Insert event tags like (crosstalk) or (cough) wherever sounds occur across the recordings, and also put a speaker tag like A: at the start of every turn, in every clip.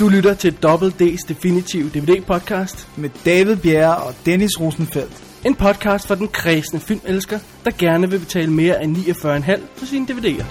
A: Du lytter til Double D's Definitive DVD-podcast.
B: med David Bjerre og Dennis Rosenfeldt.
A: En podcast for den kredsende filmelsker, der gerne vil betale mere end 49,5 for sine DVD'er.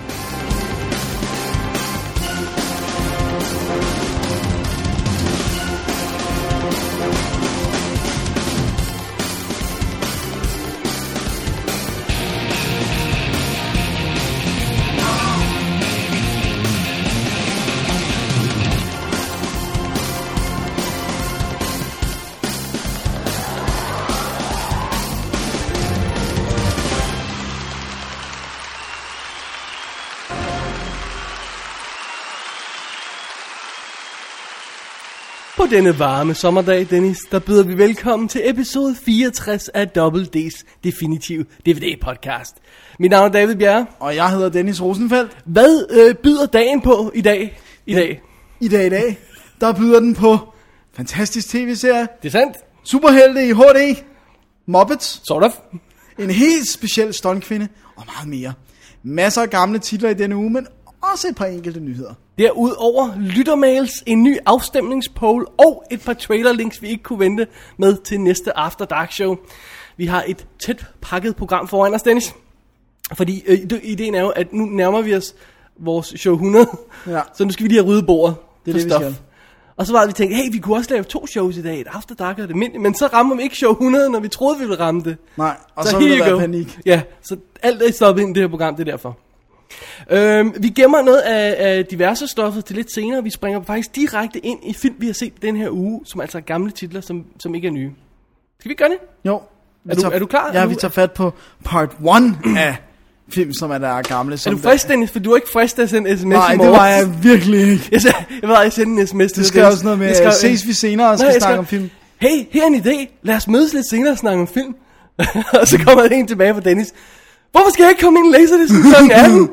A: På denne varme sommerdag, Dennis, der byder vi velkommen til episode 64 af Double D's Definitive DVD-podcast. Mit navn er David Bjerre.
B: Og jeg hedder Dennis Rosenfeldt.
A: Hvad øh, byder dagen på i dag? I dag.
B: I dag i dag, der byder den på fantastisk tv-serie,
A: Det er sandt.
B: superhelte i HD, Muppets,
A: Sort of.
B: en helt speciel stuntkvinde og meget mere. Masser af gamle titler i denne uge, men også et par enkelte nyheder.
A: Derudover lyttermails, en ny afstemningspoll og et par trailerlinks, vi ikke kunne vente med til næste After Dark Show. Vi har et tæt pakket program foran os, Dennis. Fordi øh, ide- ideen er jo, at nu nærmer vi os vores show 100.
B: Ja.
A: (laughs) Så nu skal vi lige have ryddet bordet.
B: Det er
A: for
B: det, vi
A: stof.
B: skal.
A: Og så var det, vi tænkte, hey, vi kunne også lave to shows i dag, et After Dark og et almindeligt, men så rammer vi ikke show 100, når vi troede, vi ville ramme det.
B: Nej, og så, så vil
A: here
B: der
A: you go.
B: være panik.
A: Ja, så alt er stoppet ind i det her program, det er derfor. Øhm, vi gemmer noget af, af diverse stoffet til lidt senere. Vi springer faktisk direkte ind i film, vi har set den her uge, som altså er gamle titler, som, som ikke er nye. Skal vi gøre det?
B: Jo. vi
A: Er du- er du klar? Er
B: Ja,
A: du-
B: vi tager fat på part 1 af film, som er der er gamle. Som
A: Er du frisk, Dennis? For du er ikke frisk til at sende sms
B: Nej,
A: i
B: det
A: morgen.
B: var jeg virkelig ikke.
A: (laughs) Jeg, sagde, jeg ved, at jeg sendte en sms til
B: Det
A: dig,
B: skal
A: Dennis.
B: også noget med,
A: Jeg skrev-
B: ses vi senere og
A: Nej,
B: skal
A: jeg
B: snakke
A: skrev,
B: om film.
A: Hey, her er en idé. Lad os mødes lidt senere og snakke om film. (laughs) og så kommer der en tilbage fra Dennis. Hvorfor skal jeg ikke komme ind i laserdisken klokken
B: (laughs)
A: 18?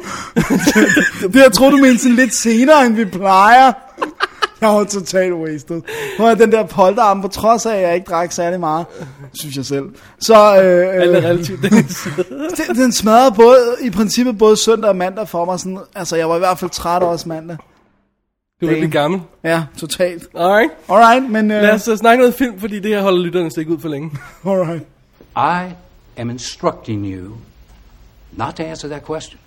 B: Det jeg tror du mente sådan lidt senere, end vi plejer. Jeg var totalt wasted. Nu er den der polterarm, på trods af, at jeg ikke drak særlig meget, synes jeg selv. Så
A: Alt er
B: øh, øh,
A: relativt, Dennis.
B: den- den smadrede både, i princippet både søndag og mandag for mig. Sådan, altså, jeg var i hvert fald træt også mandag.
A: Du er
B: Damn.
A: lidt gammel.
B: Ja, totalt.
A: Alright.
B: Alright, men... Øh,
A: Lad os uh, snakke noget film, fordi det her holder lytterne slet ikke ud for længe.
B: alright.
C: I am instructing you not to answer that question.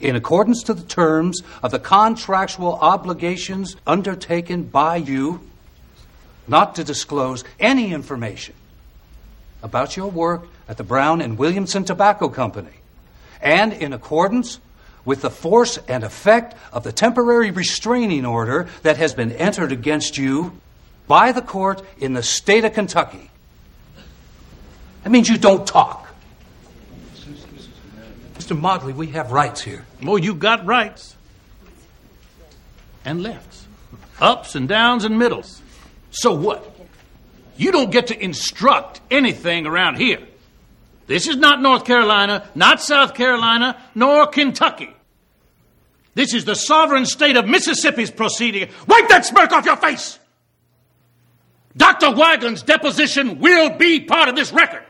C: In accordance to the terms of the contractual obligations undertaken by you, not to disclose any information about your work at the Brown and Williamson Tobacco Company, and in accordance with the force and effect of the temporary restraining order that has been entered against you by the court in the state of Kentucky. That means you don't talk. Mr. Motley, we have rights here.
D: Well, you got rights and lefts, ups and downs and middles. So what? You don't get to instruct anything around here. This is not North Carolina, not South Carolina, nor Kentucky. This is the sovereign state of Mississippi's proceeding. Wipe that smirk off your face! Dr. Wygan's deposition will be part of this record.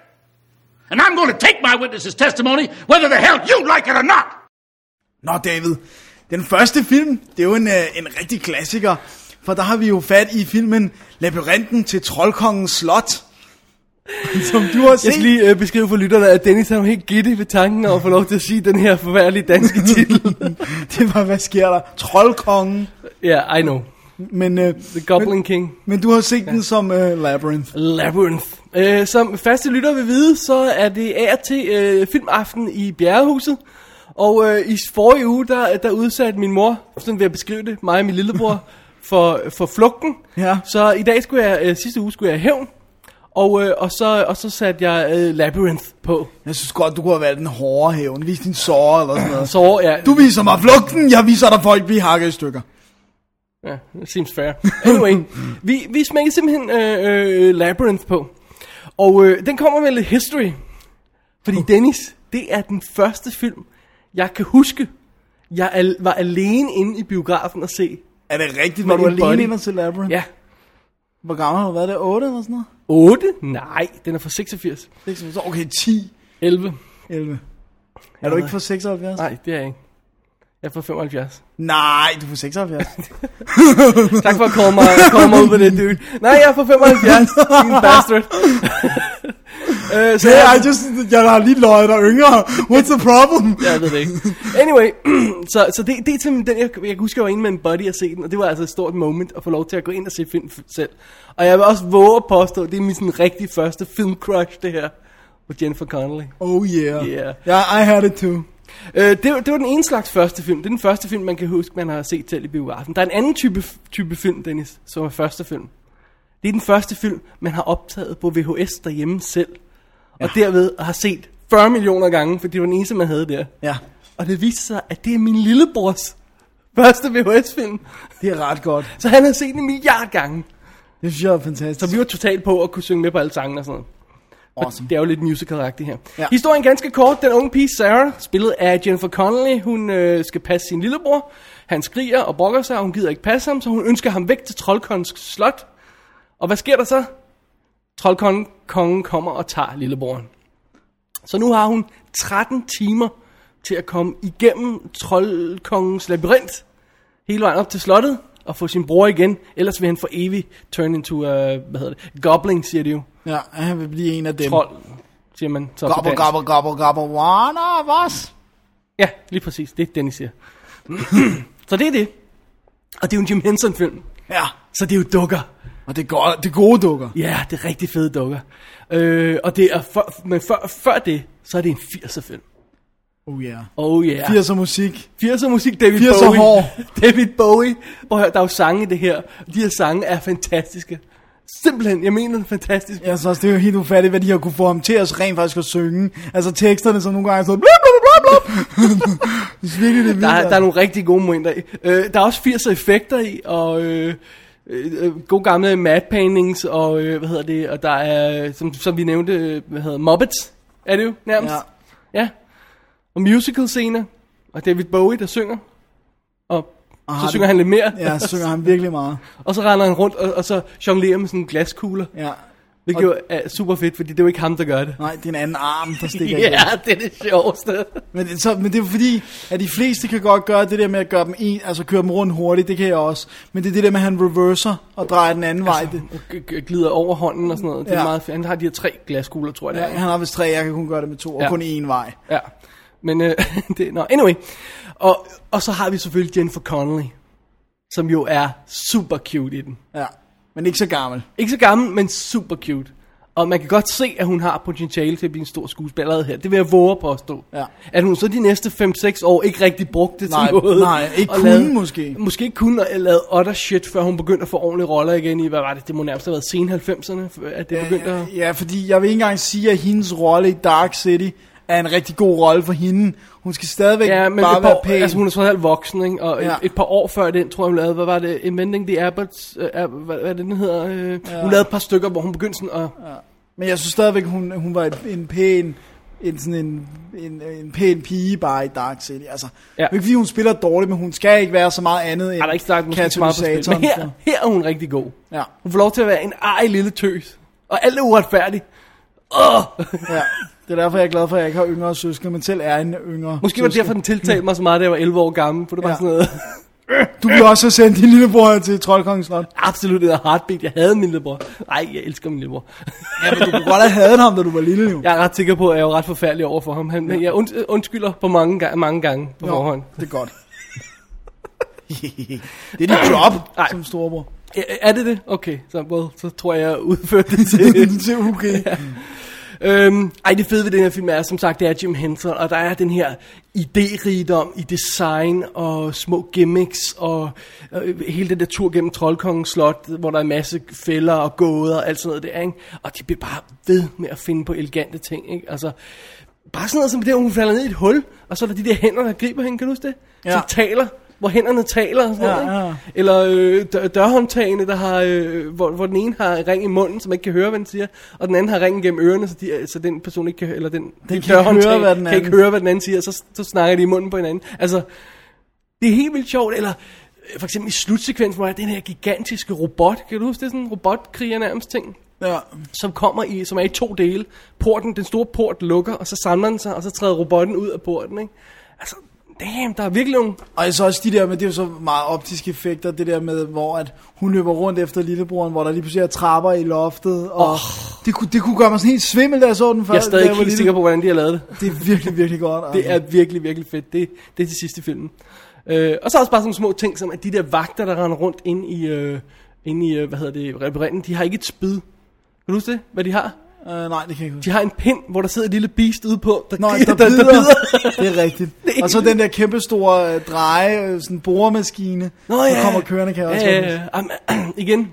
D: And I'm going to take my witness's testimony whether the hell you like it or not!
B: Nå, David. Den første film, det er jo en, øh, en rigtig klassiker. For der har vi jo fat i filmen Labyrinten til Troldkongens Slot. (laughs) Som du har set.
A: Jeg skal lige øh, beskrive for lytterne, at Dennis han var helt gidtig ved tanken om at få lov til at sige den her forfærdelige (laughs) danske titel.
B: (laughs) det var, hvad sker der? Troldkongen.
A: Ja, yeah, I know.
B: Men, øh,
A: The Goblin
B: men,
A: King.
B: Men du har set den som øh, Labyrinth.
A: Labyrinth. Øh, som faste lytter vil vide, så er det af og til øh, filmaften i Bjerrehuset. Og øh, i forrige uge, der, der udsatte min mor, sådan vil jeg beskrive det, mig og min lillebror, (laughs) for, for flugten.
B: Ja.
A: Så i dag skulle jeg, øh, sidste uge skulle jeg i hævn. Og, øh, og, så, og så satte jeg øh, Labyrinth på.
B: Jeg synes godt, du kunne have været den hårde hævn. Vis din sår eller sådan noget.
A: Så ja,
B: Du viser mig flugten, jeg viser dig folk blive hakket i stykker.
A: Ja, yeah, seems fair. Anyway,
B: (laughs)
A: vi, vi smækker simpelthen øh, øh, Labyrinth på. Og øh, den kommer med lidt history. Fordi
B: Uh.
A: Dennis, det er den første film, jeg kan huske, jeg al- var alene inde i biografen og se.
B: Er det rigtigt,
A: Med
B: var du
A: en body.
B: alene ind og se Labyrinth?
A: Ja.
B: Hvor gammel har du været? Det 8 eller sådan noget?
A: 8? Nej, den er fra 86.
B: Det er ikke sådan- så- Okay, 10,
A: 11?
B: 11. Er du ikke fra 76?
A: Nej, det er jeg ikke. Jeg får 75.
B: Nej, du får 76.
A: (laughs) Tak for at komme mig,
B: (laughs)
A: komme mig ud med det, dude. Nej, jeg får 75. Din
B: (laughs)
A: bastard. (laughs) uh, så
B: hey,
A: jeg,
B: I just, jeg har lige løjet dig yngre. What's the problem?
A: jeg ved det ikke. Anyway, (clears throat) så, så det, det er simpelthen den, jeg, jeg husker, jeg var inde med en buddy og se den, og det var altså et stort moment at få lov til at gå ind og se film f- selv. Og jeg vil også våge at påstå, at det er min sådan, rigtig første film crush, det her. Med Jennifer Connelly.
B: Oh yeah.
A: Yeah.
B: Yeah, I had it too.
A: Øh, det, var- det var den ene slags første film. Det er den første film, man kan huske, man har set til i biografen. Der er en anden type, type film, Dennis, som er første film. Det er den første film, man har optaget på VHS derhjemme selv. Og derved har set 40 millioner gange, fordi det var den eneste, man havde der.
B: Ja,
A: Og det viste sig, at det er min lillebrors første VHS-film.
B: det er ret godt.
A: Så han havde set den en milliard gange.
B: Det synes jeg er
A: Så
B: fantastisk.
A: vi var totalt på at kunne synge med på alle sangene og sådan noget.
B: Awesome.
A: Det er jo lidt musical-agtigt her. Ja.
B: Ja.
A: Historien er ganske kort. Den unge pige Sarah, spillet af Jennifer Connelly, hun øh, skal passe sin lillebror. Han skriger og brokker sig, og hun gider ikke passe ham, så hun ønsker ham væk til Troldkongens slot. Og hvad sker der så? Troldkongen kongen kommer og tager lillebroren. Så nu har hun 13 timer til at komme igennem Troldkongens labyrint hele vejen op til slottet og få sin bror igen. Ellers vil han for evigt turn into, uh, hvad hedder det, goblin, siger de jo.
B: Ja, han vil blive en af dem.
A: Trold, siger man så på
B: Gobble,
A: dansk.
B: gobble, gobble, gobble, one of us.
A: Ja, lige præcis. Det er Dennis siger. (clears throat) så det er det. Og det er jo en Jim Henson-film.
B: Ja,
A: Så det er jo dukker.
B: og det er, godt, det er gode dukker.
A: Ja, det er rigtig fede dukker. Øh, og det er for, men før, før det, så er det en 80'er-film.
B: Oh yeah.
A: Oh yeah.
B: 80'er musik.
A: 80'er musik, David
B: 80'er
A: Bowie.
B: hår.
A: (laughs) David Bowie. Prøv at høre, der er jo sange i det her. De her sange er fantastiske. Simpelthen, jeg mener det er fantastisk.
B: Jeg synes også, Altså, det er jo helt ufatteligt, hvad de har kunne få ham til os rent faktisk at synge. Altså teksterne, som nogle gange er sådan, blub, blub, blub, blub. det er virkelig det vildt.
A: Der, er, der er
B: altså.
A: nogle rigtig gode momenter i. Øh, der er også 80'er effekter i, og øh, øh, øh, gode gamle matte paintings, og øh, hvad hedder det, og der er, som, som vi nævnte, øh, hvad hedder Muppets, er det jo nærmest?
B: altså. Ja.
A: ja. Og musical scener, og David Bowie, der synger, og
B: Og
A: så
B: har
A: synger
B: det-
A: han lidt mere,
B: Ja, synger han virkelig meget.
A: (laughs) og så render han rundt, og, og så jonglerer med sådan en glaskugler,
B: Ja.
A: hvilket jo er super fedt, fordi det er jo ikke ham, der gør det.
B: Nej, det er en anden arm, der stikker
A: Ja,
B: yeah.
A: det er det sjoveste.
B: Men, det- så, men det er jo fordi, at de fleste kan godt gøre det der med at gøre dem en, altså køre dem rundt hurtigt, det kan jeg også. Men det er det der med, at han reverser og drejer den anden altså, vej. Det,
A: Og g- g- glider over hånden og sådan noget. Det er ja.
B: Ja.
A: meget fedt. Han har de her tre glaskugler, tror jeg. det er.
B: ja, han har vist tre, jeg kan kun gøre det med to, og
A: Ja.
B: kun én vej.
A: Ja, men øh, (laughs) det, no, anyway. Og, og så har vi selvfølgelig Jennifer Connelly, som jo er super cute i den.
B: Ja. Men ikke så gammel.
A: Ikke så gammel, men super cute. Og man kan godt se, at hun har potentiale til at blive en stor skuespiller allerede her. Det vil jeg våge at påstå.
B: Ja.
A: At hun så de næste 5-6 år ikke rigtig brugte det
B: Nej,
A: til noget.
B: nej, ikke
A: og
B: kunne måske.
A: Måske ikke kunne og lavede otter shit, før hun begyndte at få ordentlige roller igen i, hvad var det, det må nærmest have været sen 90'erne, at det
B: Ja,
A: begyndte at...
B: ja, ja, fordi jeg vil ikke engang sige, at hendes rolle i Dark City er en rigtig god rolle for hende. Hun skal stadigvæk
A: (laughs) Ja, men
B: bare
A: et par,
B: være
A: år,
B: pæn.
A: altså hun er trods alt voksen, ikke? og ja.
B: Ja.
A: et, et par år før den, tror jeg, hun lavede, hvad var det, Inventing the Abbots, øh, Ab- hvad, hvad er det, den hedder, øh, ja. hun lavede et par stykker, hvor hun begyndte sådan at, ja.
B: Men jeg synes stadigvæk, hun, hun var et- en pæn, en, sådan en, en, en pæn pige bare i Dark City. Altså,
A: Ja.
B: ja. Ikke fordi hun spiller dårligt, men hun skal ikke være så meget andet end
A: har der ikke sagt måske så meget på spil, (laughs) men her,
B: katalysatoren
A: her er hun rigtig god.
B: for- Ja,
A: Hun får lov til at være en ej lille tøs, og alt er uretfærdigt. Åh!
B: ja. Det er derfor, jeg er glad for, at jeg ikke har yngre søskende, men selv er en yngre
A: Måske var det derfor, den tiltalte mig så meget, da jeg var 11 år gammel, for det var ja.
B: Ja.
A: sådan noget, (laughs)
B: Du vil også have sendt din lillebror til Troldkongens Slot.
A: absolut et heartbeat, jeg havde min lillebror. Nej, jeg elsker min lillebror.
B: Ja, men du kunne godt have hadet ham, da du var lille jo.
A: (laughs) Jeg er ret sikker på, at jeg var ret forfærdelig over for ham, Han, ja. jeg und, undskylder på mange, ga- mange gange på
B: Nå,
A: forhånd.
B: det er godt. det er dit job
A: Nej.
B: som storebror.
A: Ja, Er det det? Okay, så, well, så tror jeg, jeg udførte det
B: (laughs)
A: til.
B: til UK.
A: øhm, ej, det fede ved den her film er, som sagt, det er Jim Henson, og der er den her idérigdom i design og små gimmicks, og øh, hele den der tur gennem Troldkongens Slot, hvor der er en masse fælder og gåder og alt sådan noget der, ikke? Og de bliver bare ved med at finde på elegante ting, ikke? Altså, bare sådan noget som det, hvor hun falder ned i et hul, og så er der de der hænder, der griber hende, kan du huske det?
B: Ja.
A: Som taler, hvor hænderne taler og sådan
B: Ja,
A: noget, ikke?
B: ja.
A: Eller øh, dør- dørhåndtagene, der har, øh, hvor, hvor den ene har ring i munden, så man ikke kan høre, hvad den siger, og den anden har ringen gennem ørerne, så, de, øh, så den person ikke kan høre, eller den, den
B: kan ikke høre, hvad den
A: kan ikke
B: anden-
A: høre, hvad den anden siger, og så, så snakker de i munden på hinanden. Altså, det er helt vildt sjovt, eller øh, for eksempel i slutsekvensen, hvor der er den her gigantiske robot, kan du huske det, er sådan en robotkriger nærmest ting,
B: Ja.
A: som kommer i, som er i to dele. Porten, den store port lukker, og så samler den sig, og så træder robotten ud af porten, ikke? Altså, Damn, der er virkelig nogle...
B: Og så også de der med, det er jo så meget optiske effekter, det der med, hvor at hun løber rundt efter lillebroren, hvor der lige pludselig er trapper i loftet, og oh. det, kunne, det kunne gøre mig sådan helt svimmel, da jeg så den før.
A: Jeg er stadig
B: da
A: ikke
B: var
A: helt
B: lille.
A: sikker på, hvordan de har lavet det.
B: Det er virkelig, virkelig godt. altså.
A: Det er virkelig, virkelig fedt. Det, det er det sidste film. Øh, og så er også bare sådan små ting, som at de der vagter, der render rundt ind i, øh, ind i øh, hvad hedder det, labyrinten, de har ikke et spid. Kan du huske det? Hvad de har?
B: Øh, nej, det kan jeg ikke huske.
A: De har en pind, hvor der sidder et lille beast ude på, (laughs) der,
B: Nå, der, bider. (laughs) det er rigtigt. Og så den der kæmpe store øh, dreje, øh, sådan boremaskine,
A: Nå,
B: der
A: ja.
B: kommer kørende, kan jeg også
A: ja,
B: huske.
A: ja, ja. Um, (clears throat) igen,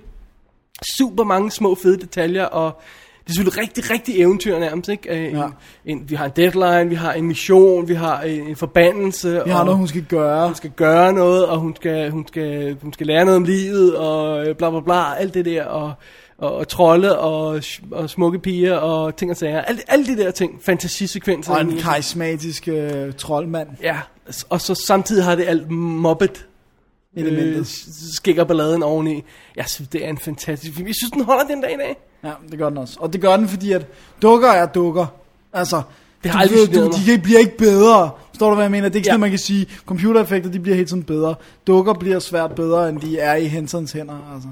A: super mange små fede detaljer, og det er selvfølgelig rigtig, rigtig eventyr nærmest, ikke? Øh, En,
B: Ja.
A: en, vi har en deadline, vi har en mission, vi har en, en forbandelse.
B: Vi har
A: og
B: noget, hun skal gøre.
A: hun skal gøre noget, og hun skal, hun skal, hun skal lære noget om livet, og øh, bla bla bla, alt det der, og, og, og trolde, og, sh- og smukke piger, og ting og sager. Alt, alt det der ting, fantasisekvenser.
B: Og
A: i
B: en
A: den.
B: karismatisk øh, troldmand.
A: Ja, s- og så samtidig har det alt mobbet
B: Elementet.
A: øh, s- skæg og balladen oveni. Jeg synes, det er en fantastisk film. Jeg synes, den holder den dag i dag.
B: Ja, det gør den også. Og det gør den, fordi at dukker er dukker. Altså,
A: Det har
B: du
A: aldrig
B: ved,
A: generet
B: du,
A: mig.
B: de kan- bliver ikke bedre. Forstår du, hvad jeg mener? Det er ikke
A: Ja.
B: ja. sådan, man kan sige, computereffekter, de bliver helt sådan bedre. Dukker bliver svært bedre, end de er i Hensons hænder, altså.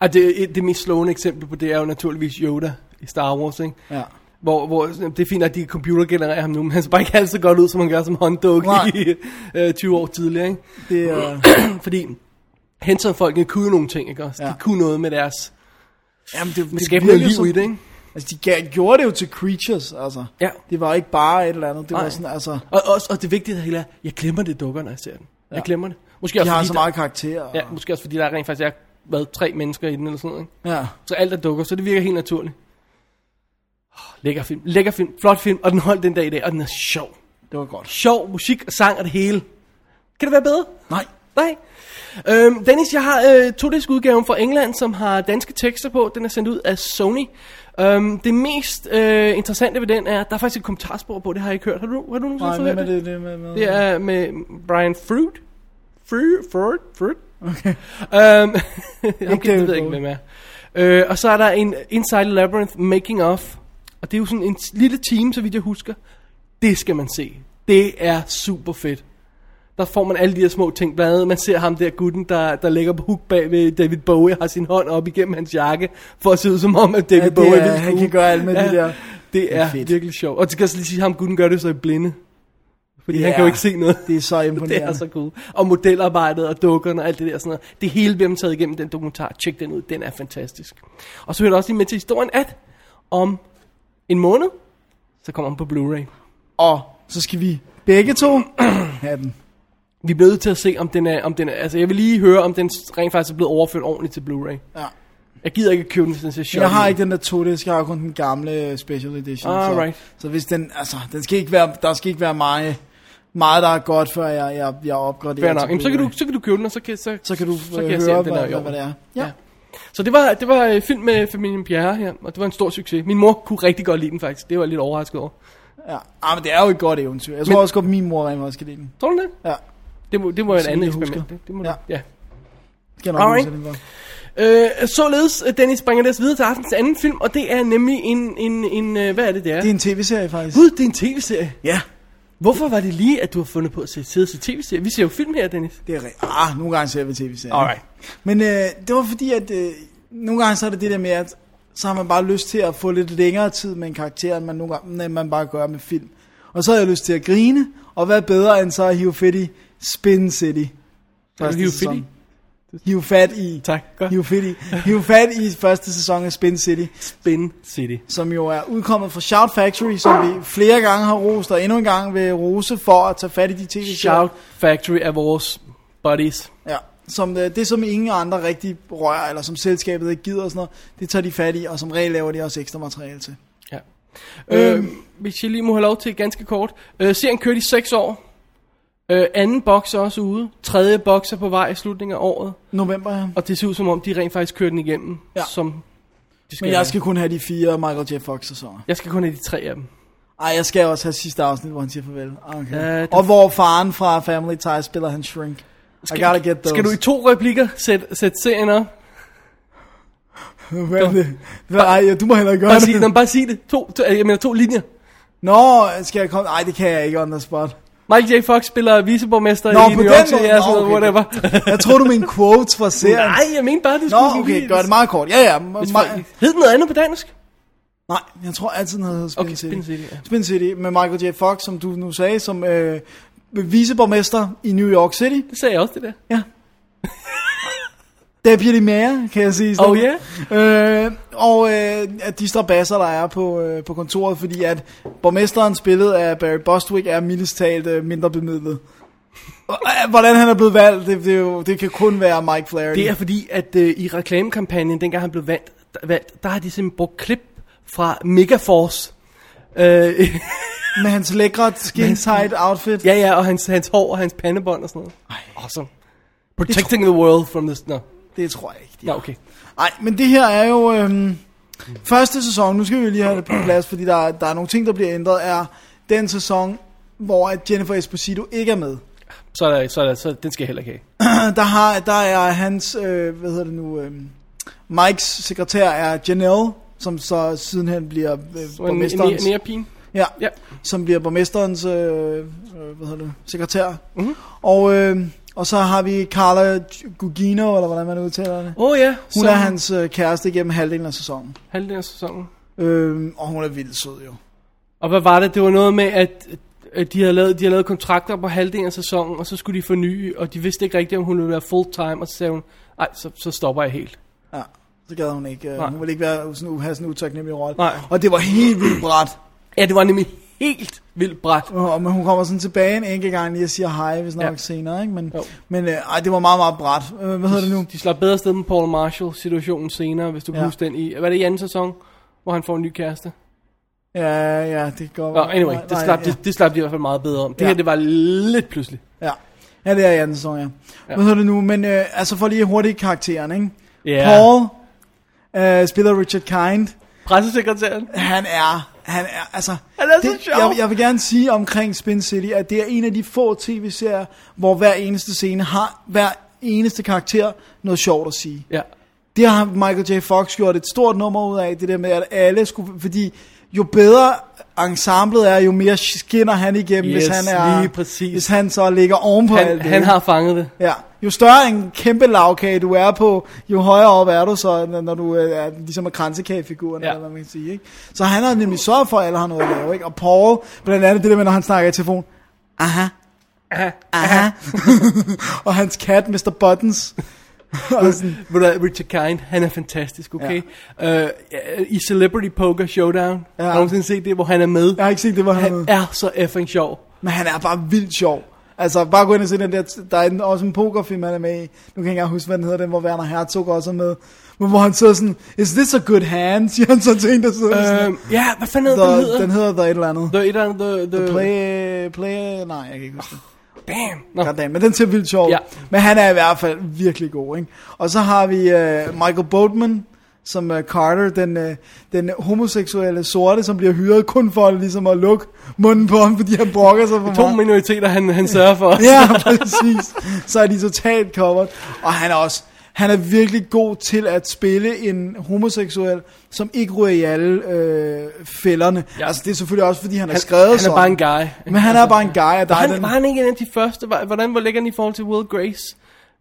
A: Og det, et- det mest slående eksempel på det er jo naturligvis Yoda i Star Wars, ikke?
B: Ja.
A: Hvor, hvor sådan, det er fint, at de computergenererer ham nu, men han ser bare ikke halvt så godt ud, som han gør som hånddukke
B: Nej.
A: i (laughs) øh, 20 år tidligere, ikke?
B: Det øh, er,
A: Fordi Henson-folkene kunne jo nogle ting, ikke også? Ja.
B: Ja.
A: De kunne noget med deres...
B: jamen, det,
A: Med
B: det
A: skabe
B: virkede
A: noget liv
B: som-
A: i det, ikke?
B: Altså, de gav, gjorde det jo til creatures, altså.
A: Ja.
B: Det var ikke bare et eller andet. Det
A: Nej.
B: var sådan, altså,
A: Og, også, og det vigtige af det hele er, jeg glemmer det dukker, når jeg ser den. Jeg glemmer det. Måske
B: de
A: også,
B: har
A: fordi
B: så
A: der-
B: meget karakter. Og,
A: Ja, måske også fordi der rent faktisk er været tre mennesker i den eller sådan noget. Ikke?
B: ja.
A: Så alt er dukker, så det virker helt naturligt. Åh, Lækker film, lækker film, flot film, og den holdt den dag i dag, og den er sjov.
B: det var godt.
A: Sjov musik og sang og det hele. Kan det være bedre?
B: Nej.
A: Nej. Øhm, Dennis, jeg har øh, to udgaven fra England, som har danske tekster på. Den er sendt ud af Sony. Øhm, det mest øh, interessante ved den er, der er faktisk et kommentarspor på, det har jeg ikke hørt. Har du, har du nogensinde
B: Nej,
A: fået
B: hvem
A: hørt
B: er det, det med, med?
A: det er med Brian Fruit. Fruit, Fruit, Fruit. (laughs) Okay. Um, okay,
B: David
A: det ved jeg ikke,
B: Bowie.
A: hvem er. Øh, og så er der en Inside Labyrinth Making Of. Og det er jo sådan en lille time, så vidt jeg husker. Det skal man se. Det er super fedt. Der får man alle de her små ting. Blandt andet, man ser ham der gutten, der, der ligger på huk bag ved David Bowie, har sin hånd op igennem hans jakke, for at se ud som om, at David
B: Ja, det
A: Bowie
B: er-
A: ville
B: han
A: skue.
B: kan gøre alt med det der.
A: Det er
B: fedt.
A: virkelig sjovt. Og det kan jeg så lige sige, at ham gutten gør det så i blinde. Fordi
B: Det
A: han kan jo
B: er-
A: ikke se noget.
B: Det er så
A: (laughs)
B: imponerende.
A: Det er altså- så cool. Og modelarbejdet og dukkerne og alt det der sådan noget. Det hele bliver man taget igennem den dokumentar. Tjek den ud. Den er fantastisk. Og så hører det også lige med til historien, at om en måned, så kommer den på Blu-ray.
B: Og så skal vi begge to (clears throat) have den.
A: Vi bliver nødt til at se, om den er... Om den er altså, jeg vil lige høre, om den rent faktisk er blevet overført ordentligt til Blu-ray.
B: Ja.
A: Jeg gider ikke købe den, sådan
B: Jeg har ikke den der to disk, jeg har kun den gamle øh, special edition.
A: Alright.
B: Så, så hvis den, altså, den skal ikke være, der skal ikke være meget, meget der er godt, før jeg, jeg, jeg opgraderer.
A: Fair nok.
B: til
A: Jamen, så, kan du,
B: Blu-ray.
A: så kan du købe den, og så kan, så,
B: så kan du
A: så kan
B: øh,
A: jeg se,
B: høre,
A: om den er
B: hvad,
A: i
B: hvad,
A: orden.
B: hvad, det er. Ja.
A: Ja. Så det var, det var øh, film med familien Pierre her, og det var en stor succes. Min mor kunne rigtig godt lide den faktisk, det var jeg lidt overrasket over.
B: ja. Ah, men det er jo et godt eventyr. Jeg tror
A: Men-
B: også godt, min mor rent faktisk kan lide den.
A: Tror du det?
B: Ja.
A: Det må, det må være et
B: Så
A: andet
B: vidt jeg
A: eksperiment.
B: husker.
A: Det, det må
B: Ja.
A: Det. ja.
B: Skal jeg nok
A: Alright.
B: huske, at den var.
A: Øh, således, øh, Dennis bringer det os videre til aftens anden film, og det er nemlig en, en, en øh, hvad er det, det er?
B: Det er en tv-serie faktisk.
A: Gud, det er en tv-serie.
B: Ja.
A: Hvorfor var det lige, at du har fundet på at se- sidde og se tv-serie? Vi ser jo film her, Dennis.
B: Det er rigtigt. Ah, nogle gange ser vi tv-serier.
A: Alright.
B: Men øh, det var fordi, at øh, nogle gange så er det det der med, at så har man bare lyst til at få lidt længere tid med en karakter, end man, nogle gange, end man bare gør med film. Og så har jeg lyst til at grine, og hvad bedre end så at hive fat i Spin City. Første
A: hive fat i?
B: sæson. Hive fat i.
A: Tak, godt.
B: Hive fat i. Hive fat i første sæson af Spin City,
A: Spin City.
B: som jo er udkommet fra Shout Factory, som vi flere gange har rost, og endnu en gang vil rose for at tage fat i de tv-serier.
A: Shout Factory er vores buddies.
B: Ja, som, øh, det som ingen andre rigtig rører, eller som selskabet ikke gider og sådan noget, det tager de fat i, og som regel laver de også ekstra materiale til.
A: Ja. Øh, hvis jeg lige må have lov til ganske kort. Øh, serien kørte i 6 år. Øh, anden boks er også ude. Tredje boks er på vej i slutningen af året.
B: November, ja.
A: Og det ser ud som om, de rent faktisk kører den igennem.
B: Ja.
A: Som de skal
B: Men jeg
A: være.
B: skal kun have de fire Michael J. Fox sæsoner.
A: jeg skal kun have de tre af dem.
B: Ej, jeg skal også have sidste afsnit, hvor han siger farvel. Okay.
A: Ja, det-
B: Og hvor faren fra Family Ties spiller han shrink. Skal, I gotta get those.
A: Skal du i to replikker sætte sæt serien op?
B: Hvad er det? Hvad, ej, ja, du må heller ikke gøre
A: Bare sig,
B: det.
A: det. bare sig det. To, to, jeg mener to linjer.
B: Nå, skal jeg komme? Ej, det kan jeg ikke on the spot.
A: Michael J. Fox spiller viceborgmester
B: Nå,
A: i
B: på
A: New
B: den
A: York City,
B: måde.
A: ja, sådan
B: Nå,
A: noget,
B: okay.
A: (laughs) whatever.
B: Jeg tror du mener quotes fra serien.
A: (laughs) Nej, jeg mente bare, det
B: Nå,
A: skulle sådan
B: okay,
A: lige-
B: gør det meget kort. Ja, ja.
A: Hvis
B: Ma-
A: folk- Hed den noget andet på dansk?
B: Nej, jeg tror altid, den hedder Spin
A: Okay,
B: City.
A: Spin City, ja.
B: Spin City med Michael J. Fox, som du nu sagde, som øh, viceborgmester i New York City.
A: Det sagde jeg også, det der.
B: Ja. (laughs) Deputy Mayor, kan jeg sige. i stedet.
A: Oh, ja.
B: Øh, og øh, at de strabasser, der er på, øh, på kontoret, fordi at borgmesteren spillet af Barry Bostwick er mildest talt øh, mindre bemidlet. Og, øh, Hvordan han er blevet valgt, det, det, er jo, det kan kun være Mike Flaherty.
A: Det er fordi, at øh, i reklamekampagnen, dengang han blev valgt, der, valgt, der har de simpelthen brugt klip fra Megaforce. Øh,
B: Med hans lækre skin-tight outfit.
A: ja, ja, og hans, hans hår og hans pandebånd og sådan noget. Ej. Awesome. Protecting the world from this... Nå,
B: Det tror jeg ikke, de
A: no. okay.
B: Nej, men det her er jo øhm, første sæson, nu skal vi jo lige have det på plads, fordi der, er- der er nogle ting, der bliver ændret, er den sæson, hvor at Jennifer Esposito ikke er med. (clears throat)
A: Så er der, så er der, så den skal jeg heller ikke have.
B: Der, har, der er hans, øh, hvad hedder det nu, øh, Mikes sekretær er Janelle, som så sidenhen bliver øh,
A: Så en, en, en,
B: borgmesterens,
A: pin.
B: ja,
A: Ja.
B: som bliver borgmesterens, øh, øh, hvad hedder det, sekretær.
A: Mhm.
B: Mm-hmm. Og, øh, og så har vi Carla Gugino, eller hvordan man udtaler det.
A: Åh oh, ja,
B: Hun
A: som
B: er hans øh, kæreste gennem halvdelen af sæsonen.
A: halvdelen af sæsonen.
B: Øhm, og hun er vildt sød jo.
A: Og hvad var det? Det var noget med, at, at de, havde lavet, de havde lavet kontrakter på halvdelen af sæsonen, og så skulle de forny, og de vidste ikke rigtigt, om hun ville være full time, og så sagde hun, nej, så, så stopper jeg helt.
B: Ja, så gad hun ikke. Øh,
A: Nej.
B: hun ville ikke være sådan, u- have sådan en utaknemmelig rolle.
A: Nej.
B: Og det var helt vildt bræt.
A: Ja, det var nemlig helt vildt bræt.
B: Og, men hun kommer sådan tilbage en enkelt gang lige og siger hej, hvis nok
A: Ja.
B: ja. senere. Ikke? Men,
A: Jo.
B: men øh, ej, det var meget, meget bræt. Øh, hvad hedder det nu?
A: De slap bedre sted med Paul Marshall-situationen senere, hvis du kan
B: Ja.
A: huske den i... Var det i anden sæson, hvor han får en ny kæreste?
B: Ja, ja, det går.
A: Nå, anyway,
B: nej,
A: det
B: nej,
A: slap,
B: ja.
A: det, det slap de i hvert fald meget bedre om. Det
B: Ja.
A: her, det var lidt pludselig.
B: Ja. ja, det er i anden sæson, ja. Hvad hedder det nu? Men øh, altså for lige hurtigt karakteren, ikke?
A: Ja.
B: Paul øh, spiller Richard Kind.
A: Pressesekretæren.
B: Han er, han er, altså...
A: Han er så
B: det,
A: sjov.
B: Jeg, jeg vil gerne sige omkring Spin City, at det er en af de få tv-serier, hvor hver eneste scene har hver eneste karakter noget sjovt at sige.
A: Ja.
B: Det har Michael J. Fox gjort et stort nummer ud af, det der med, at alle skulle... Fordi jo bedre ensemblet er, jo mere skinner han igennem,
A: Yes,
B: hvis han er...
A: lige præcis.
B: Hvis han så ligger ovenpå
A: Han,
B: alt det.
A: han har fanget det.
B: Ja, jo større en kæmpe lavkage du er på, jo højere op er du så, når når du øh, er ligesom er kransekagefiguren,
A: Ja.
B: ja. eller hvad man kan sige, ikke? Så han har nemlig sørget for, at alle har noget at lave, ikke? Og Paul, blandt andet det der med, når han snakker i telefon, aha, aha, aha. (laughs) og hans kat, Mr. Buttons, (laughs) og sådan,
A: Ved du hvad, Richard Kind, han er fantastisk, okay? Ja. Uh, I Celebrity Poker Showdown, ja.
B: Ja.
A: har du nogensinde set det, hvor han er med?
B: jeg har ikke set det, hvor han, er med.
A: Han er så effing sjov.
B: men han er bare vildt sjov. Altså, bare gå ind og se den der, der er en, også en pokerfilm, han er med i. Nu kan jeg ikke engang huske, hvad den hedder, den, hvor Werner Herzog også er med. Men hvor han sidder sådan, is this a good hand? (laughs) Siger han så til en, der sidder sådan.
A: Øhm, ja, hvad fanden
B: The,
A: hedder den hedder?
B: den hedder The et eller andet.
A: The, et eller andet, the, the,
B: The Play... play nej, jeg kan ikke huske det.
A: Bam! Nå.
B: Goddamn, men den ser vildt sjov.
A: Ja.
B: Ja. Men han er i hvert fald virkelig god, ikke? Og så har vi uh, Michael Boatman, som uh, Carter, den, uh, den homoseksuelle sorte, som bliver hyret kun for ligesom at lukke munden på ham, fordi han brokker sig for
A: To
B: meget.
A: minoriteter, han, han sørger for.
B: Ja, præcis. Så er de totalt covered. Og han er også... Han er virkelig god til at spille en homoseksuel, som ikke ryger i alle øh, fælderne.
A: Ja.
B: Ja. Altså, det er selvfølgelig også, fordi han, er
A: han,
B: skrevet
A: han er
B: sådan.
A: bare en guy.
B: Men han er bare en guy, og der er
A: Han,
B: den...
A: var han ikke en af de første? Var- Hvordan hvor ligger han i forhold til Will Grace?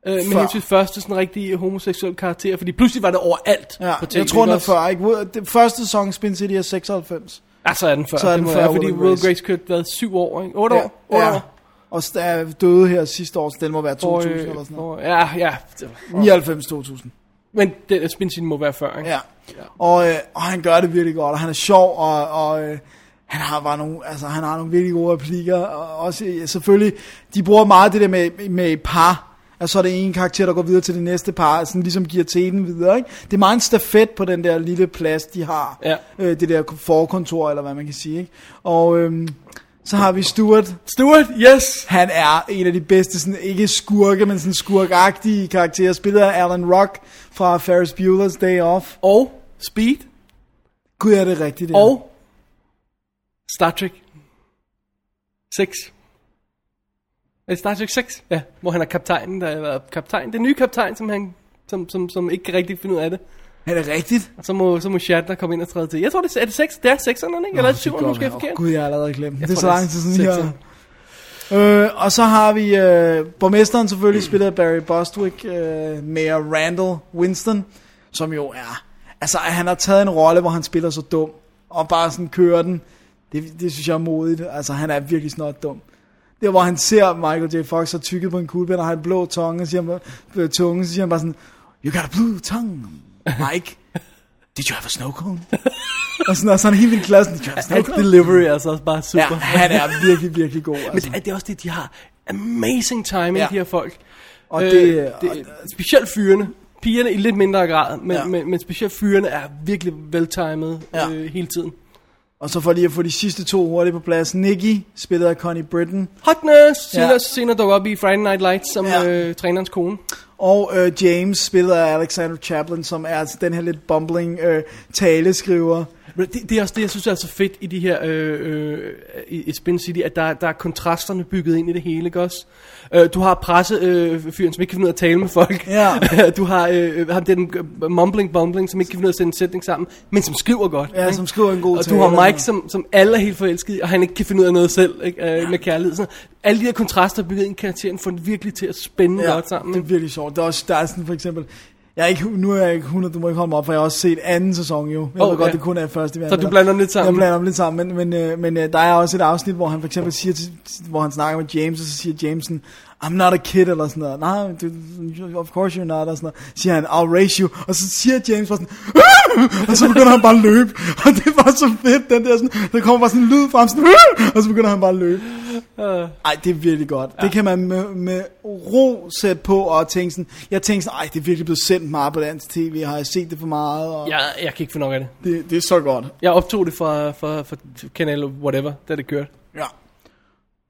A: Øh, med
B: Før.
A: hensyn til første sådan rigtig homoseksuel karakter, fordi pludselig var det overalt
B: Ja,
A: på tv.
B: jeg tror, den er
A: ikke også?
B: før, ikke? Ud- Det første sæson, Spin City, er 96.
A: Ah, så er den før.
B: Så er den
A: det må
B: før
A: være, fordi
B: Will
A: Will
B: Grace.
A: Grace kørte været syv år, ikke? Otte år? Otte
B: ja.
A: år?
B: Og st- er døde her sidste år, så den må være 2000
A: øh,
B: eller sådan noget.
A: hvor- Ja, ja.
B: 99-2000.
A: Men den der spinsin må være før, ikke?
B: Ja. Og, øh, og han gør det virkelig godt, og han er sjov, og, og øh, han har bare nogle, altså, han har nogle virkelig gode replikker, og også øh, selvfølgelig, de bruger meget det der med, med par, og så er det en karakter, der går videre til det næste par, sådan ligesom giver teten videre, ikke? Det er meget en stafet på den der lille plads, de har,
A: Ja.
B: øh, det der forkontor, eller hvad man kan sige, ikke? Og øhm, så har vi Stuart,
A: Stuart, yes!
B: han er en af de bedste, sådan, ikke skurke, men sådan skurkagtige karakterer, spiller Alan Rock fra Ferris Bueller's Day Off.
A: Og Speed.
B: Gud, er det rigtigt, det
A: Ja.
B: her?
A: Og Star Trek 6. Er det Star Trek 6? Ja, hvor han er kaptajnen, der er kaptajn. Den nye kaptajn, som han som, som, som ikke kan rigtig finde ud af det.
B: Er det rigtigt?
A: Og så må, så må Shatner komme ind og træde til. Jeg tror, det er, er det 6? Det er 6'erne, ikke? Eller er det 7'erne, måske er forkert?
B: Gud, jeg har allerede glemt. Det
A: tror,
B: er så
A: det er
B: lang tid siden, jeg...
A: sekser.
B: Øh, og så har vi øh, borgmesteren selvfølgelig, spillet af Barry Bostwick, øh, Mayor Randall Winston, som jo er... Altså, han har taget en rolle, hvor han spiller så dum, og bare sådan kører den. Det, det synes jeg er modigt. Altså, han er virkelig snart dum. Det er, hvor han ser Michael J. Fox har tykket på en kuglepind og har en blå tongue, og siger, han bare- blå tunge, så siger han bare sådan, You got a blue tongue, Mike. Did you have a snow cone? og sådan, og så er han helt vildt glad, sådan, Did you have a snow
A: Alt
B: cone?
A: delivery er altså også bare super.
B: Ja, han er virkelig, virkelig god. Altså.
A: Men det er, det er også det, de har amazing timing,
B: Ja.
A: ja. de her folk.
B: Og det-
A: øh, det, specielt fyrene. Pigerne i lidt mindre grad, men,
B: Ja.
A: ja. men, men specielt fyrene er virkelig veltimet
B: Ja.
A: ja. øh, hele tiden.
B: Og så for lige at få de sidste to hurtigt på plads. Nikki, spillet af Connie Britton,
A: Hotness, senere,
B: Ja.
A: ja. senere dukker op i Friday Night Lights som
B: Ja.
A: ja. øh, trænerens kone.
B: og øh, James, spillet af Alexander Chaplin, som er altså den her lidt bumbling øh, taleskriver.
A: Men det, det er også det, jeg synes er så fedt i de her øh, øh, i, i Spin City, at der, der er kontrasterne bygget ind i det hele, ikke også? Øh, du har pressefyren, øh, fyren, som ikke kan finde ud af at tale med folk.
B: Ja.
A: (laughs) du har øh, ham, den øh, mumbling bumbling, som ikke kan finde ud af at sætte en sætning sammen, men som skriver godt.
B: Ja,
A: ikke?
B: som skriver en god
A: Og
B: tale.
A: du har Mike, som, som alle er helt forelsket i, og han ikke kan finde ud af noget selv ikke? Øh, med kærlighed. Sådan. Alle de her kontraster bygget ind i karakteren, får den virkelig til at spænde godt sammen.
B: det er virkelig sjovt. Der er, også, der er sådan for eksempel... Jeg er ikke, nu er jeg ikke 100, du må ikke holde mig op, for jeg har også set anden sæson jo. Jeg oh,
A: Åh,
B: ved godt,
A: ja.
B: det kun er første. vi
A: Så du
B: anmelder.
A: blander dem lidt sammen.
B: Jeg blander dem lidt sammen, men, men, øh, men øh, der er også et afsnit, hvor han for eksempel siger, til, hvor han snakker med James, og så siger Jamesen, I'm not a kid, eller sådan noget. Nej, du- of course you're not, og sådan noget. Siger han, I'll raise you. Og så siger James bare sådan, "Ah!" og så begynder han bare at løbe. Og det var så fedt, den der sådan, der kommer bare sådan en lyd frem, sådan, "Ah!" og så begynder han bare at løbe. Ej, det er virkelig godt. Ja. Det kan man med, med ro sætte på og tænke sådan, jeg tænkte sådan, ej, det er virkelig blevet sendt meget på dansk tv, har jeg set det for meget, og ja.
A: Jeg, jeg kan ikke finde nok af det.
B: det, det er så godt.
A: Jeg optog det fra, fra, fra kanal whatever, da det kørte.
B: Ja.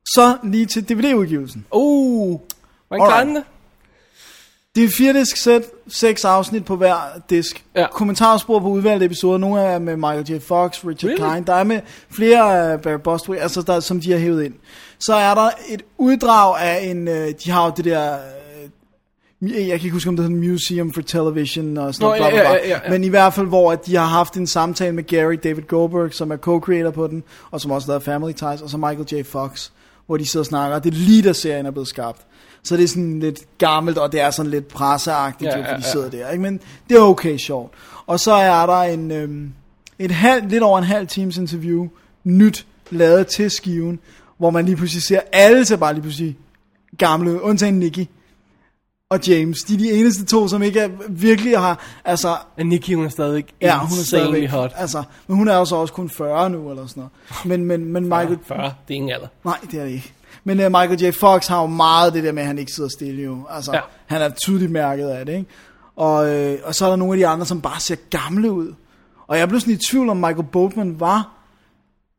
B: Så lige til DVD-udgivelsen.
A: Oh, man
B: Alright.
A: klarer den det?
B: Det er et firedisk sæt, seks afsnit på hver disk.
A: Ja.
B: Kommentarspor på udvalgte episoder. Nogle er med Michael J. Fox, Richard
A: Really?
B: Kind. Der er med flere af Barry Bostwick, altså der, som de har hævet ind. Så er der et uddrag af en... øh, De har jo det der... øh, Jeg kan ikke huske, om det hedder Museum for Television og sådan
A: Nå,
B: noget.
A: ja,
B: bla, bla, bla.
A: ja, ja, ja.
B: Men i hvert fald, hvor at de har haft en samtale med Gary David Goldberg, som er co-creator på den, og som også lavede Family Ties, og så Michael J. Fox, hvor de sidder og snakker. Og det er lige, da serien er blevet skabt. Så det er sådan lidt gammelt, og det er sådan lidt presseagtigt,
A: Ja,
B: ja, jo, fordi
A: ja,
B: de
A: ja.
B: sidder der. Ikke? Men det er okay sjovt. Og så er der en, øhm, et halv, lidt over en halv times interview, nyt, lavet til skiven, hvor man lige pludselig ser alle til bare lige pludselig gamle, ud, undtagen Nicky og James. De er de eneste to, som ikke er, virkelig har, altså,
A: Men Nikki, hun er stadig
B: Ja, hun er
A: insanely
B: stadigvæk
A: hot.
B: Altså, men hun er også også kun 40 nu, eller sådan noget. Men, men, men Michael...
A: 40, det er ingen alder.
B: Nej, det er det ikke. Men uh, Michael J. Fox har jo meget det der med, at han ikke sidder stille jo. Altså, ja.
A: Ja.
B: han er tydeligt mærket af det, ikke? Og, øh, og så er der nogle af de andre, som bare ser gamle ud. Og jeg blev sådan i tvivl, om Michael Boltman var...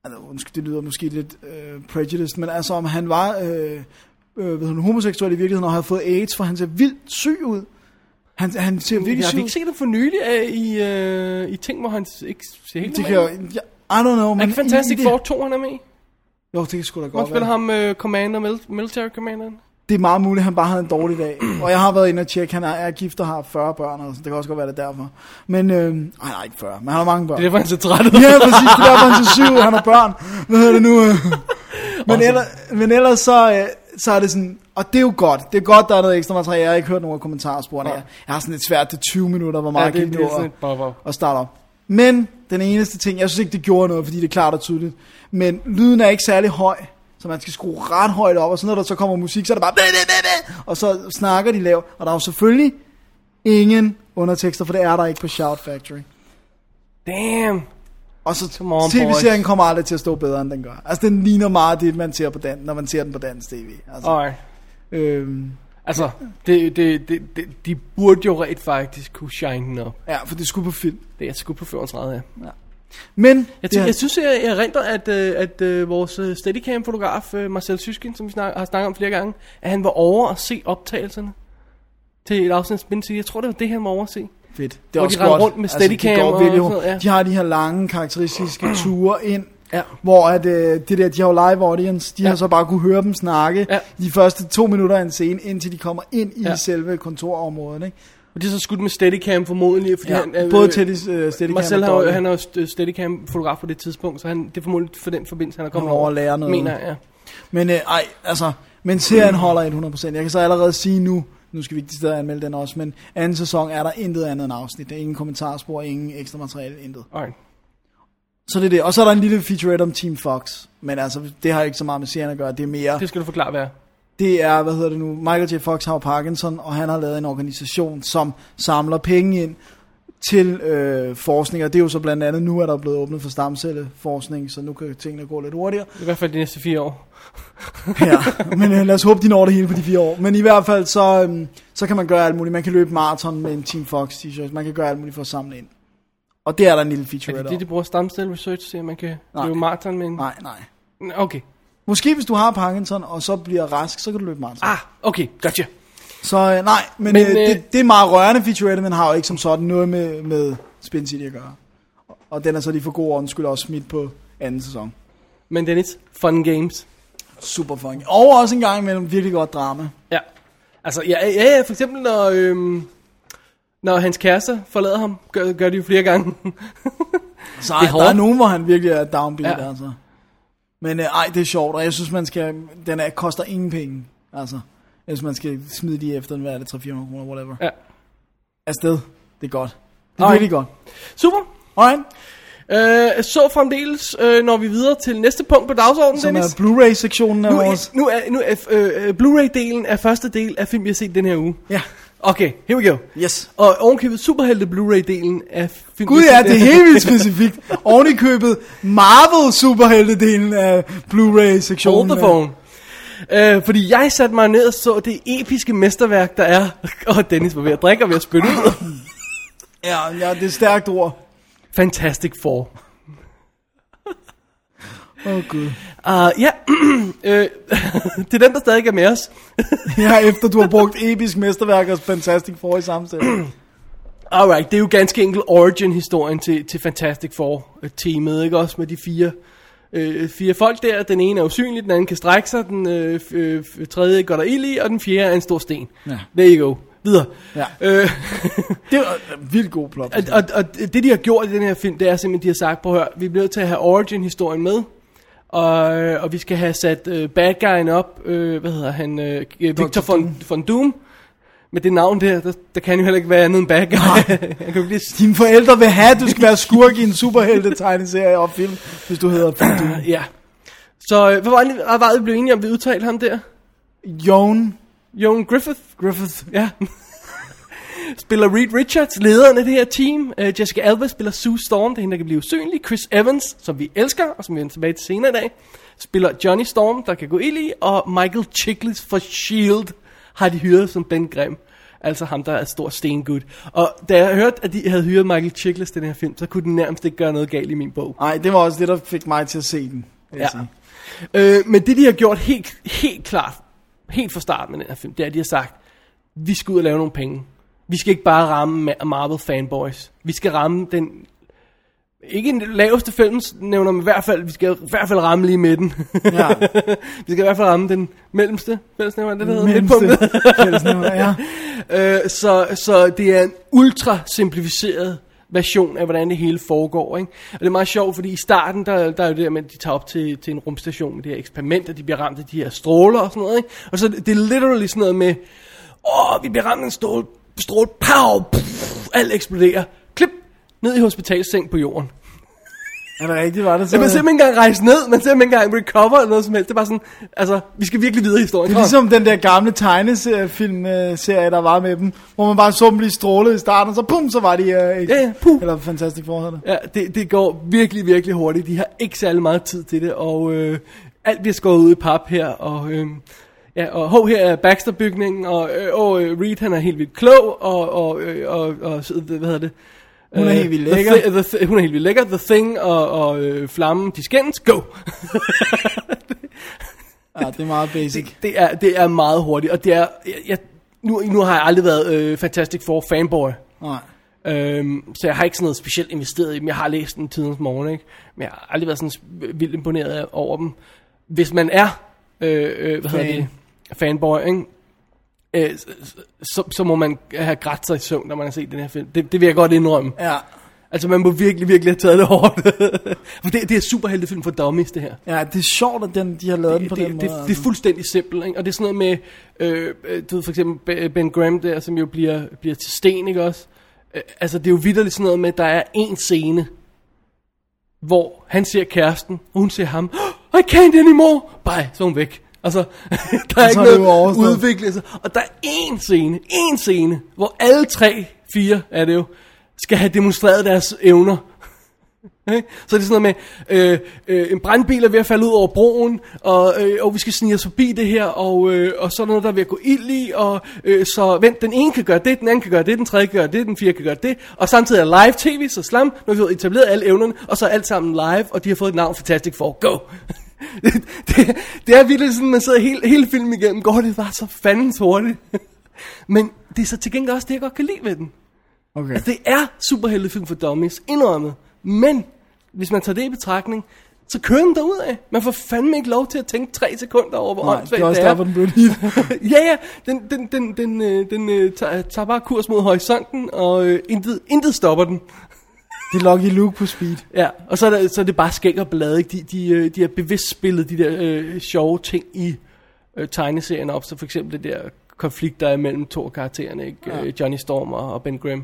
B: Altså, undskyld, det lyder måske lidt øh, prejudiced, men altså, om han var øh, øh, hvad hedder, det, homoseksuel i virkeligheden, og havde fået AIDS, for han ser vildt syg ud. Han, han ser virkelig
A: Jeg har
B: syg
A: vi
B: ud.
A: ikke set ham for nylig øh, i, øh, i ting, hvor han s- ikke ser helt
B: Det kan,
A: normal ud?
B: jeg, I don't know.
A: Er
B: Men
A: det Fantastic
B: i
A: Four 2, han er med i?
B: Jo, det kan sgu da
A: Hvor
B: godt
A: spiller
B: være.
A: ham øh, Commander, mil- Military Commander?
B: Det er meget muligt, at han bare havde en dårlig dag. Og jeg har været inde og tjekke, han er, er gift og har 40 børn, og det kan også godt være det er derfor. Men, øh, ej, nej, ikke 40, men han har mange børn.
A: (laughs) Det er derfor, han er så træt ud.
B: Ja, præcis, det er derfor, han er så syv, han har børn. Hvad hedder det
A: (laughs)
B: nu? øh? Men, ellers, men ellers så, øh, så er det sådan, og det er jo godt. Det er godt, der er noget ekstra materiale. Jeg har ikke hørt nogen af kommentarsporene. Jeg, jeg har sådan lidt svært til 20 minutter, hvor meget
A: Ja, det-
B: jeg kan
A: det er
B: nå
A: sådan
B: at-
A: et bob-op.
B: at starte op. Men den eneste ting, jeg synes ikke, det gjorde noget, fordi det er klart og tydeligt, men lyden er ikke særlig høj, så man skal skrue ret højt op, og så når der så kommer musik, så er det bare, "Bæ, bæ, bæ, bæ," og så snakker de lavt, og der er jo selvfølgelig ingen undertekster, for det er der ikke på Shout Factory.
A: Damn.
B: Og så
A: Come on,
B: tv-serien
A: boys.
B: kommer aldrig til at stå bedre, end den gør. Altså, den ligner meget det, man ser på dan- når man ser den på dansk tv. Altså,
A: Alright.
B: øhm,
A: Altså, det, det, det, det, de burde jo rent faktisk kunne shine den op.
B: ja, for det skulle på film.
A: Det er jeg sgu på 35 af.
B: Men,
A: Jeg,
B: det
A: tænker,
B: er-
A: jeg synes, jeg erindrer, at, øh, at øh, vores øh, Steadicam-fotograf, øh, Marcel Syskin, som vi snak, har snakket om flere gange, at han var over at se optagelserne til et afsnit af Spin City. Jeg tror, det var det, han var over at se.
B: Fedt. Det er
A: Hvor de
B: også
A: render
B: godt. Altså,
A: rundt med
B: de,
A: steadicam
B: går
A: og
B: virkelig
A: sådan noget,
B: rundt.
A: ja.
B: de har de her lange,
A: (clears throat)
B: karakteristiske ture ind,
A: Ja.
B: hvor at, øh, det der, de har jo live audience, de ja. har så bare kunne høre dem snakke ja.
A: Ja.
B: de første to minutter af en scene, indtil de kommer ind i ja.
A: Ja.
B: selve kontorområdet. Ikke?
A: Og det er så skudt med Steadicam formodentlig, fordi
B: Ja.
A: han... er-
B: Både til de øh, steadicam
A: Marcel
B: og
A: har, jo-
B: Dolly.
A: han er jo st- Steadicam-fotograf på det tidspunkt, så han, det er formodentlig for den forbindelse, han er kommet
B: Han er over at lære noget.
A: Mener jeg, ja.
B: Men øh, ej, altså, men serien holder 100%. Jeg kan så allerede sige nu, nu skal vi ikke til stede anmelde den også, men anden sæson er der intet andet end afsnit. Der er ingen kommentarspor, ingen ekstra materiale, intet.
A: Alright.
B: Så det er det. Og så er der en lille featurette om Team Fox. Men altså, det har ikke så meget med serien at gøre. Det er mere,
A: Det skal du forklare, hvad er.
B: det er, hvad hedder det nu, Michael J. Fox har jo Parkinson, og han har lavet en organisation, som samler penge ind til øh, forskning, og det er jo så blandt andet, nu er der blevet åbnet for stamcelleforskning, så nu kan tingene gå lidt
A: (laughs)
B: hurtigere.
A: I hvert fald de næste fire år.
B: ja, (laughs) men øh, lad os håbe, de når det hele på de fire år. Men i hvert fald, så, øhm, så kan man gøre alt muligt. Man kan løbe maraton med en Team Fox t-shirt. Man kan gøre alt muligt for at samle ind. Og det er der en lille
A: Er
B: feature
A: det det, de bruger stamcell research til, at man kan
B: Nej.
A: løbe maraton med en...
B: Nej, nej.
A: Okay.
B: Måske hvis du har Parkinson, og så bliver rask, så kan du løbe maraton.
A: Ah, okay, gotcha.
B: Så øh, nej,
A: Men,
B: men, men øh,
A: øh,
B: det, det, er meget rørende featurette, men har jo ikke som sådan noget med, med Spin City at gøre. Og- Og den er så lige for god ordens skyld også smidt på anden sæson.
A: Men Dennis, fun games.
B: Super fun. Og også en gang imellem virkelig godt drama.
A: Ja. Altså, ja, ja, ja for eksempel når, øhm, når hans kæreste forlader ham, gør, gør de jo flere
B: (laughs)
A: gange.
B: Så det er der er
A: hårdt.
B: nogen, hvor han virkelig er downbeat,
A: Ja.
B: ja. altså. Men øh, ej, det er sjovt, og jeg synes, man skal... Den er, koster ingen penge, altså. Hvis man skal smide de efter, hvad er det, 300-400 kroner, whatever.
A: Ja.
B: Afsted. Det er godt. Det er
A: Ej.
B: virkelig godt.
A: Super.
B: Alright,
A: Øh, så fremdeles øh, når vi videre til næste punkt på dagsordenen,
B: som er
A: Dennis.
B: Blu-ray-sektionen af
A: Nu
B: vores...
A: øh, er, nu er, nu er øh, øh, Blu-ray-delen af første del af film, vi har set den her uge.
B: Ja,
A: Okay, here we go.
B: yes.
A: Og ovenkøbet superhelte Blu-ray-delen af film.
B: Gud
A: vi har
B: ja,
A: set
B: det er
A: den-
B: helt vildt specifikt. Oven i købet Marvel-superheltedelen af Blu-ray-sektionen.
A: Hold the phone. Øh, fordi jeg satte mig ned og så det episke mesterværk, der er. (laughs) Og Dennis var ved at drikke og ved at spytte ud.
B: (laughs) Ja, ja, det er et stærkt ord.
A: Fantastic Four.
B: Åh, oh, Gud.
A: Uh, ja, (clears throat) øh, (laughs) det er dem, der stadig er med os.
B: Ja, efter du har brugt episk mesterværk og Fantastic Four i sammensætning.
A: Alright, det er jo ganske enkelt origin-historien til, til Fantastic Four-teamet, ikke også med de fire, øh, fire folk der. Den ene er usynlig, den anden kan strække sig, den øh, f- øh, f- tredje går der ild i, og den fjerde er en stor sten.
B: Ja.
A: There you go. Videre.
B: Ja.
A: Øh, (laughs)
B: Det er en vildt god plot.
A: og, og, og det, de har gjort i den her film, det er simpelthen, de har sagt, prøv at høre, vi bliver nødt til at have origin-historien med, og, og vi skal have sat øh, bad guyen op, øh, hvad hedder han, øh, Victor von, von Doom. Med det navn der, der, der kan jo heller ikke være andet end bad guy. (laughs) han kan jo ikke lige
B: Dine forældre vil have, at du skal være skurk i en superhelte tegneserie og film, hvis du hedder Fandu.
A: Ja. Så øh, hvad var det, hvad var det, vi blev enige om, vi udtalte ham der?
B: Jon
A: Jon Griffith?
B: Griffith.
A: Ja. spiller Reed Richards, lederen af det her team. Uh, Jessica Alba spiller Sue Storm, det er hende, der kan blive usynlig. Chris Evans, som vi elsker, og som vi vender tilbage til senere i dag, spiller Johnny Storm, der kan gå ild i. Og Michael Chiklis fra S.H.I.E.L.D. E har de hyret som Ben Grimm. Altså ham, der er et stort stengud. Og da jeg hørte, at de havde hyret Michael Chiklis til den her film, så kunne den nærmest ikke gøre noget galt i min bog.
B: Nej, det var også det, der fik mig til at se den. vil jeg
A: Ja.
B: sige.
A: Øh, men det, de har gjort helt, helt klart, helt fra starten med den her film, det er, at de har sagt, vi skal ud og lave nogle penge. Vi skal ikke bare ramme Ma- Marvel fanboys. Vi skal ramme den, ikke den laveste fællesnævner, men i hvert fald, vi skal i hvert fald ramme lige midten.
B: Ja.
A: (laughs) vi skal i hvert fald ramme den mellemste fællesnævner, er det der hedder
B: Mellemste
A: midtpunktet.
B: fællesnævner, ja.
A: Øh, så, så det er en ultra simplificeret version af, hvordan det hele foregår. Ikke? Og det er meget sjovt, fordi i starten, der, der er jo det der med, at de tager op til, til en rumstation med det her eksperiment, og de bliver ramt af de her stråler og sådan noget. Ikke? Og så det, det er literally sådan noget med, åh, vi bliver ramt af en stråle, stråle pow, pff, alt eksploderer, klip, ned i hospitalsseng på jorden.
B: Er det rigtigt, var det
A: Så
B: så?
A: man ser dem ikke engang rejse ned, man ser dem ikke engang recover eller noget som helst. Det er bare sådan, altså, vi skal virkelig videre i historien.
B: det er
A: Kom.
B: ligesom den der gamle tegnefilm-serie, der var med dem, hvor man bare så dem blive stråle i starten, og så pum, så var de... Øh, ikke?
A: Ja, ja, puh.
B: Eller fantastisk forhold.
A: Ja, det, det går virkelig, virkelig hurtigt. De har ikke særlig meget tid til det, og øh, alt bliver skåret ud i pap her, og... Øh, Ja, og hov, her er Baxter-bygningen, og, øh, og øh, Reed, han er helt vildt klog, og, og, øh, og, og så- hvad hedder det?
B: Hun er
A: Øh,
B: helt vildt
A: The
B: lækker.
A: Thi- the Thi- hun er helt vildt lækker. The Thing og, og øh, Flammen, de skændes, go!
B: Ja, det er meget basic.
A: Det, det, er, det er meget hurtigt, og det er... Jeg, jeg, nu, nu har jeg aldrig været øh, Fantastic Four fanboy,
B: Nej.
A: Øhm, så jeg har ikke sådan noget specielt investeret i dem. Jeg har læst den tidens morgen, ikke? Men jeg har aldrig været sådan vildt imponeret over dem. Hvis man er, øh, øh, hvad hedder
B: Fan.
A: det, fanboy, ikke? Øh, så, så, så må man have grædt sig i søvn, når man har set den her film. Det, det vil jeg godt indrømme.
B: Ja.
A: Altså, man må virkelig, virkelig have taget det hårdt. (laughs) For det, det er superheltefilm for dummies, det her.
B: Ja, det er sjovt, at den, de har lavet den
A: det,
B: på
A: det,
B: den
A: det,
B: måde.
A: det er fuldstændig simpelt, ikke? Og det er sådan noget med, øh, øh, du ved for eksempel Be- Ben Graham der, som jo bliver, bliver til sten, ikke også? Øh, altså, det er jo vidderligt sådan noget med, at der er en scene, hvor han ser kæresten, og hun ser ham. (gasps) I can't anymore! Bye, så er hun væk. Altså, (laughs) der er ikke
B: så er det jo
A: noget
B: overstået.
A: udviklet sig. Og der er én scene, én scene, hvor alle tre, fire er det jo, skal have demonstreret deres evner. Ikke? Så er det sådan noget med, øh, øh, en brandbil er ved at falde ud over broen, og, øh, og vi skal snige os forbi det her, og, øh, og så er der noget, der er ved at gå ild i, og øh, så vent, den ene kan gøre det, den anden kan gøre det, den tredje kan gøre det, den fjerde kan gøre det, og samtidig er live tv, så slam, nu har vi fået etableret alle evnerne, og så er alt sammen live, og de har fået et navn, Fantastic Four, go! (laughs) det, det, det er virkelig sådan, man sidder hele, hele filmen igennem, går det bare så fandens hurtigt. (laughs) Men det er så til gengæld også det, jeg godt kan lide ved den.
B: Okay.
A: Altså, det er superheltefilm for dummies, indrømmet. Men, hvis man tager det i betragtning, så kører den derudad. Man får fandme ikke lov til at tænke tre sekunder over, hvor
B: Nej,
A: åndssvagt
B: det er også
A: det er.
B: derfor, den blev lige.
A: (laughs) ja, ja, den, den, den, den, øh, den øh, tager, tager bare kurs mod horisonten, og øh, intet, intet stopper den.
B: Det er Lucky Luke på speed.
A: Ja, og så er, der, så er det bare skæg og blade, ikke? De, de, øh, de har bevidst spillet de der øh, sjove ting i øh, tegneserien op, så for eksempel det der konflikt, der er mellem to af karaktererne, ikke? Ja. Johnny Storm og, og Ben Grimm.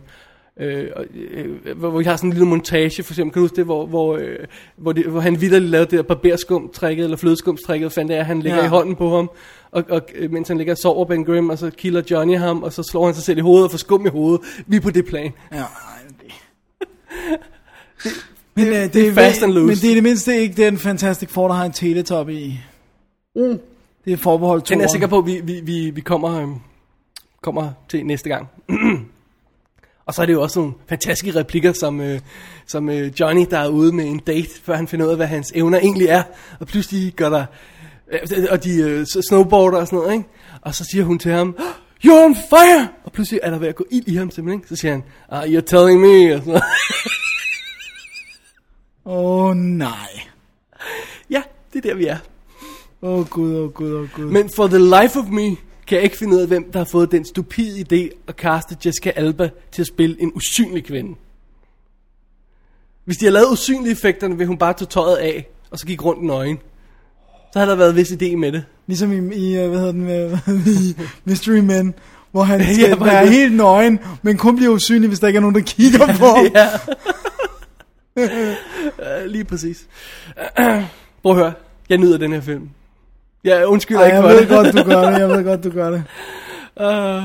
A: Øh, og, øh, hvor, hvor vi har sådan en lille montage, for eksempel, kan du huske det, hvor, hvor, øh, hvor, det, hvor han vidderligt lavede det der barberskum-trækket, eller flødeskum-trækket, fandt jeg, at han ligger
B: Ja.
A: ja. i hånden på ham, og, og øh, mens han ligger og sover Ben Grimm, og så killer Johnny ham, og så slår han sig selv i hovedet og får skum i hovedet. Vi er på det plan.
B: Ja, ej, det... Men, det, det, det er
A: fast and loose.
B: Men det er i det mindste ikke den Fantastic Four, der har en teletop i. Mm. Det er forbeholdt to
A: Den er jeg sikker på, at vi, vi, vi, vi kommer, øhm, kommer til næste gang. (clears throat) og så er det jo også nogle fantastiske replikker, som, øh, som øh, Johnny, der er ude med en date, før han finder ud af, hvad hans evner egentlig er. Og pludselig gør der... Øh, og de øh, s- snowboarder og sådan noget, ikke? Og så siger hun til ham... "Oh, You're on fire! Og pludselig er der ved at gå ild i ham simpelthen, ikke? Så siger han, ah, you're telling me. Og sådan noget. (laughs)
B: Åh oh, nej.
A: ja, det er der, vi er.
B: Åh oh, gud, åh oh, gud, åh oh, gud.
A: Men for the life of me kan jeg ikke finde ud af, hvem der har fået den stupide idé at kaste Jessica Alba til at spille en usynlig kvinde. Hvis de har lavet usynlige effekterne, vil hun bare tage tøjet af, og så gik rundt nøgen. Så har der været vis idé med det.
B: Ligesom i, i øh, hvad hedder den, øh, (laughs) i Mystery Men, hvor
A: (laughs)
B: han skal
A: hvor
B: være
A: han-
B: helt nøgen, men kun bliver usynlig, hvis der ikke er nogen, der kigger på ham.
A: (laughs) Ja. Øh, Lige præcis. (clears throat) Prøv at høre. Jeg nyder den her film. Jeg undskylder
B: Ej,
A: ikke
B: jeg
A: for
B: ved
A: det.
B: godt, du gør det, jeg ved godt, du gør det.
A: (laughs) Åh,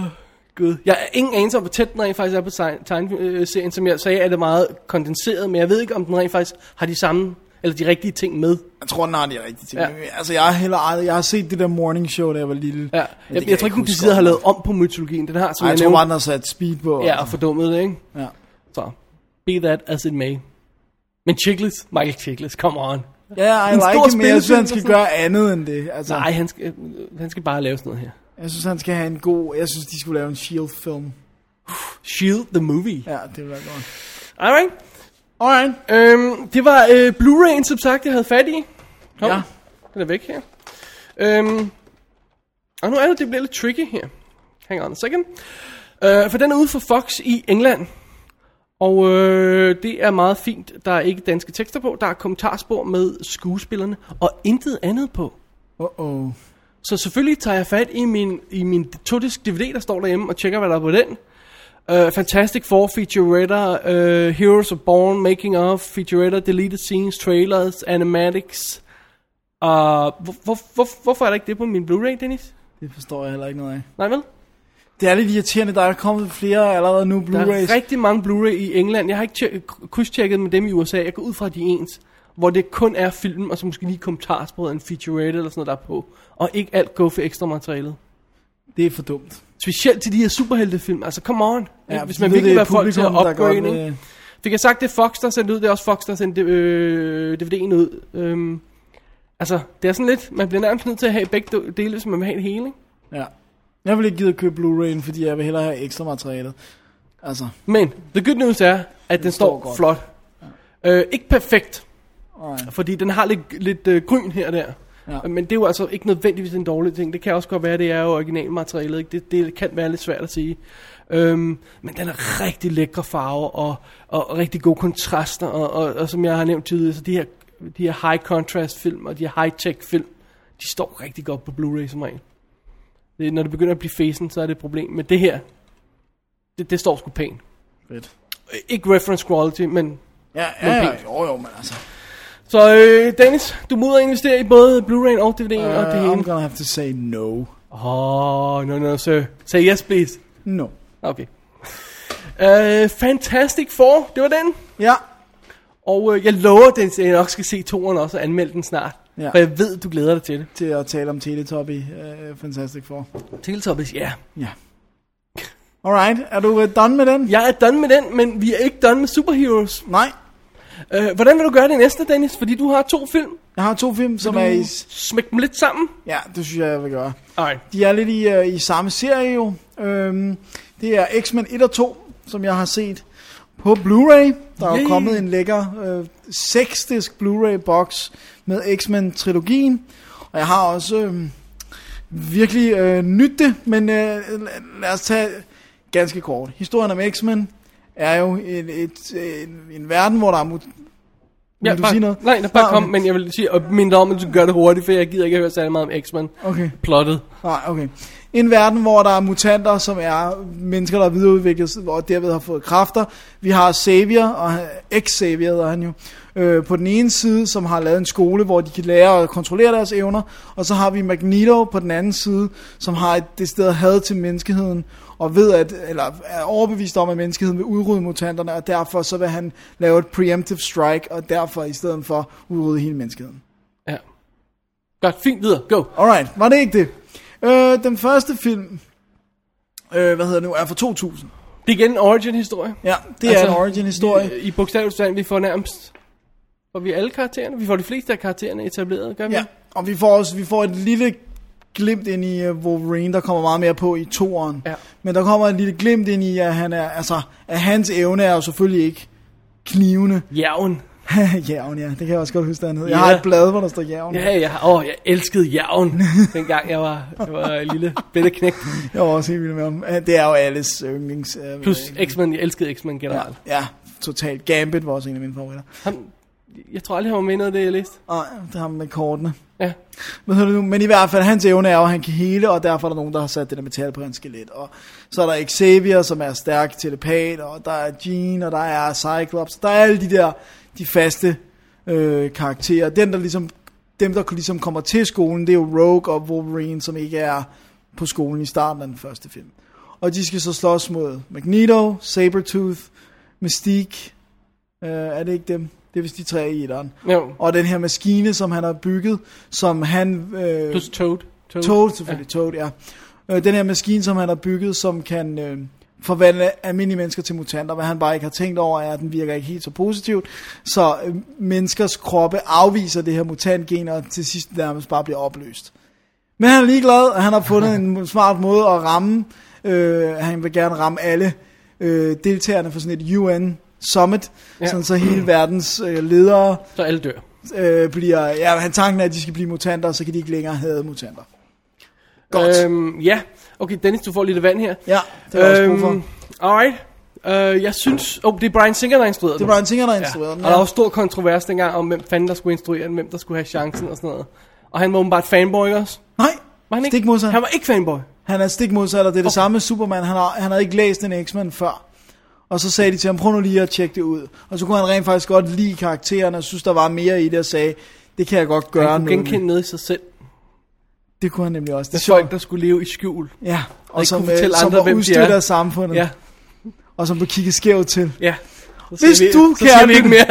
A: Gud. Jeg har ingen anelse om, hvor tæt den rent faktisk er på tegn- tegneserien. Som jeg sagde, er det meget kondenseret, men jeg ved ikke, om den rent faktisk har de samme, eller de rigtige ting med.
B: Jeg tror, den har de rigtige ting.
A: Ja.
B: Ja. Altså, jeg har heller aldrig, jeg har set det der morning show, da jeg var lille.
A: Ja.
B: Men det
A: Jeg,
B: kan
A: jeg, tror ikke,
B: huske
A: de sidder har
B: godt.
A: lavet om på mytologien. Den har, som
B: Ej,
A: jeg,
B: jeg tror bare,
A: nævnte,
B: den har sat speed på.
A: ja, og fordummet det, ikke?
B: ja.
A: Så, be that as it may. Men Chiklis, Michael Chiklis, come on.
B: Ja, jeg
A: En
B: like
A: stor
B: him, men jeg synes, han skal
A: spillefilm,
B: gøre andet end det. Altså,
A: Nej, han skal, øh, han skal bare lave sådan noget her.
B: Jeg synes, han skal have en god... Jeg synes, de skulle lave en S.H.I.E.L.D.-film.
A: Shield the movie.
B: Ja, det ville være godt.
A: Alright.
B: Alright.
A: Øhm, det var øh, Blu-ray'en, som sagt, jeg havde fat i. Kom,
B: Ja.
A: ja. den er væk her. Øhm, og nu er det, det bliver lidt tricky her. Hang on a second. Øh, for den er ude for Fox i England. Og øh, det er meget fint. Der er ikke danske tekster på. Der er kommentarspor med skuespillerne. Og intet andet på.
B: Uh-oh.
A: Så selvfølgelig tager jeg fat i min, i min todisk DVD, der står derhjemme, og tjekker, hvad der er på den. Uh, Fantastic Four featuretter, uh, Heroes of Born, Making of, featuretter, deleted scenes, trailers, animatics. Uh, hvor, hvor, hvor, hvorfor er der ikke det på min Blu-ray, Dennis?
B: Det forstår jeg heller ikke noget af.
A: Nej vel?
B: Det er lidt irriterende, der er kommet flere allerede nu
A: Der
B: Blu-rays.
A: er rigtig mange Blu-ray i England. Jeg har ikke tje- krydstjekket med dem i USA. Jeg går ud fra, at de er ens. Hvor det kun er film, og så måske lige kommentarsporet, en featurette eller sådan noget, der er på. Og ikke alt går for ekstra materialet.
B: Det er for dumt.
A: Specielt til de her superheltefilm. Altså, come on. Ja, Hvis
B: fordi
A: man
B: ved,
A: virkelig vil
B: det er
A: have folk til at
B: publikum, der
A: upgrade.
B: godt,
A: ikke?
B: øh,
A: Fik jeg sagt, det er Fox, der sendte ud. Det er også Fox, der sendte øh, DVD'en ud. Øhm, altså, det er sådan lidt... Man bliver nærmest nødt til at have begge do- dele, hvis man vil have en hele. Ikke?
B: Ja. Jeg vil ikke gide at købe Blu-ray'en, fordi jeg vil hellere have ekstra materialet. Altså,
A: Men the good news er, at den,
B: står
A: står,
B: godt.
A: flot. Øh, ikke perfekt,
B: nej.
A: fordi den har lidt, lidt øh, gryn her og der.
B: Ja.
A: Men det er jo altså ikke nødvendigvis en dårlig ting. Det kan også godt være, det er jo originalmaterialet. Ikke? Det, det kan være lidt svært at sige. Øhm, men den er rigtig lækre farver og, og, og rigtig gode kontraster. Og, og, og som jeg har nævnt tidligere, så de her, de her high contrast film og de her high tech film, de står rigtig godt på Blu-ray som regel. Det, når det begynder at blive fesen, så er det et problem. Men det her, det, det står sgu pænt.
B: Fedt.
A: Ikke reference quality, men
B: Ja, ja, ja, jo, jo, men altså.
A: så øh, Dennis, du må ud og investere i både Blu-ray og DVD'en uh, og det
B: Uh, I'm
A: hele.
B: gonna have to say no.
A: Åh, oh, no, no, sir. Say yes, please.
B: No.
A: (laughs) Okay. Uh, Fantastic Four, det var den.
B: Ja,
A: Og uh, jeg lover, Dennis, at jeg nok skal se toeren også og anmelde den snart.
B: Ja.
A: Ja. For jeg ved, du glæder dig til det.
B: til at tale om Teletubby. Uh, Fantastic Four.
A: Teletubbies, ja.
B: Ja. Alright, er du uh, done med den?
A: Jeg er done med den, men vi er ikke done med superheroes.
B: Nej.
A: Uh, hvordan vil du gøre det næste, Dennis? Fordi du har to film.
B: Jeg har to film, som er i... s-
A: Smæk dem lidt sammen.
B: Ja, det synes jeg, jeg vil gøre.
A: Nej.
B: De er lidt i, øh, i samme serie jo. Øhm, det er X-Men 1 og 2, som jeg har set på Blu-ray. Der er
A: Yay.
B: jo kommet en lækker øh, seksdisk Blu-ray-boks med X-Men-trilogien. Og jeg har også øh, virkelig øh, nyt det, men øh, la- lad os tage ganske kort. Historien om X-Men er jo et, et, en, en verden, hvor der er... Mut- Vil du
A: bare,
B: sige noget?
A: Nej, nej, bare
B: Nå,
A: kom,
B: okay.
A: men jeg vil sige, og minde om, at du gør det hurtigt, for jeg gider ikke at høre særlig meget om X-Men.
B: Okay.
A: Plottet.
B: Nej, okay. En verden, hvor der er mutanter, som er mennesker, der er videreudviklet, og derved har fået kræfter. Vi har Xavier, og han- ex-Xavier hedder han jo, øh, på den ene side, som har lavet en skole, hvor de kan lære at kontrollere deres evner. Og så har vi Magneto på den anden side, som har et decideret had til menneskeheden, og ved at, eller er overbevist om, at menneskeheden vil udrydde mutanterne, og derfor så vil han lave et preemptive strike, og derfor i stedet for udrydde hele menneskeheden.
A: Ja. Godt, fint videre. Go.
B: Alright, var det ikke det? Øh, den første film, øh, hvad hedder det nu, er fra 2000.
A: Det er igen en origin-historie.
B: Ja, det altså, er en origin-historie.
A: I, i bogstavelig forstand, vi øh, får nærmest... Får vi alle karaktererne? Vi får de fleste af karaktererne etableret, gør vi?
B: Ja, og vi får også vi får et lille glimt ind i øh, Wolverine, der kommer meget mere på i toeren.
A: Ja.
B: Men der kommer et lille glimt ind i, at, han er, altså, at hans evne er jo selvfølgelig ikke knivende. (laughs)
A: Jævn.
B: jævn, ja, det kan jeg også godt huske, hvad han hed. Jeg
A: Ja.
B: har et blad, hvor der står jævn.
A: Ja, jeg, har- åh, jeg elskede
B: (laughs)
A: jævn, dengang jeg var, jeg var en lille bitte knægt.
B: Jeg var også helt vild med ham. Det er jo alles yndlings... øh,
A: Plus X-Men, jeg elskede X-Men generelt.
B: Ja, totalt. Gambit var også en af mine favoritter.
A: Han, jeg tror aldrig, han var med i noget af det, jeg læste.
B: Og det er ham med kortene.
A: Ja.
B: Hvad hedder det nu? Men i hvert fald, hans evne er jo, at han kan hele, og derfor er der nogen, der har sat det der metal på hans skelet. Og så er der Xavier, som er stærk telepat, og der er Jean, og der er Cyclops. Der er alle de der, de faste øh, karakterer. Den, der ligesom, dem, der ligesom kommer til skolen, det er jo Rogue og Wolverine, som ikke er på skolen i starten af den første film. Og de skal så slås mod Magneto, Sabretooth, Mystique. Øh, er det ikke dem? Det er vist de tre i etteren.
A: Jo.
B: Og den her maskine, som han har bygget, som han... Øh,
A: Plus Toad. Toad.
B: Toad, selvfølgelig. Toad, ja. Øh, den her maskine, som han har bygget, som kan øh, forvandle almindelige mennesker til mutanter. Hvad han bare ikke har tænkt over, er, at den virker ikke helt så positivt. Så øh, menneskers kroppe afviser det her mutantgen, og til sidst nærmest bare bliver opløst. Men han er ligeglad, og han har fundet (laughs) en smart måde at ramme. Øh, han vil gerne ramme alle øh, deltagerne for sådan et UN summit, ja.
A: Ja.
B: sådan så hele verdens øh, ledere
A: Så alle dør.
B: øh, bliver, ja, han tanken er, at de skal blive mutanter, så kan de ikke længere have mutanter. Godt. Øhm,
A: Øhm, ja. Okay, Dennis, du får lidt vand her.
B: ja, det var øhm, også brug for.
A: Alright. Øh, jeg synes... Åh, oh, det er Brian Singer, der instruerede
B: Det var en ting, der instruerede
A: ja.
B: den.
A: Og der var stor kontrovers dengang om, hvem fanden der skulle instruere den, hvem der skulle have chancen og sådan noget. Og han var åbenbart fanboy ikke også.
B: Nej,
A: Var han ikke?
B: Stik modsat.
A: Han var ikke fanboy.
B: han er stik modsat, og det er det okay. samme med Superman. Han, har, han havde ikke læst en X-Men før. Og så sagde de til ham, prøv nu lige at tjekke det ud. Og så kunne han rent faktisk godt lide karaktererne, og synes, der var mere i det, og sagde, det kan jeg godt gøre
A: Han kunne
B: noget med.
A: genkende noget i sig selv.
B: Det kunne han nemlig også. Det
A: Det
B: er
A: er folk,
B: sjovt.
A: der skulle leve i skjul.
B: Ja, og,
A: ikke
B: som,
A: kunne
B: øh,
A: fortælle
B: som
A: andre,
B: var
A: hvem de
B: udstødt
A: er.
B: af samfundet,
A: Ja,
B: og som blev kigget skævt til.
A: ja. Så
B: Hvis
A: siger vi-
B: du,
A: så siger
B: kære
A: vi ikke mere.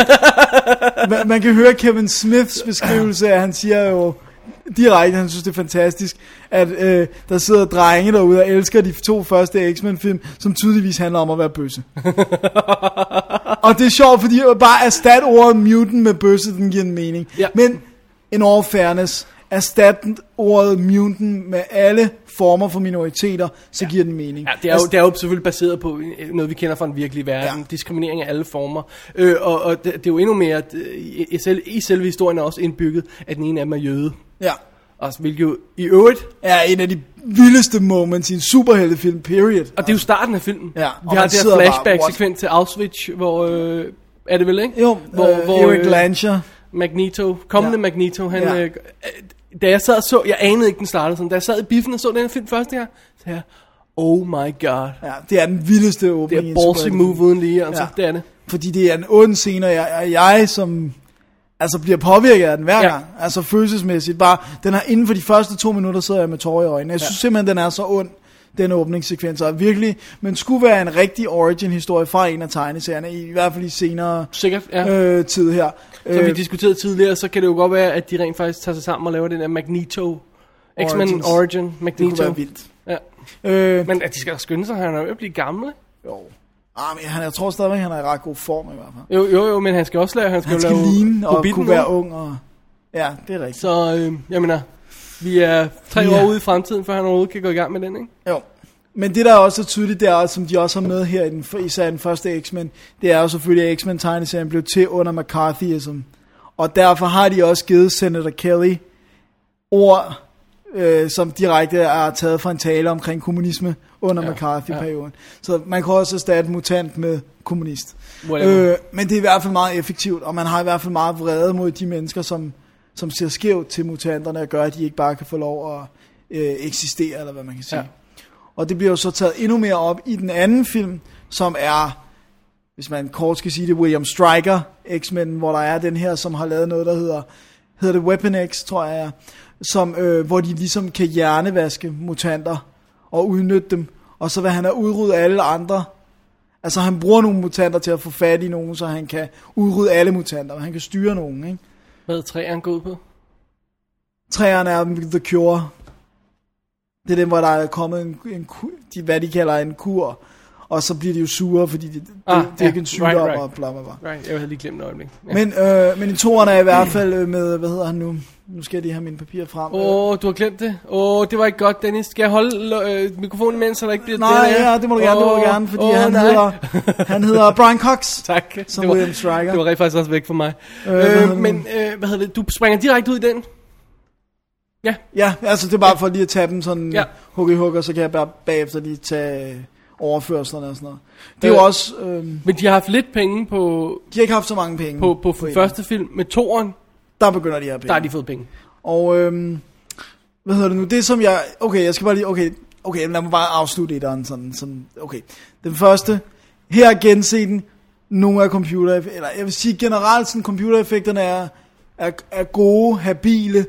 B: man, man kan høre Kevin Smiths beskrivelse af, han siger jo direkte, han synes det er fantastisk, at øh, der sidder drenge derude og elsker de to første X-Men-film, som tydeligvis handler om at være
A: (laughs)
B: bøsse. og det er sjovt, fordi at bare erstat ordet mutant med bøsse, den giver en mening.
A: Ja.
B: Men in all fairness, erstatte ordet mutant med alle former for minoriteter, så ja. giver den mening.
A: Ja, det er, jo, det er jo selvfølgelig baseret på øh, noget, vi kender fra den virkelige verden. Ja.
B: Ja.
A: Diskriminering af alle former. Øh, og, og det, det er jo endnu mere, at, øh, i, i, selv, i selve historien er også indbygget, at den ene af dem er jøde.
B: Ja.
A: Og, hvilket jo i øvrigt
B: er en af de vildeste moments i en superheltefilm, period.
A: Og det er jo starten af filmen.
B: Ja, og
A: vi har det
B: man
A: her
B: sidder bare,
A: flashback-sekvens til Auschwitz, hvor... Øh, er det vel, ikke?
B: Jo,
A: hvor,
B: øh, hvor, Eric Lancher.
A: Magneto, kommende ja.
B: Ja.
A: Magneto, han... Ja.
B: Ja.
A: Øh, da jeg sad og så... Jeg anede ikke, den startede sådan. Da jeg sad i biffen og så den her film første gang, så jeg... Oh my god.
B: Ja, det er den vildeste
A: Det
B: åbning. i
A: er
B: en
A: ballsy
B: superheltefilm.
A: move uden lige, altså. Ja.
B: Ja.
A: Det er det.
B: Fordi det er en ond scene, og jeg, jeg, jeg som altså bliver påvirket af den hver
A: Ja.
B: ja. gang. Altså følelsesmæssigt. Bare, den har inden for de første to minutter sidder jeg med tårer i øjnene. Jeg synes simpelthen, den er så ond, den åbningssekvens. Og virkelig, men skulle være en rigtig origin-historie fra en af tegneserierne, i hvert fald i senere
A: Sikkert, ja.
B: øh, tid her.
A: Som vi
B: Øh,
A: diskuterede tidligere, så kan det jo godt være, at de rent faktisk tager sig sammen og laver den der Magneto... X-Men
B: Origins.
A: Origin, Magneto.
B: det kunne være vildt.
A: Ja.
B: Øh,
A: Men at de skal da skynde sig, han er jo ved at blive gammel. ikke?
B: jo. Ah, men han, jeg tror stadigvæk, han er i ret god form i hvert fald.
A: Jo, jo, jo, men han skal også lave... Han skal,
B: Han
A: jo
B: skal
A: lave
B: ligne og
A: Hobbiten
B: kunne
A: nu.
B: være ung. Og... Ja, det er rigtigt. Så...
A: Så øh, jeg mener, vi er tre
B: Ja.
A: år ude i fremtiden, før han overhovedet kan gå i gang med den, ikke?
B: Jo. Men det, der er også er tydeligt, det er, også, som de også har med her, i den, især i den første X-Men, det er jo selvfølgelig, at X-Men-tegneserien blev til under McCarthyism. Og derfor har de også givet Senator Kelly ord, øh, som direkte er taget fra en tale omkring kommunisme under ja, McCarthy-perioden. Ja. Så man kan også erstatte mutant med kommunist.
A: Whatever.
B: Øh, men det er i hvert fald meget effektivt, og man har i hvert fald meget vrede mod de mennesker, som, som ser skævt til mutanterne og gør, at de ikke bare kan få lov at øh, eksistere, eller hvad man kan sige.
A: Ja.
B: Ja. Og det bliver jo så taget endnu mere op i den anden film, som er, hvis man kort skal sige det, William Stryker, X-Men, hvor der er den her, som har lavet noget, der hedder, hedder det Weapon X, tror jeg, som, øh, hvor de ligesom kan hjernevaske mutanter og udnytte dem, og så vil han have udryddet alle andre. Altså han bruger nogle mutanter til at få fat i nogen, så han kan udrydde alle mutanter, og han kan styre nogen, ikke?
A: Hvad er træerne gået ud på?
B: Træerne er The Cure. Det er den, hvor der er kommet en, en ku- de, hvad de kalder en kur. Og så bliver de jo sure, fordi det,
A: Ah,
B: ah, det, det er
A: ja.
B: ikke en sygdom,
A: Right, right.
B: og bla bla bla.
A: Right, jeg havde lige glemt et øjeblik. Ja.
B: Men, øh, men i toren er i hvert fald øh, med, hvad hedder han nu? Nu skal jeg lige have mine papirer frem.
A: Åh, oh, du har glemt det. Åh, oh, det var ikke godt, Dennis. Skal jeg holde øh, mikrofonen imens, så der ikke bliver
B: Nej,
A: det?
B: ja, det må du gerne, det må du gerne, fordi oh, han, hedder, han hedder
A: (laughs)
B: Brian Cox.
A: Tak.
B: Som
A: det var,
B: William Stryker.
A: Det var rent faktisk også væk for mig. Øh,
B: hvad hedder
A: øh,
B: det?
A: men, øh, hvad hedder det? Du springer direkte ud i den.
B: Ja, altså det er bare for lige at tage dem sådan
A: Ja.
B: ja. hug i hug, og så kan jeg bare bagefter lige tage øh, overførslerne og sådan noget. Det er
A: Øh.
B: jo også, øh,
A: Men de har haft lidt penge på,
B: de har ikke haft så mange penge.
A: på, på, på
B: en.
A: første film. Med toren,
B: Der begynder de at have penge.
A: der har de fået penge.
B: Og øhm, hvad hedder det nu? Det som jeg... Okay, jeg skal bare lige... Okay, okay lad mig bare afslutte etteren sådan, sådan. Okay. Den første. Her er genset nogle af computer... Eller jeg vil sige generelt, sådan computereffekterne er, er, er gode, habile,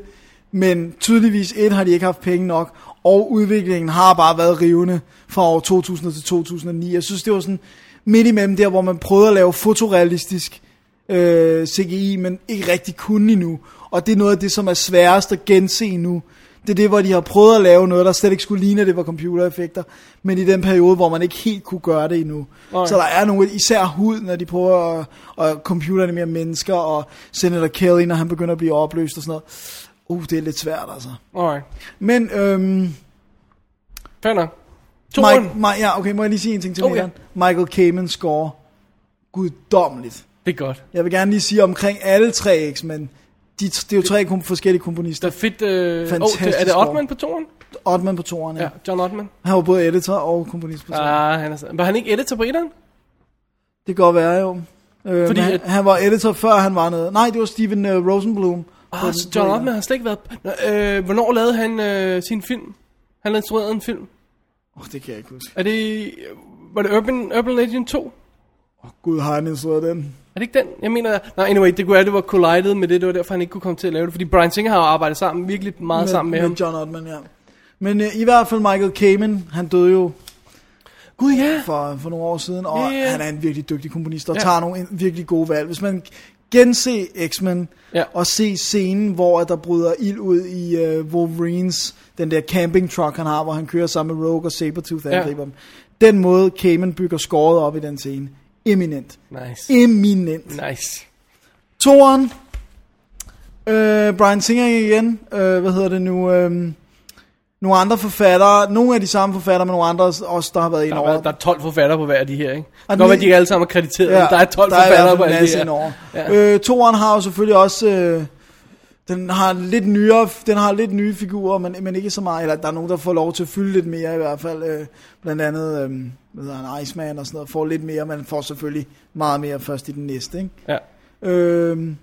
B: men tydeligvis et har de ikke haft penge nok, og udviklingen har bare været rivende fra år 2000 til 2009. Jeg synes, det var sådan midt imellem der, hvor man prøvede at lave fotorealistisk øh, CGI, men ikke rigtig kunne endnu. Og det er noget af det, som er sværest at gense nu. Det er det, hvor de har prøvet at lave noget, der slet ikke skulle ligne, at det var computereffekter, men i den periode, hvor man ikke helt kunne gøre det endnu.
A: Nej.
B: Okay. Så der er nogle, især hud, når de prøver at, at computerne mere mennesker, og Senator Kelly, når han begynder at blive opløst og sådan noget. Uh, det er lidt svært altså.
A: Alright.
B: Men, øhm,
A: Fair nok. Toren.
B: Mike, Mike, ja, okay, må jeg lige sige en ting til
A: Oh,
B: oh,
A: ja.
B: ja. Michael Kamen score guddommeligt.
A: Det er godt.
B: Jeg vil gerne lige sige omkring alle tre X-Men. De, det er jo tre kom, forskellige
A: Der
B: komponister.
A: er fedt... Øh, oh,
B: Fantastisk
A: det, er det
B: score.
A: Ottman på toren?
B: Ottman på toerne.
A: Ja,
B: Ja.
A: John Ottman.
B: Han var både editor og komponist på toerne. Ja.
A: Ah, han er, så- var han ikke editor på etteren?
B: Det kan godt være jo. Øh,
A: Fordi
B: Fordi han,
A: at-
B: han var editor før han var noget. Nej, det var Steven uh, Rosenblum.
A: Ah,
B: på-
A: så
B: på
A: John
B: etteren.
A: Ottman har slet ikke været... Nå, øh, hvornår lavede han øh, sin film? Han har instrueret en film.
B: Åh, det kan jeg ikke huske.
A: Er det... Var det Urban, Urban Legend 2?
B: Gud, har han instrueret den?
A: Er det ikke den? Jeg mener... Nej, anyway, det kunne være, det var collided med det. Det var derfor, han ikke kunne komme til at lave det. Fordi Brian Singer har jo arbejdet sammen, virkelig meget med, sammen med, med ham.
B: John Ottman, ja. Men uh, i hvert fald Michael Kamen, han døde jo
A: Gud, ja.
B: for, for nogle år siden, og
A: Ja.
B: yeah. han er en virkelig dygtig komponist, og
A: Ja.
B: yeah. tager nogle virkelig gode valg. Hvis man gense X-Men,
A: Ja.
B: og se scenen, hvor at der bryder ild ud i øh, Wolverines, den der camping truck, han har, hvor han kører sammen med Rogue og Sabretooth
A: Ja.
B: angriber dem. Den måde, Cayman bygger scoret op i den scene. Eminent.
A: Nice.
B: Eminent.
A: Nice.
B: Toren Øh, Brian Singer igen. Øh, hvad hedder det nu? Øh, nogle andre forfattere. Nogle af de samme forfattere, men nogle andre også, der har været ind
A: Der er,
B: over.
A: der er 12 forfattere på hver af de her, ikke? Det
B: Og
A: kan godt
B: den-
A: være, at de ikke alle sammen er krediteret, ja, men der er 12
B: der
A: forfattere på
B: er i hvert
A: alle
B: fald
A: de
B: en masse
A: her.
B: indover.
A: Ja.
B: Øh, toeren har jo selvfølgelig også... Øh, den har lidt nyere, den har lidt nye figurer, men, men ikke så meget, eller der er nogen, der får lov til at fylde lidt mere i hvert fald, øh, blandt andet, øh, hvad hedder han, Iceman og sådan noget, får lidt mere, men får selvfølgelig meget mere først i den næste, ikke?
A: Ja.
B: Øhm,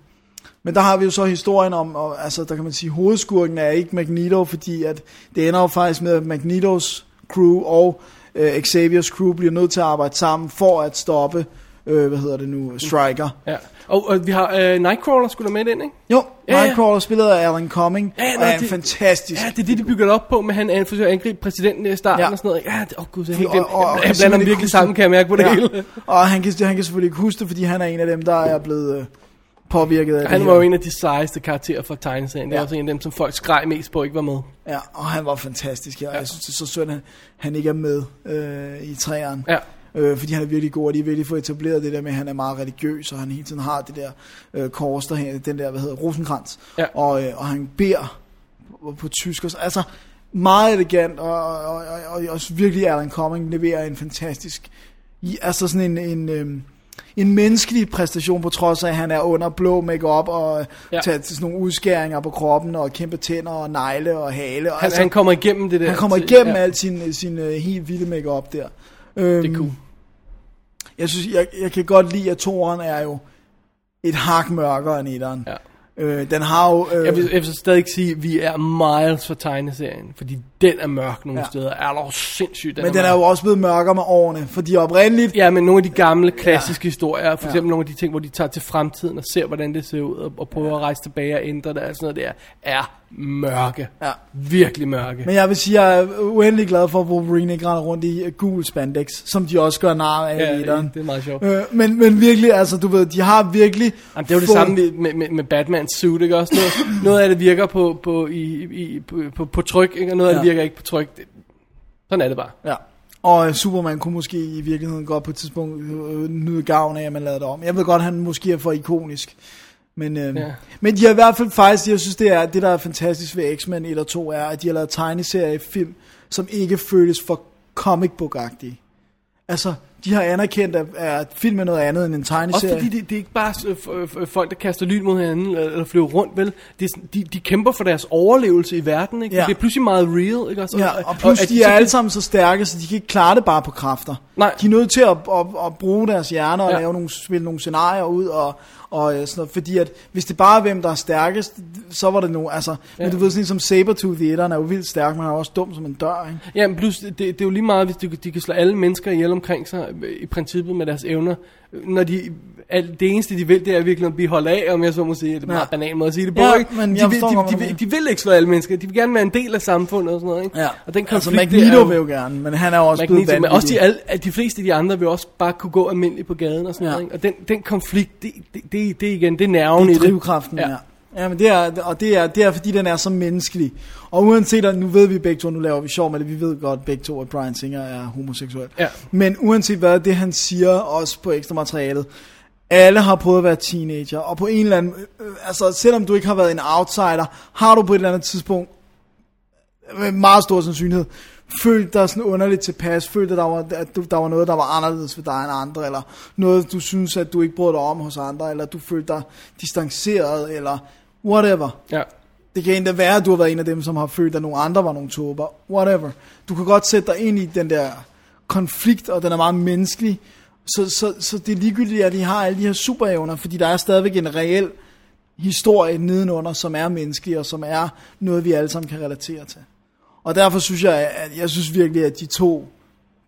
B: men der har vi jo så historien om, og, altså der kan man sige, hovedskurken er ikke Magneto, fordi at det ender jo faktisk med, at Magnetos crew og øh, Xavier's crew bliver nødt til at arbejde sammen for at stoppe, øh, hvad hedder det nu, Striker.
A: ja. Og, og vi har øh, Nightcrawler skulle med ind, ikke?
B: Jo,
A: Ja, ja.
B: Nightcrawler spillet af Alan Cumming,
A: Ja,
B: ja,
A: nej,
B: og er en
A: det-
B: fantastisk
A: Ja, det er det, de bygger det op på, med han øh, forsøger at angribe præsidenten i starten ja.
B: Ja.
A: og sådan noget. Ja, det, oh, gud, det er helt
B: Og-
A: glemt.
B: og- og-
A: Jeg blander
B: simpelthen
A: dem
B: ikke
A: virkelig sammen,
B: huske-
A: kan jeg mærke på det ja. hele.
B: Og han kan, han kan selvfølgelig ikke huske det, fordi han er en af dem, der er blevet øh, påvirket af
A: Han
B: det
A: var jo
B: her.
A: en af de sejeste karakterer fra tegneserien. Det er
B: Ja.
A: også en af dem, som folk skreg mest på, ikke var med.
B: Ja, og han var fantastisk her. Ja. Jeg synes, det er så synd, at han ikke er med øh, i træerne.
A: Ja.
B: Øh, fordi han er virkelig god, og de er virkelig få etableret det der med, at han er meget religiøs, og han hele tiden har det der øh, kors, der, hæ- den der, hvad hedder, rosenkrans.
A: Ja.
B: Og, øh, og han beder på, på tysk. Og, så- altså, meget elegant, og, og, og, og, og virkelig Alan Cumming leverer en fantastisk, i- altså sådan en, en, øh, en menneskelig præstation, på trods af, at han er under blå makeup og
A: Ja.
B: ja. tager til sådan nogle udskæringer på kroppen, og kæmpe tænder, og negle, og hale. Og,
A: Han, altså, han kommer igennem det der.
B: han kommer
A: til-
B: igennem ja. alt sin, sin uh, helt vilde makeup der. Øhm,
A: Det er cool.
B: Jeg synes, jeg, jeg kan godt lide, at toren er jo et hak mørkere end etteren.
A: Ja.
B: Øh, den har jo... Øh,
A: Jeg vil, jeg vil så stadig ikke sige, at vi er miles fra tegneserien, fordi den er mørk nogle ja.
B: Ja.
A: steder. Er dog sindssygt, den
B: men den er
A: mørk.
B: jo også blevet mørkere med årene, fordi oprindeligt...
A: Ja, men nogle af de gamle, klassiske ja. historier, for eksempel ja. nogle af de ting, hvor de tager til fremtiden og ser, hvordan det ser ud, og, og prøver at rejse tilbage og ændre det, og sådan noget der, er mørke.
B: Ja.
A: Virkelig mørke.
B: Men jeg vil sige, jeg er uendelig glad for, at Wolverine ikke render rundt i øh, gul spandex, som de også gør nar af
A: Ja,
B: i etteren.
A: det er meget sjovt.
B: Øh, men, men virkelig, altså, du ved, de har virkelig...
A: Jamen, det er jo det
B: fået-
A: samme med, med, med Batmans suit, ikke også? Noget, noget af det virker på, på, i, i, på, på, på tryk, ikke? og noget ja. af det
B: Ja.
A: virker ikke på tryk. Det, sådan er det bare.
B: Ja. Og øh, Superman kunne måske i virkeligheden godt på et tidspunkt øh, nyde gavn af, at man lavede det om. Jeg ved godt, han måske er for ikonisk. Men, øh,
A: Ja.
B: ja. men de har i hvert fald faktisk, jeg synes, det er det, der er fantastisk ved X-Men 1 og 2, er, at de har lavet tegneserie film, som ikke føles for comic book -agtige. Altså, de har anerkendt, at, at film er noget andet end en
A: Også
B: tegneserie.
A: fordi det, det er ikke bare øh, f- øh, folk, der kaster lyn mod hinanden eller, eller flyver rundt, vel? Det er, sådan- de, de kæmper for deres overlevelse i verden, ikke? Ja.
B: Ja.
A: Det bliver pludselig meget real, ikke også?
B: Ja, og plus
A: at
B: de er
A: så
B: alle sammen så stærke, så de kan ikke klare det bare på kræfter.
A: Nej.
B: De er nødt til at, at, at bruge deres hjerner og
A: Ja.
B: ja. lave nogle, spille nogle scenarier ud og, og øh, sådan noget. Fordi at hvis det bare er hvem, der er stærkest, så var det nu, altså... Ja. Men du ved, sådan en som Sabertooth i etteren er jo vildt stærk, men han er også dum som en dør, ikke?
A: Ja, men plus, det, det er jo lige meget, hvis de, de kan slå alle mennesker ihjel omkring sig, øh, i princippet med deres evner. Når de, al, det eneste, de vil, det er virkelig at blive holdt af, om jeg så må sige. Det er en
B: Ja.
A: meget banal måde at sige det på,
B: Ja,
A: ikke?
B: men
A: de,
B: jeg
A: vil,
B: forstår, hvad
A: de,
B: du
A: de, de,
B: mener.
A: de, vil ikke slå alle mennesker. De vil gerne være en del af samfundet og sådan noget, ikke? Og den
B: altså
A: konflikt,
B: Magneto
A: det er
B: vil jo gerne, men han er jo også blevet
A: Magneto, men
B: vanvittig.
A: også de, alle, at de fleste af de andre vil også bare kunne gå almindeligt på gaden og sådan
B: Ja.
A: noget. Ikke? Og den, den konflikt, det, det, det, det er igen, det er nerven i det.
B: drivkraften,
A: Ja.
B: ja. Ja, men det er, og det er, det er, fordi den er så menneskelig. Og uanset, at nu ved vi begge to, nu laver vi sjov med det, vi ved godt begge to, at Brian Singer er homoseksuel.
A: Ja.
B: Men uanset hvad, det han siger også på ekstra materialet, alle har prøvet at være teenager, og på en eller anden, øh, altså selvom du ikke har været en outsider, har du på et eller andet tidspunkt med meget stor sandsynlighed følte dig sådan underligt tilpas, følte at der var, at du, der var noget, der var anderledes ved dig end andre, eller noget, du synes, at du ikke brød dig om hos andre, eller du følte dig distanceret, eller whatever.
A: Ja.
B: Det kan endda være, at du har været en af dem, som har følt, at nogle andre var nogle tåber, whatever. Du kan godt sætte dig ind i den der konflikt, og den er meget menneskelig, så, så, så det er ligegyldigt, at de har alle de her superevner, fordi der er stadigvæk en reel historie nedenunder, som er menneskelig, og som er noget, vi alle sammen kan relatere til. Og derfor synes jeg, at jeg synes virkelig, at de to,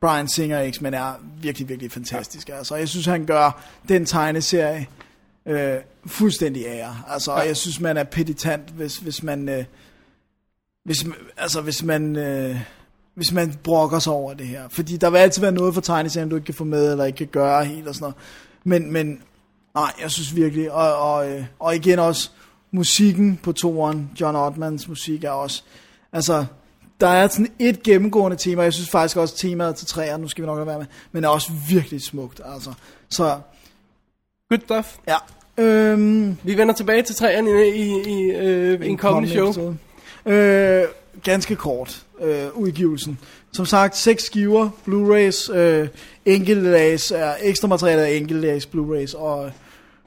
B: Brian Singer og X-Men, er virkelig, virkelig fantastiske. Altså, jeg synes, han gør den tegneserie øh, fuldstændig ære. Altså, og jeg synes, man er peditant, hvis, hvis man... Øh, hvis, altså, hvis man... Øh, hvis man brokker sig over det her. Fordi der vil altid være noget for tegneserien, du ikke kan få med, eller ikke kan gøre helt og sådan noget. Men, men nej, jeg synes virkelig, og, og, øh, og igen også, musikken på toren, John Ottmans musik er også, altså, der er sådan et gennemgående tema, jeg synes faktisk også temaet til træer, nu skal vi nok lade være med, men er også virkelig smukt, altså. Så
A: Good stuff.
B: ja, Øhm,
A: Vi vender tilbage til træerne i, i, i øh, en kommende show.
B: episode. Øh, ganske kort øh, udgivelsen. Som sagt, seks skiver, Blu-rays, øh, enkeltlags, er ekstra materiale af enkeltlags, Blu-rays, og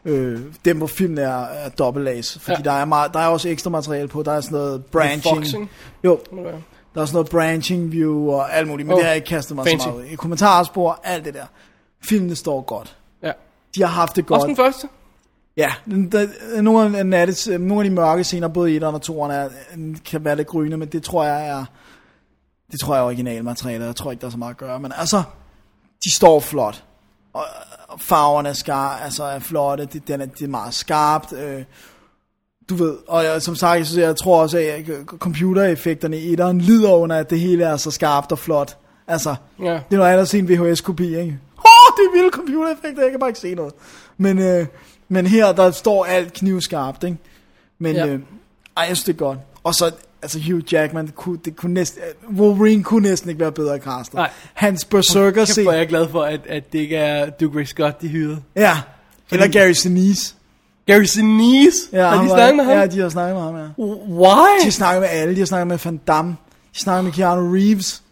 B: øh, dem, hvor filmen er, er dobbeltlags. Fordi
A: Ja.
B: ja. der, er meget, der er også ekstra materiale på, der er sådan noget branching.
A: Foxing.
B: Jo,
A: Må det være.
B: der er sådan noget branching view og alt muligt, men
A: Oh,
B: oh, det har jeg ikke kastet mig
A: fancy.
B: så meget ud i. Kommentarspor, alt det der. Filmene står godt.
A: Ja.
B: De har haft det godt.
A: Også den første.
B: Ja, den- der, nogle, af nattes, nogle af de mørke scener, både i etteren og toeren, er, kan være lidt gryne, men det tror jeg er, det tror jeg er originalmateriale, jeg tror ikke, der er så meget at gøre, men altså, de står flot. Og, og farverne er, skar, altså er flotte, det, den er, det er meget skarpt, øh, du ved, og jeg, som sagt, jeg, synes, jeg tror også, at øh, computereffekterne i etteren lider under, at det hele er så skarpt og flot. Altså,
A: Ja.
B: det er noget andet at se en VHS-kopi, ikke? Åh, det er vilde computereffekter, jeg kan bare ikke se noget. Men, øh, men her, der står alt knivskarpt, ikke? Men
A: Ja.
B: ja. øh, ej, jeg synes, det er godt. Og så, altså Hugh Jackman, det kunne, det kunne næsten, øh, Wolverine kunne næsten ikke være bedre castet.
A: Nej.
B: Hans berserker
A: Kæft, hvor er
B: scene.
A: jeg glad for, at, at det ikke er Duke Ray Scott, de hyrede.
B: Ja. Eller Gary Sinise.
A: Gary Sinise?
B: Ja,
A: har
B: han
A: de
B: var-
A: snakket med ham?
B: Ja, de har snakket med ham, ja.
A: Why?
B: De har snakket med alle, de har snakket med Van Damme, de snakker med Keanu Reeves.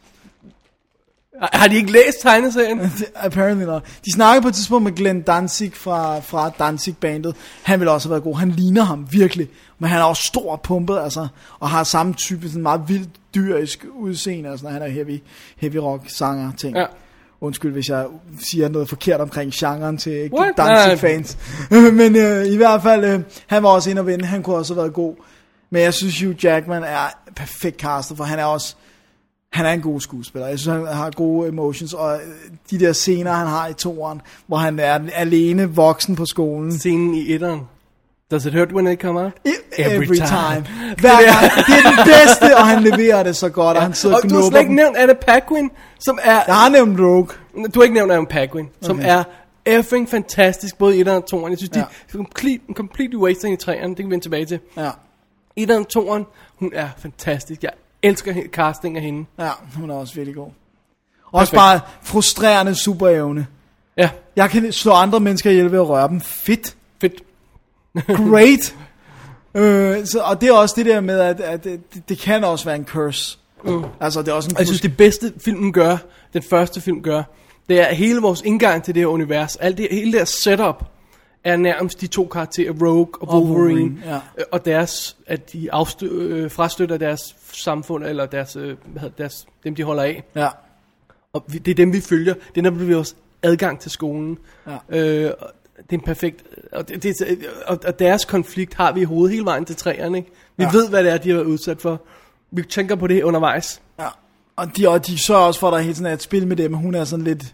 A: Har- Har de ikke læst tegneserien?
B: Det- Apparently not. De snakkede på et tidspunkt med Glenn Danzig fra, fra Danzig-bandet. Han ville også have været god. Han ligner ham virkelig. Men han er også stor og pumpet, altså. Og har samme type, sådan meget vildt dyrisk udseende. Altså, når han er heavy, heavy rock sanger ting.
A: Ja.
B: Undskyld, hvis jeg siger noget forkert omkring genren til
A: What?
B: Danzig-fans. (laughs) Men øh, i hvert fald, øh, han var også inde og vinde. Han kunne også have været god. Men jeg synes, Hugh Jackman er perfekt castet, for han er også han er en god skuespiller. Jeg synes, han har gode emotions, og øh, de der scener, han har i toeren, hvor han er den alene voksen på skolen.
A: Scenen i etteren. Does it hurt when it come out?
B: I-
A: Every time.
B: E- Hver gang. Det er den bedste, og han leverer det så godt, og han sidder
A: Og
B: og
A: du har
B: knubber
A: slet ikke
B: dem.
A: nævnt Anna Paquin, som er...
B: Jeg har nævnt Rogue.
A: Du har ikke nævnt Anna Paquin, som er effing fantastisk, både i etteren og toeren. Jeg synes, ja.
B: Ja.
A: de er complete, completely wasting i træerne. Det kan vi vende tilbage til.
B: Ja,
A: Etteren og toeren, hun er fantastisk. Jeg elsker he- casting af hende.
B: ja, hun er også virkelig god. Også
A: Perfekt.
B: bare frustrerende superevne.
A: Ja,
B: Jeg kan slå andre mennesker ihjel ved at røre dem. Fedt.
A: fedt.
B: Great. øh, så, og det er også det der med, at, at det, det kan også være en curse. Mm. Altså, det er også en
A: Og jeg synes,
B: curse.
A: det bedste filmen gør, den første film gør, det er at hele vores indgang til det her univers. Alt det, hele deres setup er nærmest de to karakterer, Rogue og
B: Og
A: Wolverine.
B: Wolverine,
A: Wolverine
B: ja.
A: Og deres, at de afstø, øh, frastøtter deres samfund, eller deres, øh, hvad hedder, deres, dem de holder af.
B: Ja,
A: Og vi, det er dem, vi følger. Det er nemlig vores adgang til skolen.
B: Ja.
A: Øh, og det er en perfekt... øh, Og, det, det, er- og, og deres konflikt har vi i hovedet hele vejen til træerne. Ikke? Vi ja.
B: Ja.
A: ved, hvad det er, de har været udsat for. Vi tænker på det undervejs.
B: ja. Og de, og de sørger også for, at der hele tiden er et spil med dem. Hun er sådan lidt...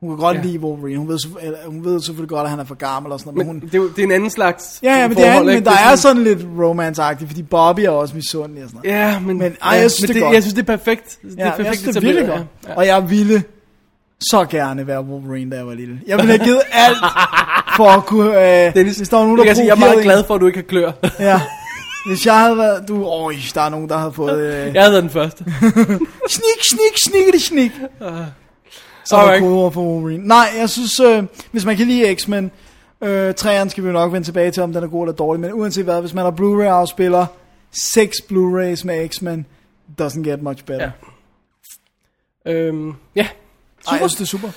B: Hun kan godt
A: Ja.
B: ja. lide Wolverine. Hun ved, selvfø- eller, hun ved selvfølgelig godt, at han er for gammel og sådan
A: Men
B: noget. Men,
A: hun,
B: hun,
A: det, er jo- det er en anden slags
B: ja, ja, men, det er,
A: forhold,
B: han,
A: ikke?
B: men der er sådan lidt romance-agtigt, fordi Bobby er også misundelig og sådan noget.
A: Ja, men,
B: Men, ej, jeg
A: ja,
B: synes,
A: men
B: det er godt.
A: Jeg synes, det er perfekt. det
B: Ja,
A: er
B: det
A: perfekt
B: jeg synes, det er
A: etableret,
B: virkelig godt.
A: Ja.
B: Og jeg ville så gerne være Wolverine, da jeg var lille. Jeg ville have givet alt for at kunne... Øh,
A: Dennis,
B: hvis der var nogen,
A: jeg,
B: der
A: kan sige, jeg er
B: provokerede
A: meget
B: en-
A: glad for, at du ikke har klør.
B: Ja. Hvis jeg havde været... Du, øj, der er nogen, der havde fået... Øh,
A: jeg havde været den første.
B: Snik, snik, snikkede snik. Så er der
A: alright.
B: kodeord for Wolverine. Nej, jeg synes, øh, hvis man kan lide X-Men, øh, træerne skal vi jo nok vende tilbage til, om den er god eller dårlig, men uanset hvad, hvis man har Blu-ray-afspiller, seks Blu-rays med X-Men, doesn't get much better.
A: Ja.
B: Ja.
A: øhm, ja.
B: Ej,
A: Super.
B: jeg synes, det er super.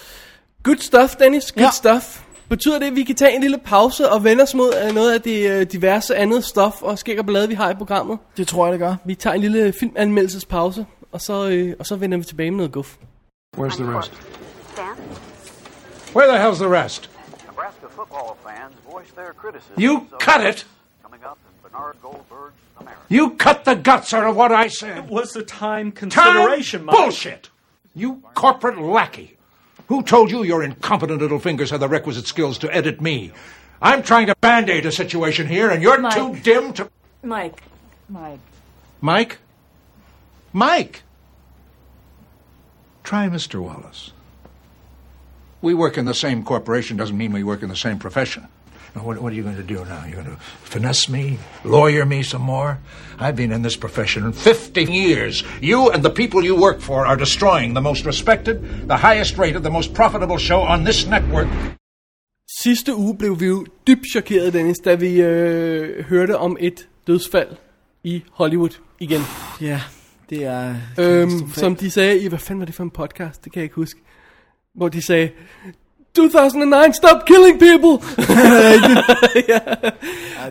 A: Good stuff, Dennis. Good ja.
B: Ja.
A: stuff. Betyder det, at vi kan tage en lille pause og vende os mod øh, noget af det øh, diverse andet stof og skæg og blade, vi har i programmet?
B: Det tror jeg, det gør.
A: Vi tager en lille filmanmeldelsespause, og så, øh, og så vender vi tilbage med noget guf.
E: Where's the rest?
F: Dan?
E: Where the hell's the rest?
G: Nebraska football fans voiced their criticism.
D: You cut it!
G: Coming up in Bernard Goldberg's America.
E: You cut the guts out of what I said.
H: was the
E: Time?
H: time consideration, Mike.
E: Bullshit! You corporate lackey. Who told you your incompetent little fingers had the requisite skills to edit me? I'm trying to band aid a situation here, and you're
I: Mike.
E: too dim to.
I: Mike. Mike.
E: Mike? Mike! Try Mr. Wallace. We work in the same corporation doesn't mean we work in the same profession. Now, what, what are you going to do now? You're going to finesse me? Lawyer me some more? I've been in this profession 50 years. You and the people you work for are destroying the most respected, the highest rated, the most profitable show on this network.
A: Sidste uge blev vi jo dybt chokeret, Dennis, da vi øh, hørte om et dødsfald i Hollywood igen.
B: Ja, det er...
A: Øhm, som de sagde i, hvad fanden var det for en podcast, det kan jeg ikke huske. Hvor de sagde, 2009, stop killing people!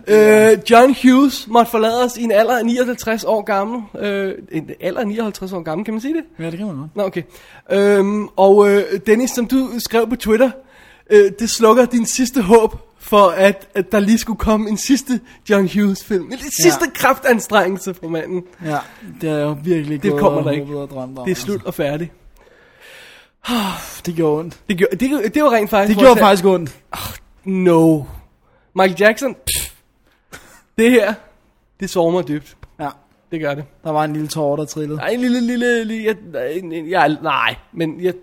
A: ja. øh, John Hughes måtte forlade os i en alder af 59 år gammel. Øh, en alder af 59 år gammel, kan man sige det?
B: Ja, det kan man godt.
A: Nå, okay. Øhm, og øh, Dennis, som du skrev på Twitter, øh, det slukker din sidste håb for, at, at der lige skulle komme en sidste John Hughes-film. En sidste ja.
B: Ja.
A: kraftanstrengelse for manden.
B: Ja, det er jo virkelig
A: Det
B: gået
A: kommer
B: og
A: der ikke.
B: håbet og drømt om,
A: Det er slut og færdigt.
B: Altså. Det gjorde ondt.
A: Det, gjorde, det, det var rent faktisk...
B: Det
A: hvor
B: gjorde
A: jeg
B: faktisk ondt.
A: sagde, No. Michael Jackson, pff, det her, det sover mig dybt.
B: Ja,
A: Det gør det.
B: der var en lille tårer, der trillede.
A: Nej, en lille, lille, lille jeg, nej, en- en- jeg, nej, men jeg,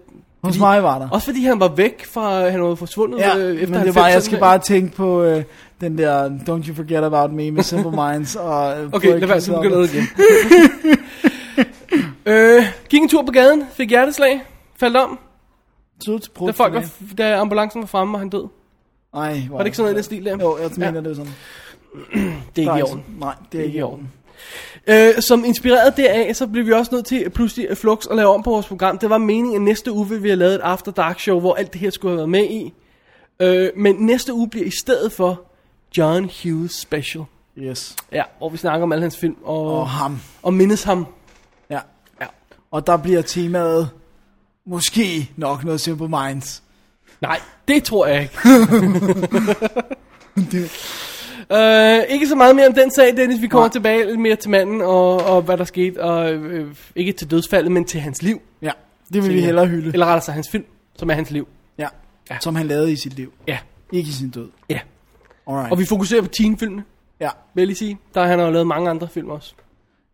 B: Hos
A: fordi-
B: mig var der.
A: også fordi han var væk fra, han var forsvundet
B: Ja,
A: øh, efter
B: men det var,
A: 90'erne.
B: jeg skal bare tænke på øh, den der Don't You Forget About Me med Simple
A: (laughs)
B: Minds. Og, øh,
A: Okay,
B: Blake
A: lad være, så
B: Christopher.
A: begynder jeg igen. (laughs) øh, gik en tur på gaden, fik hjerteslag, faldt om,
B: Så til
A: da,
B: brugt
A: folk var,
B: med.
A: da ambulancen var fremme, og han død.
B: Nej,
A: Var det ikke sådan noget i den stil der?
B: Jo, jeg mener,
A: Ja.
B: det er sådan.
A: Det er
B: Der
A: ikke i
B: er
A: orden.
B: Nej, det er ikke i orden.
A: Øh, som inspireret deraf, så blev vi også nødt til pludselig at flux og lave om på vores program. Det var meningen, at næste uge ville vi have lavet et After Dark show, hvor alt det her skulle have været med i. Øh, men næste uge bliver i stedet for John Hughes Special.
B: Yes.
A: Ja, hvor vi snakker om alle hans film og,
B: Og
A: oh.
B: ham.
A: og mindes ham.
B: Ja.
A: Ja.
B: Og der bliver temaet måske nok noget Simple Minds.
A: Nej, det tror jeg
B: (laughs)
A: ikke. (laughs)
B: Det-
A: øh, ikke så meget mere om den sag, Dennis. Vi kommer Nej.
B: Nej.
A: tilbage lidt mere til manden og, og hvad der skete. Og, øh, ikke til dødsfaldet, men til hans liv. Mm.
B: Ja, det vil vi hellere hylde.
A: Eller rettere sig hans film, som er hans liv.
B: Ja.
A: Ja.
B: ja. Som han lavede i sit liv.
A: Ja,
B: Ikke i sin død.
A: ja.
B: Alright.
A: Og vi fokuserer på teenfilmene,
B: Ja.
A: vil jeg lige sige. Der han har jo lavet mange andre film også.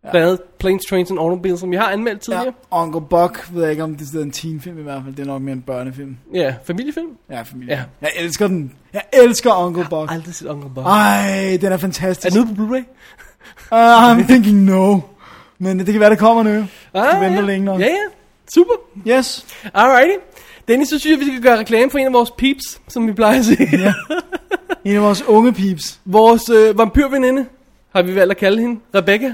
A: Ja. Blandt andet Planes, Trains and Automobiles, som vi har anmeldt
B: ja.
A: tidligere.
B: Uncle Buck, ved jeg ikke om det er en teenfilm i hvert fald. Det er nok mere en børnefilm.
A: Ja, ja familiefilm.
B: Ja, familie.
A: Ja.
B: Ja. Jeg elsker den. Jeg elsker Uncle Buck.
A: Aldrig set Uncle
B: Ah.
A: Bob.
B: Ej, den er
A: Er
B: fantastisk.
A: den ude på Blu-ray?
B: Uh, I'm thinking no. Men det kan være, det kommer nu.
A: Ah,
B: venter
A: ja.
B: længe nok.
A: Ja, ja. Super.
B: Yes.
A: Alrighty. Dennis, så synes jeg, vi skal gøre reklame for en af vores peeps, som vi plejer at sige.
B: (laughs) Ja. En af vores unge peeps.
A: Vores øh, vampyrveninde, har vi valgt at kalde hende, Rebecca.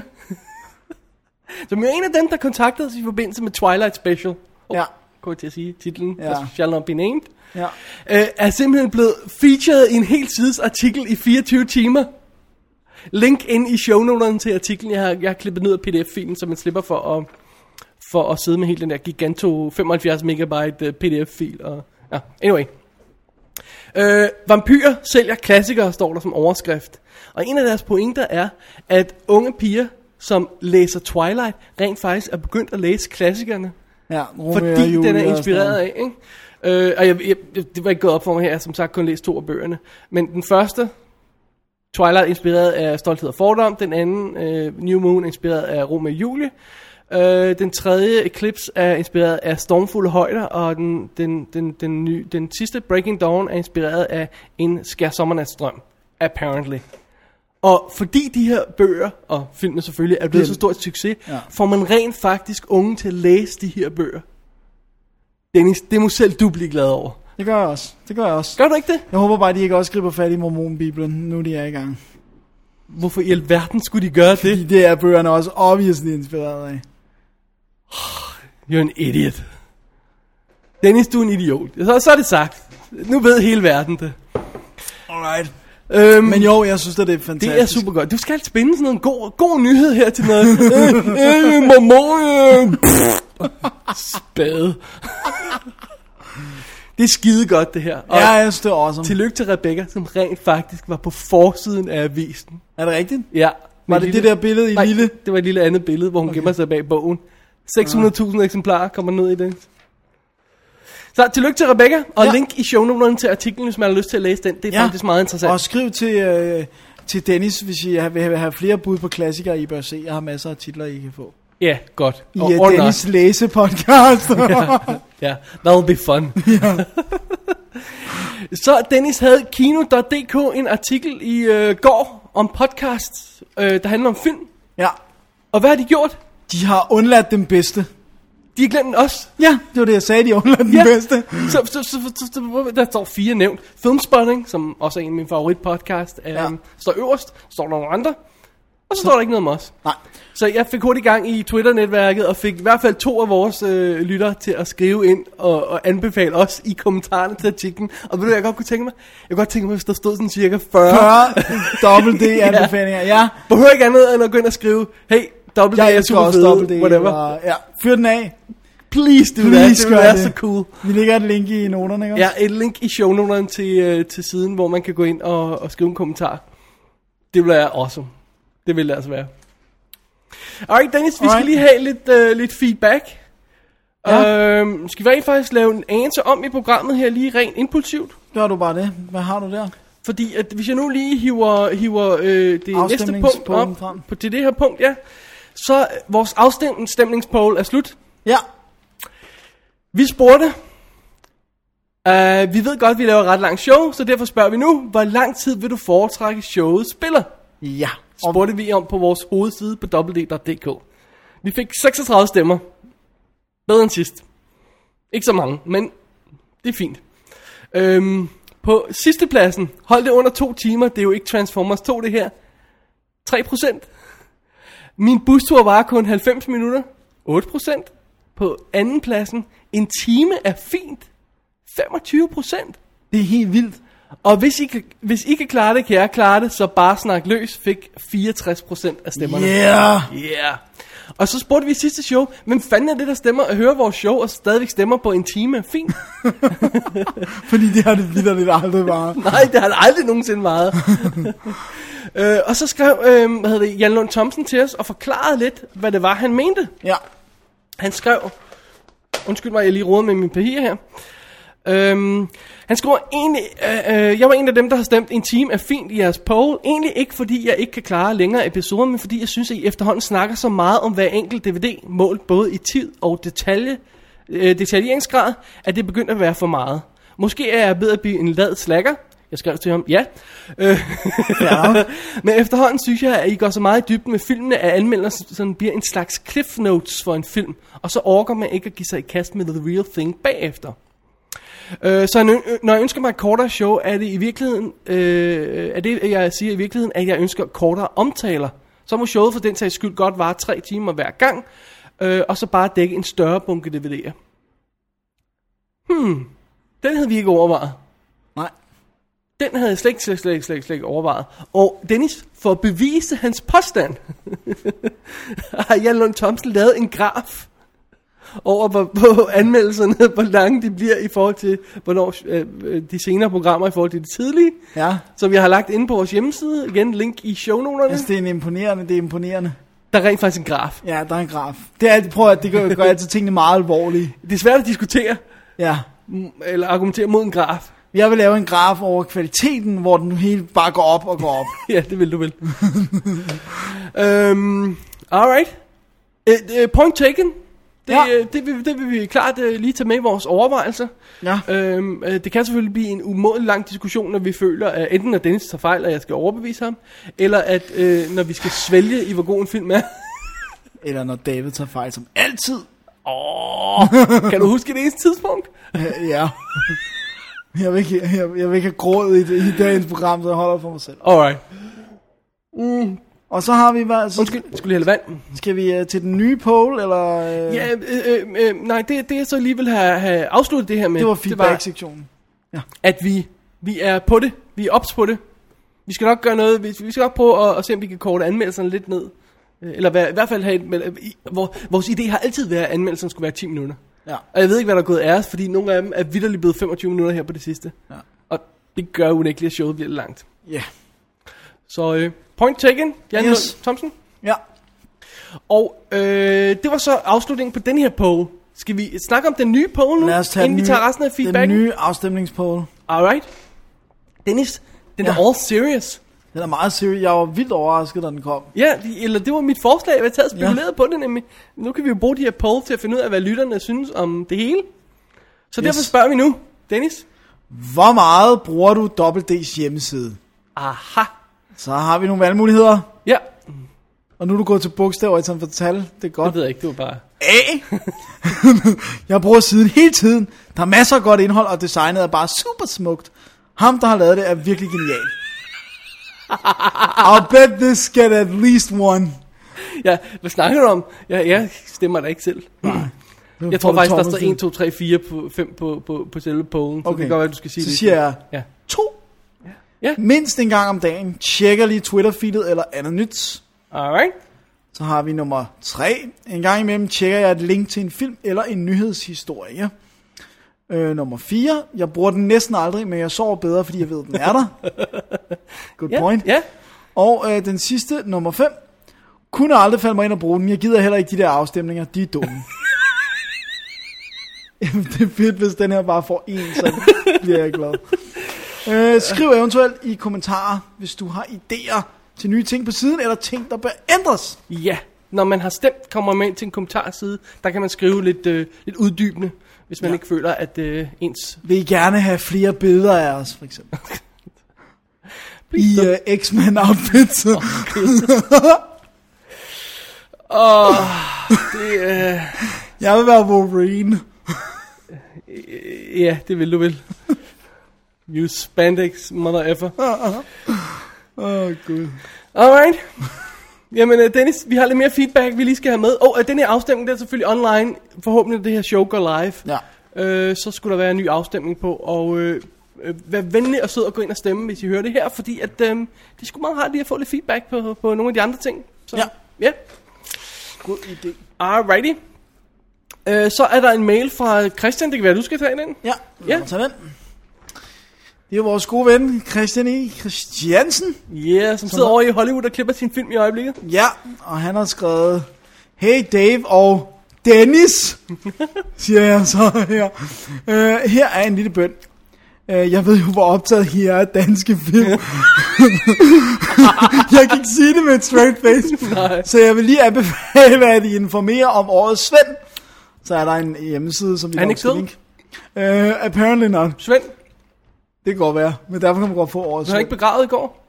A: (laughs) som jo er en af dem, der kontaktede os i forbindelse med Twilight Special.
B: Ja.
A: Går jeg til at sige titlen,
B: Ja.
A: ja. shall not be named.
B: Ja.
A: Øh, er simpelthen blevet featured i en hel sides artikel i 24 timer. Link ind i shownoterne til artiklen. Jeg har, jeg har klippet ned af pdf-filen, så man slipper for at, for at sidde med hele den der giganto 75 megabyte øh, pdf-fil. Og, ja, anyway. Øh, vampyrer sælger klassikere, står der som overskrift. Og en af deres pointer er, at unge piger, som læser Twilight, rent faktisk er begyndt at læse klassikerne.
B: Ja, Romeo og
A: Fordi
B: Julie
A: den er
B: og sådan
A: inspireret
B: noget.
A: af, ikke? Øh, og jeg, jeg, jeg, det var ikke gået op for mig her, jeg har som sagt kun læst to af bøgerne. Men den første, Twilight inspireret af Stolthed og Fordom. Den anden, øh, New Moon, inspireret af Romeo og Julie. Øh, den tredje, Eclipse, er inspireret af Stormfulde Højder. Og den, den, den, den, ny, den sidste, Breaking Dawn, er inspireret af En Skær Sommernatsdrøm. Apparently. Og fordi de her bøger, og filmene selvfølgelig, er blevet så stort et succes, ja.
B: Ja.
A: får man rent faktisk unge til at læse de her bøger. Dennis, det må selv du blive glad over.
B: Det gør jeg også. Det gør jeg også.
A: Gør du ikke det?
B: Jeg håber bare, at de ikke også griber fat i mormonbiblen, nu de er i gang.
A: Hvorfor i alverden skulle de gøre det?
B: Fordi det er bøgerne også obviously inspireret af.
A: You're an idiot. Dennis, du er en idiot. Så, så er det sagt. Nu ved hele verden det.
B: Alright.
A: Øhm,
B: Men jo, jeg synes, at det er fantastisk.
A: det er super godt. Du skal spænde sådan en god, god nyhed her til (laughs) noget. Øh, øh, mormor, øh, pff. Spade. det er skide godt, det her. Og
B: Ja, jeg synes, det er awesome.
A: tillykke til Rebecca, som rent faktisk var på forsiden af avisen.
B: Er det rigtigt?
A: Ja.
B: Var
A: Med
B: det
A: lille-
B: det der billede i
A: Nej,
B: lille?
A: det var et lille andet billede, hvor hun okay. gemmer sig bag bogen. 600.000 eksemplarer kommer ned i den. Så tillykke til Rebecca, og ja.
B: Ja.
A: link i shownoterne til artiklen, hvis man har lyst til at læse den. Det er ja. faktisk meget interessant.
B: Og skriv til, øh, til Dennis, hvis I har- vil have- have flere bud på klassikere, I bør se. Jeg har masser af titler, I kan få.
A: Ja, godt.
B: I
A: Og-
B: oh,
A: og
B: Dennis læsepodcast.
A: nok. (laughs) Ja, that'll be fun. (laughs) Så Dennis havde Kino.dk en artikel i øh, går om podcasts, øh, der handler om film.
B: ja.
A: Og hvad har de gjort?
B: De har undladt den bedste.
A: De har glemt os.
B: Ja, det var det, jeg sagde, de overladt den
A: Ja.
B: bedste.
A: Så, så, så, så, så, så hvor- der står fire nævnt. Filmspotting, som også er en af mine favoritpodcast, um,
B: Ja.
A: står øverst. Står der nogle andre. Og så, står der ikke noget om os.
B: Nej.
A: Så jeg fik hurtigt gang i Twitter-netværket, og fik i hvert fald to af vores øh, lyttere til at skrive ind og, og anbefale os i kommentarerne til artiklen. Og ved du, hvad jeg godt kunne tænke mig? Jeg kunne godt tænke mig, hvis der stod sådan cirka 40.
B: 40 dobbelt D anbefalinger, ja.
A: Behøver ikke andet end at gå ind og skrive, hey, dobbelt
B: Jeg
A: D er
B: elsker
A: super
B: også dobbelt D.
A: fede, whatever.
B: og- Ja, fyr den af.
A: Please do
B: Please
A: that, det ville
B: gør
A: være
B: det.
A: så cool.
B: Vi lægger et link i noterne, ikke
A: (laughs) Ja, et link i shownoterne til, øh, til siden, hvor man kan gå ind og, og skrive en kommentar. Det vil være awesome. Det vil det altså være. Alright, Dennis, vi skal
B: Alright.
A: lige have lidt, øh, lidt feedback.
B: Ja.
A: Ja. Øhm, skal vi rent faktisk lave en anelse om i programmet her, lige rent impulsivt?
B: Gør du bare det. Hvad har du der?
A: Fordi at hvis jeg nu lige hiver, hiver øh, det næste punkt
B: Afstemningspolen
A: op
B: frem.
A: på, til det her punkt, ja, så øh, vores afstemningspoll er slut.
B: Ja,
A: Vi spurgte, uh, vi ved godt, at vi laver et ret langt show, så derfor spørger vi nu, hvor lang tid vil du foretrække showet spiller?
B: ja.
A: Spurgte vi om på vores hovedside på E www.dk. Vi fik 36 stemmer. Bedre end sidst. Ikke så mange, men det er fint. Øhm, på sidste pladsen, hold det under to timer, det er jo ikke Transformers 2 det her. 3%. Min bustur var kun 90 minutter. 8%. På anden pladsen, en time er fint. 25%.
B: Det er helt vildt.
A: Og hvis I, kan, hvis I kan klare det, kan jeg klare det, så bare snak løs fik 64% af stemmerne.
B: Yeah.
A: Yeah. Og så spurgte vi i sidste show, hvem fanden er det, der stemmer at høre vores show og stadigvæk stemmer på en time? Fint.
B: Fordi det har det vidderligt aldrig bare.
A: (laughs) Nej, det har det aldrig nogensinde været. øh, og så skrev øh, hvad hedder det, Jan Lund Thomsen til os og forklarede lidt, hvad det var, han mente.
B: Ja.
A: Han skrev... Undskyld mig, jeg lige roder med min papir her. Øhm, han skriver egentlig, øh, øh, jeg var en af dem, der har stemt en time er fint i jeres poll. Egentlig ikke, fordi jeg ikke kan klare længere episoder, men fordi jeg synes, at I efterhånden snakker så meget om hver enkelt DVD, målt både i tid og detalje, øh, detaljeringsgrad, at det begynder at være for meget. Måske er jeg ved at blive en lad slacker. Jeg skrev til ham, ja. Øh, ja. (laughs) men efterhånden synes jeg, at I går så meget i dybden med filmene, at anmeldelsen bliver en slags cliff notes for en film, og så orker man ikke at give sig i kast med the real thing bagefter. Øh, så når- når jeg ønsker mig et kortere show, er det i virkeligheden, øh, er det, jeg siger i virkeligheden, at jeg ønsker kortere omtaler. Så må showet for den sags skyld godt vare tre timer hver gang, øh, og så bare dække en større bunke DVD'er. Hmm, den havde vi ikke overvejet.
B: Nej.
A: Den havde jeg slet ikke, slet, slet, slet, slet ikke overvejet. Og Dennis, for at bevise hans påstand, (laughs) har Jan Lund Thomsen lavet en graf over, hvor, hvor anmeldelserne, hvor lange de bliver i forhold til, hvornår øh, øh, de senere programmer i forhold til de tidlige,
B: Ja.
A: som jeg har lagt inde på vores hjemmeside. Igen, link i shownoterne.
B: Altså, det er en imponerende, det er imponerende.
A: Der er rent faktisk en graf.
B: Ja, der er en graf. Det er altid, prøv at det gør, gør altid tingene meget alvorlige.
A: Det er svært at diskutere,
B: Ja.
A: mm, eller argumentere mod en graf.
B: Jeg vil lave en graf over kvaliteten, hvor den hele bare går op og går op.
A: (laughs) Ja, det vil du vel. øhm, alright. Uh, uh, point taken. Det,
B: Ja.
A: ja. det, vil, det vil vi klart uh, lige tage med i vores overvejelser.
B: Ja.
A: Øhm, øh, det kan selvfølgelig blive en umådelig lang diskussion, når vi føler, at enten at Dennis tager fejl, og jeg skal overbevise ham, eller at øh, når vi skal svælge i, hvor god en (laughs) film er.
B: Eller når David tager fejl, som altid.
A: kan du huske det eneste tidspunkt?
B: (laughs) Ja. Jeg vil ikke, jeg, jeg vil ikke have grået i, det- i dagens program, så jeg holder for mig selv.
A: Alright.
B: Og så har vi, hvad, så
A: Undskyld, jeg skulle lige have lidt vand.
B: skal vi øh, til den nye poll, eller? øh,
A: Ja, øh, øh, øh, nej, det, det jeg så lige vil have, have afsluttet det her med,
B: Det var
A: det var,
B: feedback-sektionen.
A: at vi, vi er på det. Vi er ops på det. Vi skal nok gøre noget. Vi, vi skal nok prøve at, at se, om vi kan korte anmeldelserne lidt ned. Øh, Eller hvad, i hvert fald have et, men, øh, i, hvor, vores idé har altid været, at anmeldelserne skulle være 10 minutter.
B: Ja.
A: Og jeg ved ikke, hvad der er gået af os, fordi nogle af dem er vidderligt blevet 25 minutter her på det sidste.
B: Ja.
A: Og det gør unægteligt, at showet bliver lidt langt.
B: Ja.
A: Så øh, point taken, Jan
B: Yes.
A: yes. Lund Thomsen.
B: Ja.
A: Og øh, det var så afslutningen på den her poll. Skal vi snakke om den nye poll nu,
B: Lad os tage
A: inden
B: den
A: vi
B: nye-
A: tager resten af
B: Den
A: feedbacken?
B: nye afstemningspoll.
A: Alright. Dennis, den ja.
B: Ja.
A: er all serious.
B: Den er meget seriøs. Jeg var vildt overrasket, da den kom.
A: Ja, de- eller det var mit forslag, jeg havde taget og
B: Ja.
A: spekuleret ja. på det nemlig. Nu kan vi jo bruge de her poll til at finde ud af, hvad lytterne synes om det hele. Så yes. derfor spørger vi nu, Dennis.
B: Hvor meget bruger du WD's hjemmeside?
A: Aha.
B: Så har vi nogle valgmuligheder.
A: Ja,
B: Og nu er du gået til bogstaver i stedet for tal. Det er
A: Jeg
B: godt.
A: ved jeg ikke, det var bare...
B: A. (laughs) jeg bruger siden hele tiden. Der er masser af godt indhold, og designet er bare super smukt. Ham, der har lavet det, er virkelig genial. I'll bet this get at least one.
A: Ja, hvad snakker du om? Ja, jeg stemmer da ikke selv. Jeg tror faktisk, der står 1, 2, 3, 4 på, 5 på, på, på selve pollen. Så okay. det kan godt være, du skal sige
B: Så
A: det.
B: siger jeg
A: Ja.
B: to.
A: Ja.
B: Mindst en gang om dagen. Tjekker lige Twitter-feedet eller andet nyt.
A: Alright.
B: Så har vi nummer 3. En gang imellem tjekker jeg et link til en film eller en nyhedshistorie. Øh, nummer 4. Jeg bruger den næsten aldrig, men jeg sover bedre, fordi jeg ved, den er
A: (laughs)
B: der. Good
A: Ja,
B: point.
A: ja.
B: Og øh, den sidste, nummer 5. Kunne aldrig falde mig ind og bruge den. Jeg gider heller ikke de der afstemninger. De er
A: (laughs)
B: dumme. Jamen, det er fedt, hvis den her bare får en, så bliver jeg glad. Øh, skriv eventuelt i kommentarer, hvis du har idéer til nye ting på siden, eller ting, der bør ændres.
A: Ja, når man har stemt, kommer man ind til en kommentarside. Der kan man skrive lidt, øh, lidt uddybende, hvis man ja. ikke føler, at øh, ens...
B: Vil I gerne have flere billeder af os, for (laughs) eksempel? I uh, X-Men (laughs) outfits.
A: Det, øh,
B: Jeg vil være Wolverine.
A: øh, ja, det vil du vel. You spandex, mother effer.
B: Åh, oh, gud.
A: Alright. Jamen, øh, Dennis, vi har lidt mere feedback, vi lige skal have med. Og øh, den her afstemning, der er selvfølgelig online. Forhåbentlig, når det her show går live.
B: Ja.
A: øh, så skulle der være en ny afstemning på, og øh, øh, vær venlig og sød og gå ind og stemme, hvis I hører det her, fordi at, øh, det skulle meget rart lige at få lidt feedback på, på nogle af de andre ting. Så,
B: Ja.
A: ja.
B: God idé.
A: Alrighty. Øh, så er der en mail fra Christian, det kan være, du skal tage den.
B: Ja, lad
A: Ja.
B: mig tage den. Det er vores gode ven, Christian E. Christiansen.
A: Ja, yeah, som sidder over i Hollywood og klipper sin film i øjeblikket.
B: Ja, og han har skrevet, Hey Dave og
A: (laughs)
B: Dennis, siger jeg så her. Øh, her er en lille bøn. Øh, jeg ved jo, hvor optaget her er af danske
A: (laughs)
B: film. jeg kan ikke sige det med et straight face.
A: Nej.
B: Så jeg vil lige anbefale, at I informerer om årets Svend. Så er der en hjemmeside, som vi
A: Er han
B: nok
A: ikke
B: skal
A: sød?
B: linke. Øh, apparently not.
A: Svend, du
B: Det kan godt være. Men derfor kan man godt få årets
A: har
B: Svend.
A: ikke begravet i går.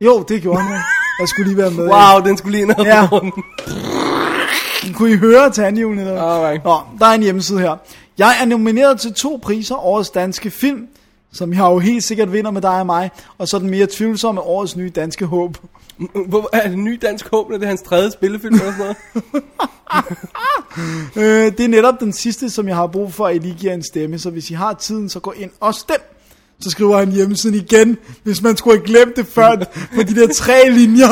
B: Jo, det gjorde han. Jeg skulle lige være med.
A: Wow, den skulle lige ned
B: Ja.
A: ja. på runden.
B: Kunne I høre tandhjulen eller hvad?
A: Alright.
B: Nå, der er en hjemmeside her. Jeg er nomineret til to priser, Årets Danske Film, som jeg jo helt sikkert vinder med dig og mig, og så den mere tvivlsomme Årets Nye Danske Håb.
A: Hvor, er det en ny dansk håb, når det er hans tredje spillefilm eller sådan noget?
B: Øh, det er netop den sidste, som jeg har brug for, at I lige giver en stemme, så hvis I har tiden, så gå ind og stem. Så skriver han hjemmesiden igen, hvis man skulle have glemt det før, på de der tre linjer.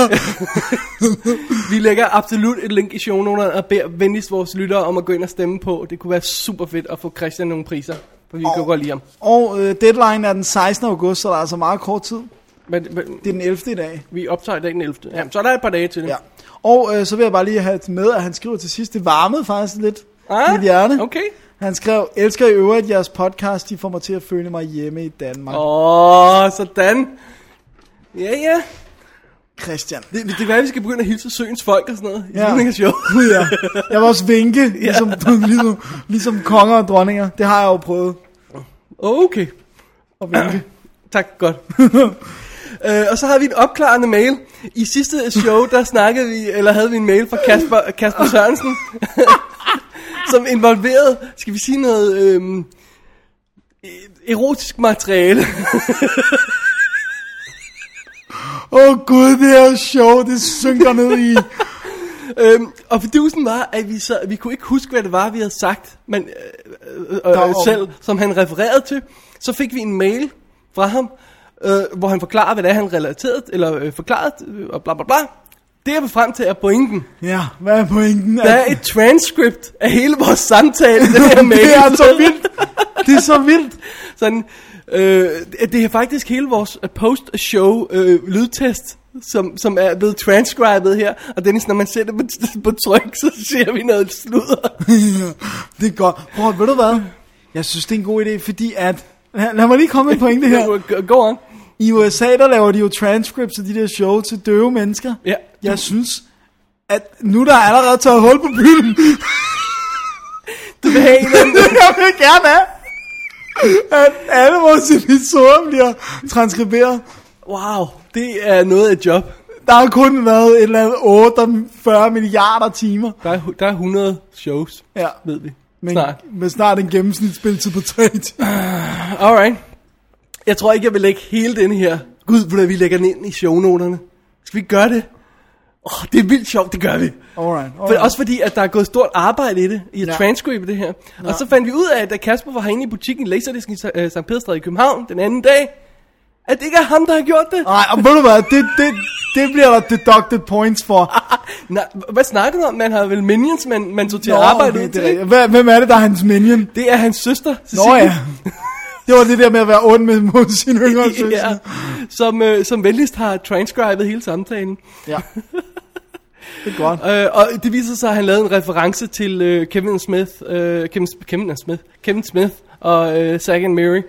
A: Vi lægger absolut et link i shownoterne og beder venligst vores lyttere om at gå ind og stemme på. Det kunne være super fedt at få Christian nogle priser, for vi oh. kan
B: Og-
A: godt lide ham.
B: Og øh, deadline er den 16. august, så der er altså meget kort tid.
A: Men, men
B: Det er den 11. i dag.
A: vi optager i dag den 11. Ja. så er der et par dage til det.
B: Ja. Og øh, så vil jeg bare lige have med, at han skriver til sidst, det varmede faktisk lidt ah, mit hjerte.
A: Okay.
B: Han skrev, elsker i øvrigt jeres podcast, de får mig til at føle mig hjemme i Danmark. Og
A: Åh, oh, sådan. Ja, ja.
B: Christian.
A: Det, det kan være, at vi skal begynde at hilse søens folk og sådan noget. I
B: Ja.
A: slutningen af show.
B: Gud ja. Jeg vil også vinke, ligesom, (laughs) ligesom, ligesom konger og dronninger. Det har jeg jo prøvet
A: Okay.
B: at vinke.
A: Tak, godt. (laughs) Øh, og så har vi en opklarende mail. I sidste show, der snakkede vi, eller havde vi en mail fra Kasper, Kasper Sørensen, (laughs) som involverede, skal vi sige noget, øhm, e- erotisk materiale. (laughs)
B: Åh oh, gud, det her show, det synker ned i.
A: øhm, og fidusen var, at vi, så, vi kunne ikke huske, hvad det var, vi havde sagt men, øh, øh, øh,
B: var-
A: selv, som han refererede til. Så fik vi en mail fra ham, øh, hvor han forklarer, hvad det er, han relaterede, eller øh, forklarede, øh, og bla bla bla. Det jeg vil frem til er pointen.
B: Ja, hvad er pointen?
A: Der er et transcript af hele vores samtale i den her mail.
B: (laughs) det er så vildt. Det er så vildt. (laughs)
A: Sådan, øh, det er faktisk hele vores øh, post-show øh, lydtest, som, som er blevet transcribet her. Og Dennis, når man ser det på, (laughs) på tryk, så ser vi noget sludder.
B: Ja, det er godt. Prøv, at- ved du hvad? Jeg synes, det er en god idé, fordi at... Lad lad mig lige komme med en pointe
A: (laughs)
B: her.
A: Go- Go on.
B: I USA, der laver de jo transcripts af de der show til døve mennesker.
A: Ja.
B: Jeg synes, at nu der er allerede taget hul på byen.
A: Du vil have en eller anden-
B: det (laughs) jeg vil gerne have. At alle vores episoder bliver transkriberet.
A: Wow, det er noget af et job.
B: Der har kun været et eller andet 48 milliarder timer.
A: Der er, der er 100 shows,
B: Ja.
A: ved vi.
B: Men,
A: Snart.
B: men snart en gennemsnitsspilletid på 3 timer.
A: Alright. Jeg tror ikke, jeg vil lægge hele den her. Gud, hvordan vi lægger den ind i shownoterne. Skal vi gøre det? Åh, oh, det er vildt sjovt, det gør vi.
B: Alright.
A: For,
B: alright.
A: også fordi, at der er gået stort arbejde i det, i at
B: Ja.
A: ja. transcribe det her. Ja. Og så fandt vi ud af, at da Kasper var herinde i butikken Laserdisken i Sa- øh, Sankt Pederstad i København den anden dag, at det ikke er ham, der har gjort det.
B: Nej, og ved du hvad, det, det, det bliver der deducted points for.
A: Ah, Nej, h- hvad snakker du om? Man har vel minions, man, man tog til at
B: Nå,
A: arbejde
B: okay,
A: ud til.
B: det er
A: Det,
B: rigtigt. Hvem- Hvem er det, der er hans minion?
A: det er hans søster, Cecilie.
B: Nå ja. Det var det der med at være ond med mod sin yngre søster.
A: (laughs) ja, som, øh, som venligst har transcribet hele samtalen.
B: Ja. Det er godt.
A: Øh, og det viser sig, at han lavede en reference til øh, Kevin Smith, øh, Kevin, Kevin Smith, Kevin Smith og øh, Zack and Mary.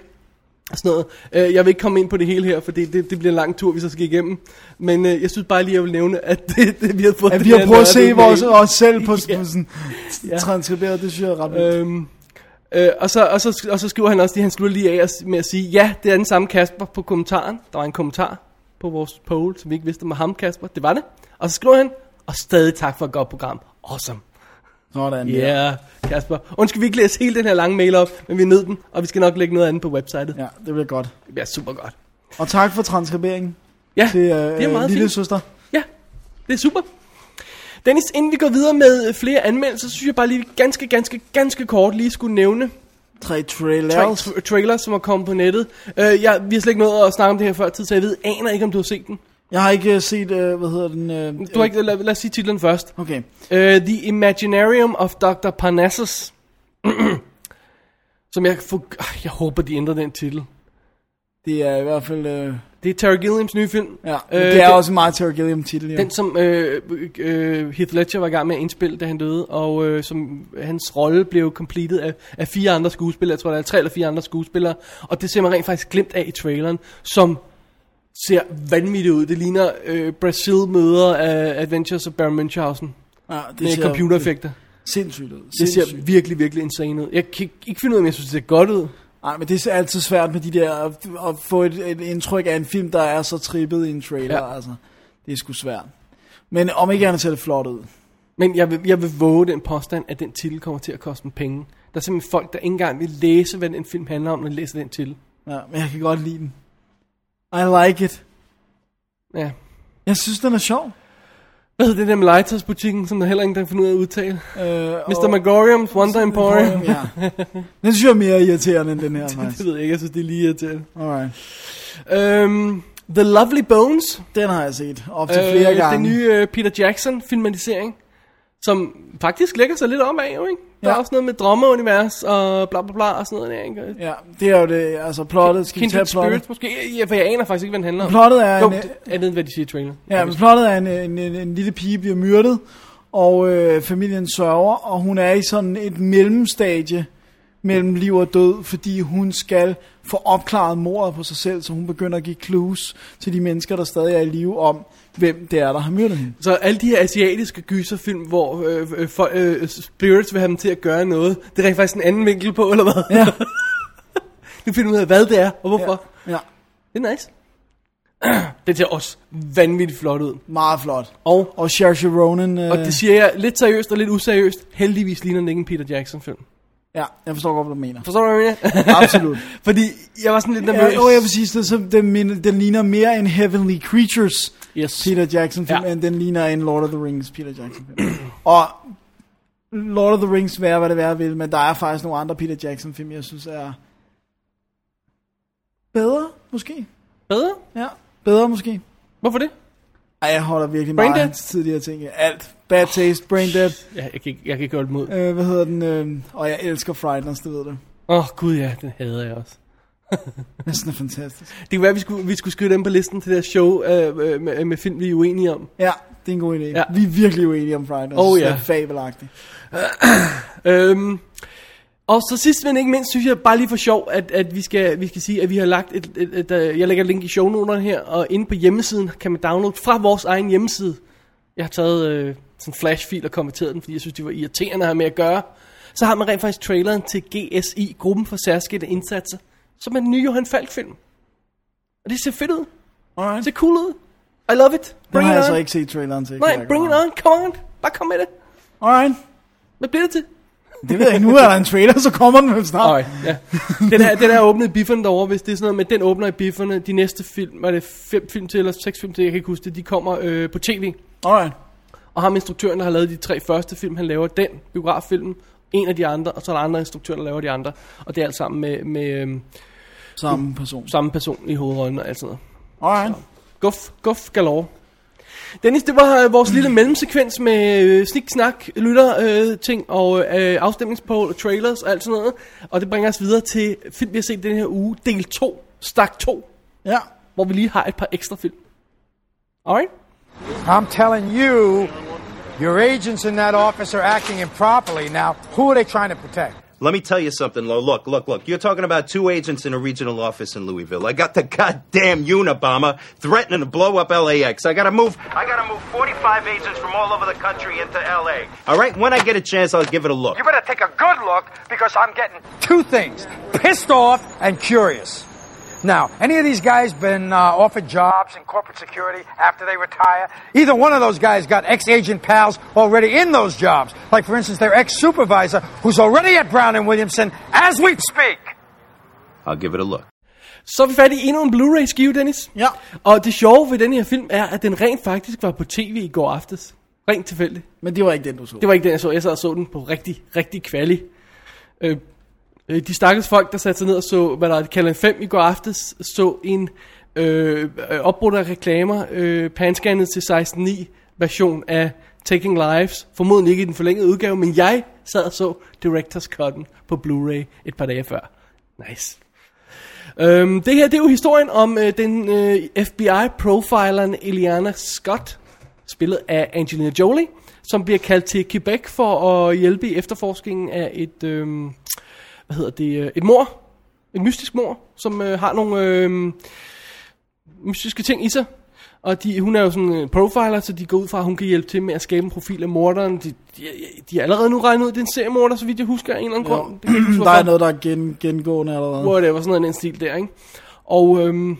A: og Sådan noget. Øh, jeg vil ikke komme ind på det hele her, for det, det, det bliver en lang tur, vi så skal igennem. Men øh, jeg synes bare lige, jeg vil nævne, at (laughs) det, det, vi har fået...
B: At
A: det
B: vi har
A: her
B: prøvet at
A: nørdet
B: se vores,
A: mail.
B: os selv på, på sådan
A: Ja.
B: transkriberet, det synes jeg er ret vildt.
A: Øhm, øh, og, så, og, så, og så skriver han også lige, han slutter lige af at- med at sige, ja, det er den samme Kasper på kommentaren. Der var en kommentar på vores poll, som vi ikke vidste om var ham, Kasper. Det var det. Og så skriver han, og stadig tak for et godt program. Awesome.
B: Sådan
A: Ja,
B: der.
A: yeah, Kasper. Undskyld, vi ikke læse hele den her lange mail op, men vi nød den, og vi skal nok lægge noget andet på websitet. Ja.
B: Ja, det bliver godt.
A: Det bliver super godt.
B: Og tak for transkriberingen
A: Ja,
B: til øh,
A: det er meget
B: lille
A: fint.
B: søster.
A: Ja, det er super. Dennis, inden vi går videre med øh, flere anmeldelser, så synes jeg bare lige, vi ganske, ganske, ganske kort lige skulle nævne
B: Tre
A: tra-
B: trailers.
A: tra- trailer, som er kommet på nettet. Øh, jeg, vi har slet ikke nået at snakke om det her før tid, så jeg ved, aner ikke, om du har set den.
B: Jeg har ikke øh, set, øh, hvad hedder den? Øh,
A: Du har ikke, lad, lad os sige titlen først.
B: Okay.
A: Øh, The Imaginarium of Dr. Parnassus. (clears throat) som jeg, for, jeg håber, de ændrer den titel.
B: Det er i hvert fald... Øh,
A: Det er Terry Gilliams nye film.
B: ja, øh, det er
A: den,
B: også en meget Terry Gilliam titel, ja.
A: Den, som øh, øh, Heath Ledger var i gang med at indspille, da han døde, og øh, som hans rolle blev completed af, af fire andre skuespillere. Jeg tror, der er tre eller fire andre skuespillere. Og det ser man rent faktisk glemt af i traileren, som ser vanvittigt ud. Det ligner øh, Brasil møder af Adventures of Baron Munchausen
B: ja, det
A: med
B: ser
A: computereffekter.
B: Sindssygt ud.
A: Det
B: Sindssygt.
A: ser virkelig, virkelig insane ud. Jeg kan ikke- ikke finde ud af, om jeg synes, det ser godt ud.
B: Nej, men det er altid svært med de der, at, at få et, et indtryk af en film, der er så trippet i en trailer, ja.
A: Ja.
B: altså. Det er sgu svært. Men om ikke andet ser det flot ud.
A: Men jeg vil, jeg vil våge den påstand, at den titel kommer til at koste dem penge. Der er simpelthen folk, der ikke engang vil læse, hvad den film handler om, når de læser den titel.
B: Ja, men jeg kan godt lide den. I like it.
A: Ja.
B: Jeg synes, den er sjov.
A: Hvad hedder det der med legetøjsbutikken, som der heller ingen der finder ud af at udtale?
B: Øh,
A: Mr. Megorium's Wonder Emporium.
B: Ja. Den synes jeg er mere irriterende end
A: (laughs)
B: den her,
A: det
B: faktisk.
A: ved jeg ikke, jeg synes, det er lige irriterende.
B: Alright.
A: Øhm, The Lovely Bones.
B: Den har jeg set op til øh, flere gange.
A: Den nye øh, Peter Jackson-filmatisering. Som faktisk lægger sig lidt om af, jo, ikke? Der
B: Ja.
A: er også noget med drømmeunivers og bla bla bla og sådan noget der, ikke?
B: Ja, det er jo det, altså plottet. Skal vi tage
A: Kindred
B: plottet?
A: Spirits måske? Ja, for jeg aner faktisk ikke, hvad den handler om.
B: Plottet er
A: jo,
B: en,
A: det- jeg ved, hvad de siger i traileren.
B: Ja, men plottet er en, en, en, en lille pige bliver myrdet, og øh, familien sørger, og hun er i sådan et mellemstadie mellem liv og død, fordi hun skal få opklaret mordet på sig selv, så hun begynder at give clues til de mennesker, der stadig er i live om, hvem det er, der har myrdet hende.
A: Så alle de her asiatiske gyserfilm, hvor øh, øh, for, øh, spirits vil have dem til at gøre noget, det er rent faktisk en anden vinkel på, eller hvad?
B: Ja.
A: Du finder ud af, hvad det er, og hvorfor. Ja.
B: Ja,
A: Det er nice. (clears throat) det ser også vanvittigt flot ud.
B: meget flot.
A: Og,
B: Og Saoirse Ronan... Øh,
A: og det siger jeg lidt seriøst og lidt useriøst, heldigvis ligner den ikke en Peter Jackson-film.
B: øh, Ja, jeg forstår godt, hvad du mener.
A: Forstår du, hvad jeg mener?
B: Absolut.
A: (laughs) Fordi jeg var sådan lidt nervøs.
B: Ja, og jeg vil sige, det, så den, min- den ligner mere en Heavenly Creatures
A: Yes.
B: Peter Jackson film, ja.
A: Ja.
B: end den ligner en Lord of the Rings Peter Jackson film. og Lord of the Rings, være hvad det være vil, men der er faktisk nogle andre Peter Jackson film, jeg synes er bedre, måske.
A: Bedre?
B: Ja, bedre måske.
A: Hvorfor det?
B: Ej, jeg holder virkelig
A: Brain
B: meget af
A: Dead?
B: hans tidligere ting. Alt. Bad Taste, Brain Dead.
A: Ja, jeg, kan ikke, jeg kan ikke holde dem ud. Åh,
B: Øh, hvad hedder den? Øh, og jeg elsker Frighteners, det ved du.
A: oh, gud ja, den hader jeg også.
B: Næsten er fantastisk.
A: Det kan være, at vi skulle, vi skulle skrive dem på listen til det der show øh, øh, med, med film, vi er uenige om.
B: Ja, det er en god idé. Ja.
A: Ja.
B: Vi er virkelig uenige om Frighteners.
A: Oh,
B: Det
A: ja.
B: er fabelagtigt.
A: Øhm, og så sidst men ikke mindst, synes jeg bare lige for sjov, at, at vi, skal, vi skal sige, at vi har lagt et, et, et, et jeg lægger et link i shownoterne her, og inde på hjemmesiden kan man downloade fra vores egen hjemmeside. Jeg har taget øh, sådan en flashfil og konverteret den, fordi jeg synes, det var irriterende at have med at gøre. Så har man rent faktisk traileren til GSI, Gruppen for Særskilte Indsatser, som er den nye Johan Falk film. Og det ser fedt ud.
B: Alright.
A: Det ser cool ud. I love it.
B: Den
A: Bring
B: har
A: it
B: jeg
A: on.
B: så ikke set traileren til.
A: Nej, bring it on. Come on. Bare kom med det.
B: Alright.
A: Hvad bliver det til?
B: Det ved jeg ikke. Nu er der en trailer, så kommer den vel snart.
A: Nej, ja. Den her, den her åbnede i bifferne derovre, hvis det er sådan noget med, den åbner i bifferne. De næste film, er det fem film til, eller seks film til, jeg kan ikke huske det, de kommer øh, på tv.
B: Alright.
A: Og ham instruktøren, der har lavet de tre første film, han laver den biograffilm, en af de andre, og så er der andre instruktører, der laver de andre. Og det er alt sammen med, med øhm,
B: Samme person.
A: samme person i hovedrollen og alt sådan noget.
B: Alright.
A: Guf, guf galore. Dennis, det var øh, vores lille mellemsekvens med øh, snik, snak, lytter, øh, ting og øh, afstemningspoll og trailers og alt sådan noget. Og det bringer os videre til film, vi har set den her uge, del 2, stak 2,
B: Ja.
A: hvor vi lige har et par ekstra film. Alright?
F: I'm telling you, your agents in that office are acting improperly. Now, who are they trying to protect?
H: Let me tell you something, Lo. Look, look, look. You're talking about two agents in a regional office in Louisville. I got the goddamn Unabomber threatening to blow up LAX. I gotta move. I gotta move 45 agents from all over the country into LA. All right, when I get a chance, I'll give it a look.
F: You better take a good look because I'm getting two things pissed off and curious. Now, any of these guys been uh, offered jobs in corporate security after they retire? Either one of those guys got ex agent pals already in those jobs. Like, for instance, their ex supervisor, who's already at Brown and Williamson as we speak.
H: I'll give it a look.
A: Så er vi fat i endnu en Blu-ray-skive, Dennis.
B: Ja.
A: Og det sjove ved den her film er, at den rent faktisk var på tv i går aftes. Rent tilfældigt.
B: Men det var ikke den, du så.
A: Det var ikke den, jeg så. Jeg sad og så den på rigtig, rigtig kvali. Øh, øh, de stakkels folk, der satte sig ned og så, hvad der er kaldet 5 i går aftes, så en øh, øh, opbrudt af reklamer, øh, panskannet til 16.9 version af Taking Lives. Formodentlig ikke i den forlængede udgave, men jeg sad og så Directors Cut'en på Blu-ray et par dage før. Nice. Øhm, det her, det er jo historien om øh, den øh, FBI-profileren Eliana Scott, spillet af Angelina Jolie, som bliver kaldt til Quebec for at hjælpe i efterforskningen af et, øh, hvad hedder det, øh, et mor, et mystisk mor, som øh, har nogle øh, mystiske ting i sig. Og de, hun er jo sådan en profiler, så de går ud fra, at hun kan hjælpe til med at skabe en profil af morderen. De, de, de er allerede nu regnet ud, at det er en seriemorder, så vidt jeg husker, af en eller anden grund. Det kan jeg ikke huske,
B: (clears throat) Der er
A: hvorfor
B: noget, der er gen, gengående eller hvad.
A: Mm. whatever, sådan noget i den stil der, ikke? Og øhm,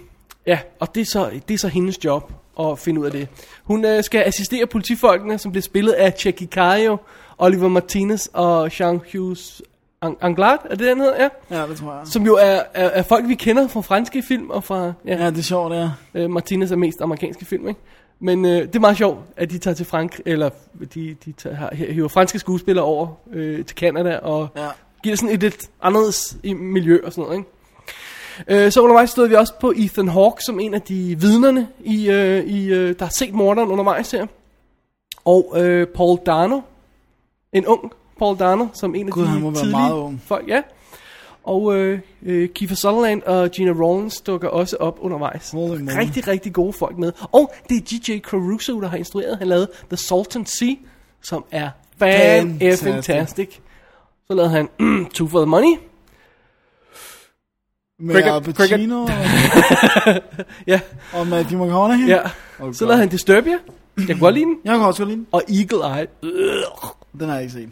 A: ja, og det er, så, det er så hendes job at finde ud af det. Hun øh, skal assistere politifolkene, som bliver spillet af Jackie Cario, Oliver Martinez og Jean Hughes Ang- Anglade, er det den hedder? Ja.
B: Ja, det tror jeg.
A: Som jo er, er, er folk, vi kender fra franske film og fra... Ja,
B: Ja, det er sjovt, ja.
A: Øh, Martinez er mest amerikanske film, ikke? Men øh, det er meget sjovt, at de tager til Frank, eller de, de tager, har- hiver franske skuespillere over øh, til Canada, og ja.
B: Ja.
A: giver sådan et lidt anderledes i miljø og sådan noget, ikke? Øh, så undervejs stod vi også på Ethan Hawke, som en af de vidnerne, i, øh, i, øh, der har set morderen undervejs her. Og øh, Paul Dano, en ung Paul Dano, som en af
B: Gud,
A: de
B: han må være
A: tidlige
B: meget ung.
A: folk, ja. Og øh, øh, Kiefer Sutherland og Gina Rollins dukker også op undervejs.
B: Holy moly.
A: Rigtig, rigtig gode folk med. Og det er DJ Caruso, der har instrueret. Han lavede The Sultan Sea, som er fan-fantastic. Så lavede han (clears throat) Two for the Money.
B: Med
A: Cricket,
B: Al Pacino
A: Ja,
B: og, og Matthew McConaughey.
A: ja. (laughs)
B: Oh,
A: Så lavede han Disturbia. Jeg kunne godt lide den.
B: Jeg kan også godt lide den.
A: Og Eagle Eye. Ugh.
B: Den har jeg ikke set.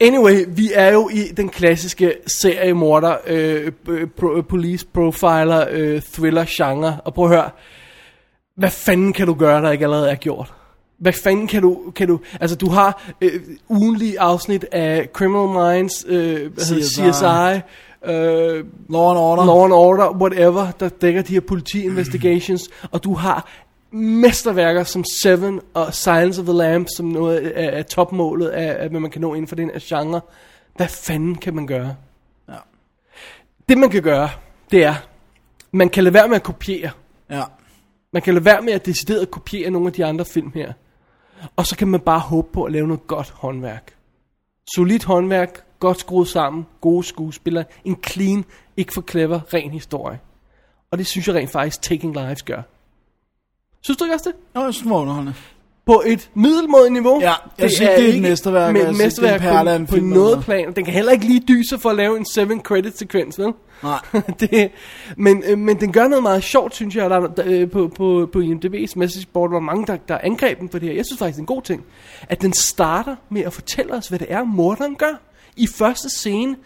A: Anyway, vi er jo i den klassiske seriemorder, øh, øh, pro, øh, police profiler, øh, thriller genre. Og prøv at høre, hvad fanden kan du gøre, der ikke allerede er gjort? Hvad fanden kan du, kan du altså du har øh, ugenlige afsnit af Criminal Minds, øh, hvad CSI,
B: CSI.
A: hedder, CSI øh,
B: Law and Order.
A: Law and Order, whatever, der dækker de her politi-investigations, og du har mesterværker som Seven og Silence of the Lambs, som noget af, af topmålet af, af, hvad man kan nå inden for den her genre. Hvad fanden kan man gøre?
B: Ja.
A: Det man kan gøre, det er, man kan lade være med at kopiere.
B: Ja.
A: Man kan lade være med at decideret kopiere nogle af de andre film her. Og så kan man bare håbe på at lave noget godt håndværk. Solidt håndværk, godt skruet sammen, gode skuespillere, en clean, ikke for clever, ren historie. Og det synes jeg rent faktisk Taking Lives gør. Synes du ikke også det?
B: Nå, jeg synes, det var underholdende.
A: På et middelmådigt niveau.
B: Ja, jeg synes ikke, det er et mesterværk, og
A: Men
B: jeg
A: et
B: synes ikke, det er en
A: mesterværk
B: perle af en
A: på, på
B: film,
A: noget
B: altså.
A: plan. Den kan heller ikke lige dyse for at lave en 7-credit-sekvens, vel?
B: Nej.
A: (laughs) det, men, øh, men den gør noget meget sjovt, synes jeg, og der, der, øh, på, på, på IMDb's message board, hvor mange der, der angreb den på det her. Jeg synes faktisk, det er en god ting. At den starter med at fortælle os, hvad det er, morderen gør. I første scene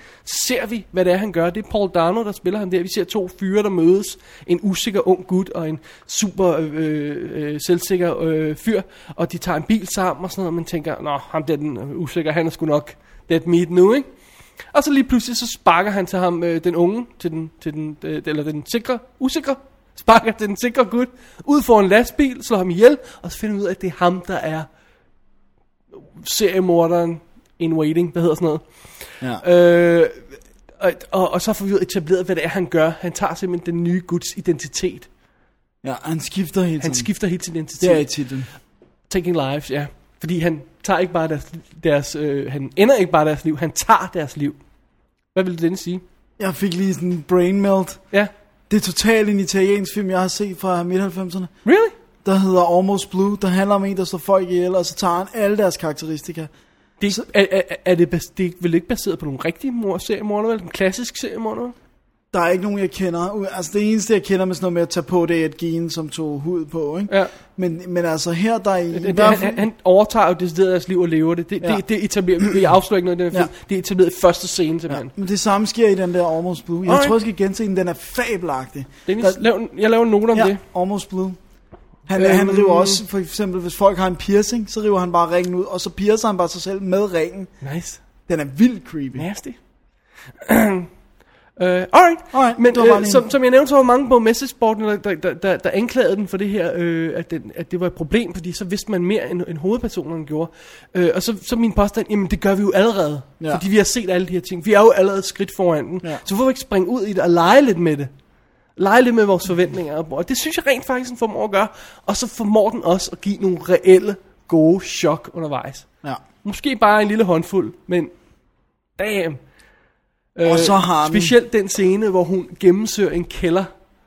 A: ser vi, hvad det er, han gør. Det er Paul Dano, der spiller ham der. Vi ser to fyre, der mødes. En usikker ung gut og en super øh, øh, selvsikker øh, fyr. Og de tager en bil sammen og sådan noget. Og man tænker, nå, ham der den øh, usikre, han er sgu nok dead meat nu, ikke? Og så lige pludselig, så sparker han til ham, øh, den unge, til den, til den, øh, eller den sikre, usikre, (laughs) sparker til den sikre gut, ud for en lastbil, slår ham ihjel, og så finder vi ud af, at det er ham, der er seriemorderen in waiting, hvad hedder sådan noget.
B: Ja.
A: Øh, og, og, og så får vi ud etableret, hvad det er, han gør. Han tager simpelthen den nye guds identitet.
B: ja, han skifter hele tiden.
A: Han skifter helt sin identitet.
B: Det er i titlen.
A: Taking Lives, ja. Fordi han tager ikke bare deres, deres øh, han ender ikke bare deres liv, han tager deres liv. Hvad vil den sige?
B: Jeg fik lige sådan en brain melt.
A: Ja.
B: Det er totalt en italiensk film, jeg har set fra midt-90'erne,
A: Really?
B: der hedder Almost Blue, der handler om en, der slår folk ihjel, og så tager han alle deres karakteristika.
A: Det er, ikke, er, er, er det, bas, det er vel ikke baseret på nogle rigtige mor seriemorder, vel? En klassisk seriemorder, vel?
B: Der er ikke nogen, jeg kender. U- Altså det eneste, jeg kender med sådan noget med at tage på, det er et gen, som tog hud på, ikke?
A: Ja.
B: Men, men altså her, der er i... i
A: Det, det,
B: hvert
A: han,
B: fald-
A: han- han overtager jo decideret deres liv og lever det. Det, ja.
B: Ja.
A: det, det etablerer vi. Jeg afslører ikke noget i den her film. Det er etableret i første scene, simpelthen.
B: Men det samme sker i den der Almost Blue. Jeg
A: Alright.
B: tror, jeg skal gense den. Den er fabelagtig.
A: Dennis,
B: Der-
A: lav, en- jeg laver en note om
B: ja,
A: det.
B: Almost Blue. Han,
A: Øhm.
B: øhm. han river også, for eksempel, hvis folk har en piercing, så river han bare ringen ud, og så piercer han bare sig selv med ringen.
A: Nice.
B: Den er vildt creepy.
A: Nasty. (clears throat) Uh, alright.
B: Alright,
A: men
B: det var bare
A: øh,
B: lige-
A: som, som jeg nævnte, så var mange på messageboarden, der, der, der, der, der anklagede den for det her, øh, at, den, at det var et problem, fordi så vidste man mere, end, end hovedpersonerne gjorde. Øh, og så, så min påstand, jamen det gør vi jo allerede, ja.
B: Ja.
A: fordi vi har set alle de her ting. Vi er jo allerede et skridt foran den, ja.
B: Ja.
A: så hvorfor ikke springe ud i det og lege lidt med det? Lege lidt med vores forventninger, og det synes jeg rent faktisk, den formår at gøre. Og så formår den også at give nogle reelle, gode chok undervejs.
B: Ja.
A: Måske bare en lille håndfuld, men damn. Øh,
B: så har han-
A: Specielt den scene, hvor hun gennemsøger en kælder.